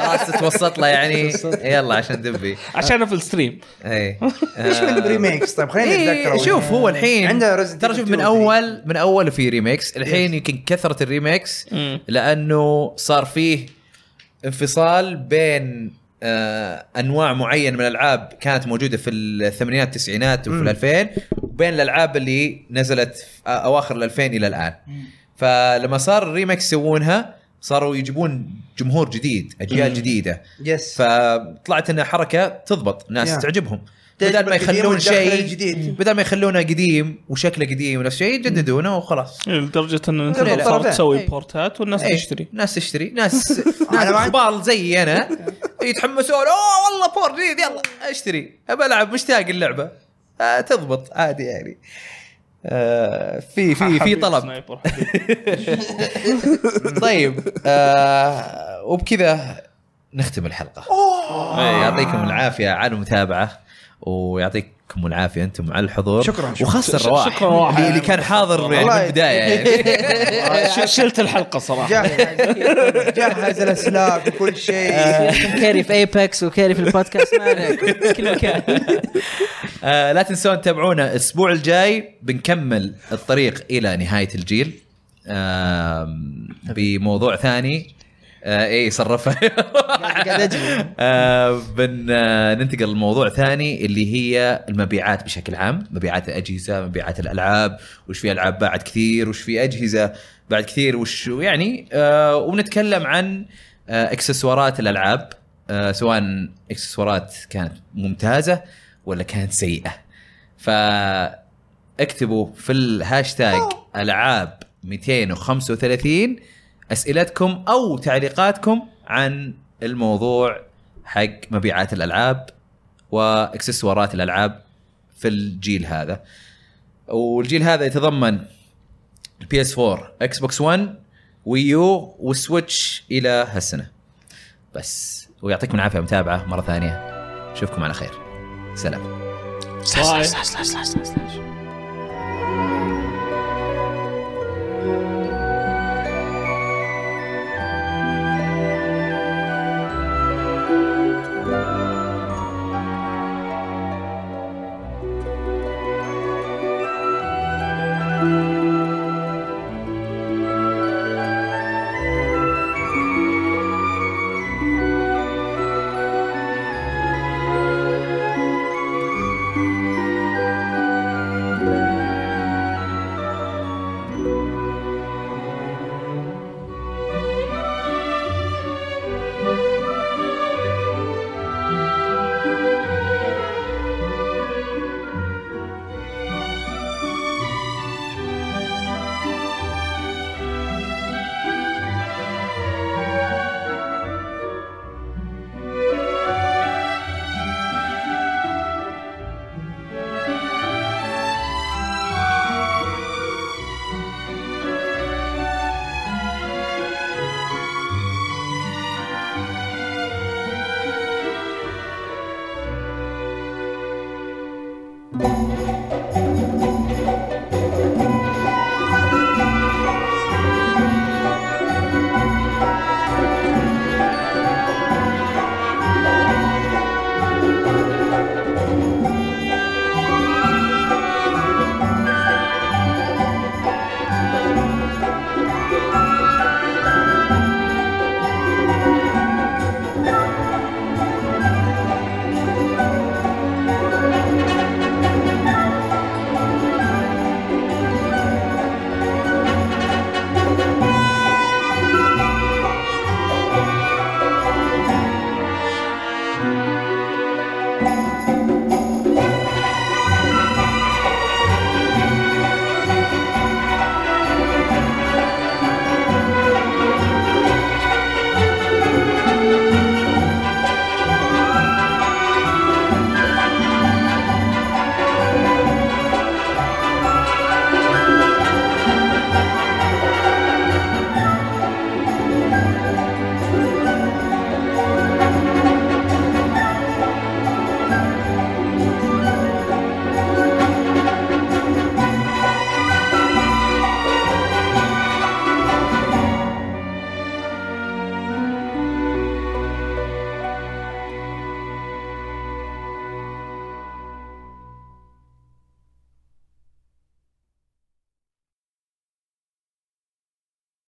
خلاص تتوسط له يعني يلا عشان دبي إيه. عشان في الستريم اي ايش من بريميكس طيب خلينا نتذكر آه، إيه أول. شوف هو الحين عنده Resident ترى شوف Evil من 3. اول من اول في ريميكس الحين يمكن كثره الريميكس مم. لانه صار فيه انفصال بين آه انواع معينه من الالعاب كانت موجوده في الثمانينات التسعينات وفي مم. الألفين وبين الالعاب اللي نزلت في آه، اواخر الألفين الى الان فلما صار الريميكس يسوونها صاروا يجيبون جمهور جديد اجيال جديده يس فطلعت انها حركه تضبط ناس يا. تعجبهم تجربة بدل ما قديمة يخلون وتدخل شيء الجديد. بدل ما يخلونه قديم وشكله قديم ونفس الشيء يجددونه وخلاص لدرجه ان انت لا، لا. صارت تسوي إيه. بورتات والناس إيه، تشتري ناس تشتري ناس ناس أنا ما عندي- اخبار زي انا يتحمسون اوه والله بور جديد يلا اشتري ابى العب مشتاق اللعبه آه تضبط عادي يعني آه في في في حبيب طلب سنايبر، حبيب. طيب آه وبكذا نختم الحلقه إيه، يعطيكم العافيه على المتابعه ويعطيكم العافيه انتم على الحضور شكراً، شكراً. وخاصه ش- الرواح شكراً رواح. اللي- اللي كان حاضر يعني من والله. البدايه يعني ش- شلت الحلقه صراحه جهز جهز الاسلاك وكل شيء آه. كاري في ايباكس وكاري في البودكاست ما عليك كل مكان آه لا تنسون تتابعونا الاسبوع الجاي بنكمل الطريق الى نهايه الجيل آم، بموضوع ثاني آه اي صرفها قاعد اجري آه بن آه ننتقل لموضوع ثاني اللي هي المبيعات بشكل عام مبيعات الاجهزه مبيعات الالعاب وش في العاب باعت كثير وش في اجهزه باعت كثير وش يعني آه وبنتكلم عن آه اكسسوارات الالعاب آه سواء اكسسوارات كانت ممتازه ولا كانت سيئه فاكتبوا في الهاشتاج العاب 235 اسئلتكم او تعليقاتكم عن الموضوع حق مبيعات الالعاب واكسسوارات الالعاب في الجيل هذا والجيل هذا يتضمن البي اس 4 اكس بوكس 1 ويو والسويتش الى هالسنه بس ويعطيكم العافيه على المتابعه مره ثانيه نشوفكم على خير سلام باي. سلاش سلاش سلاش سلاش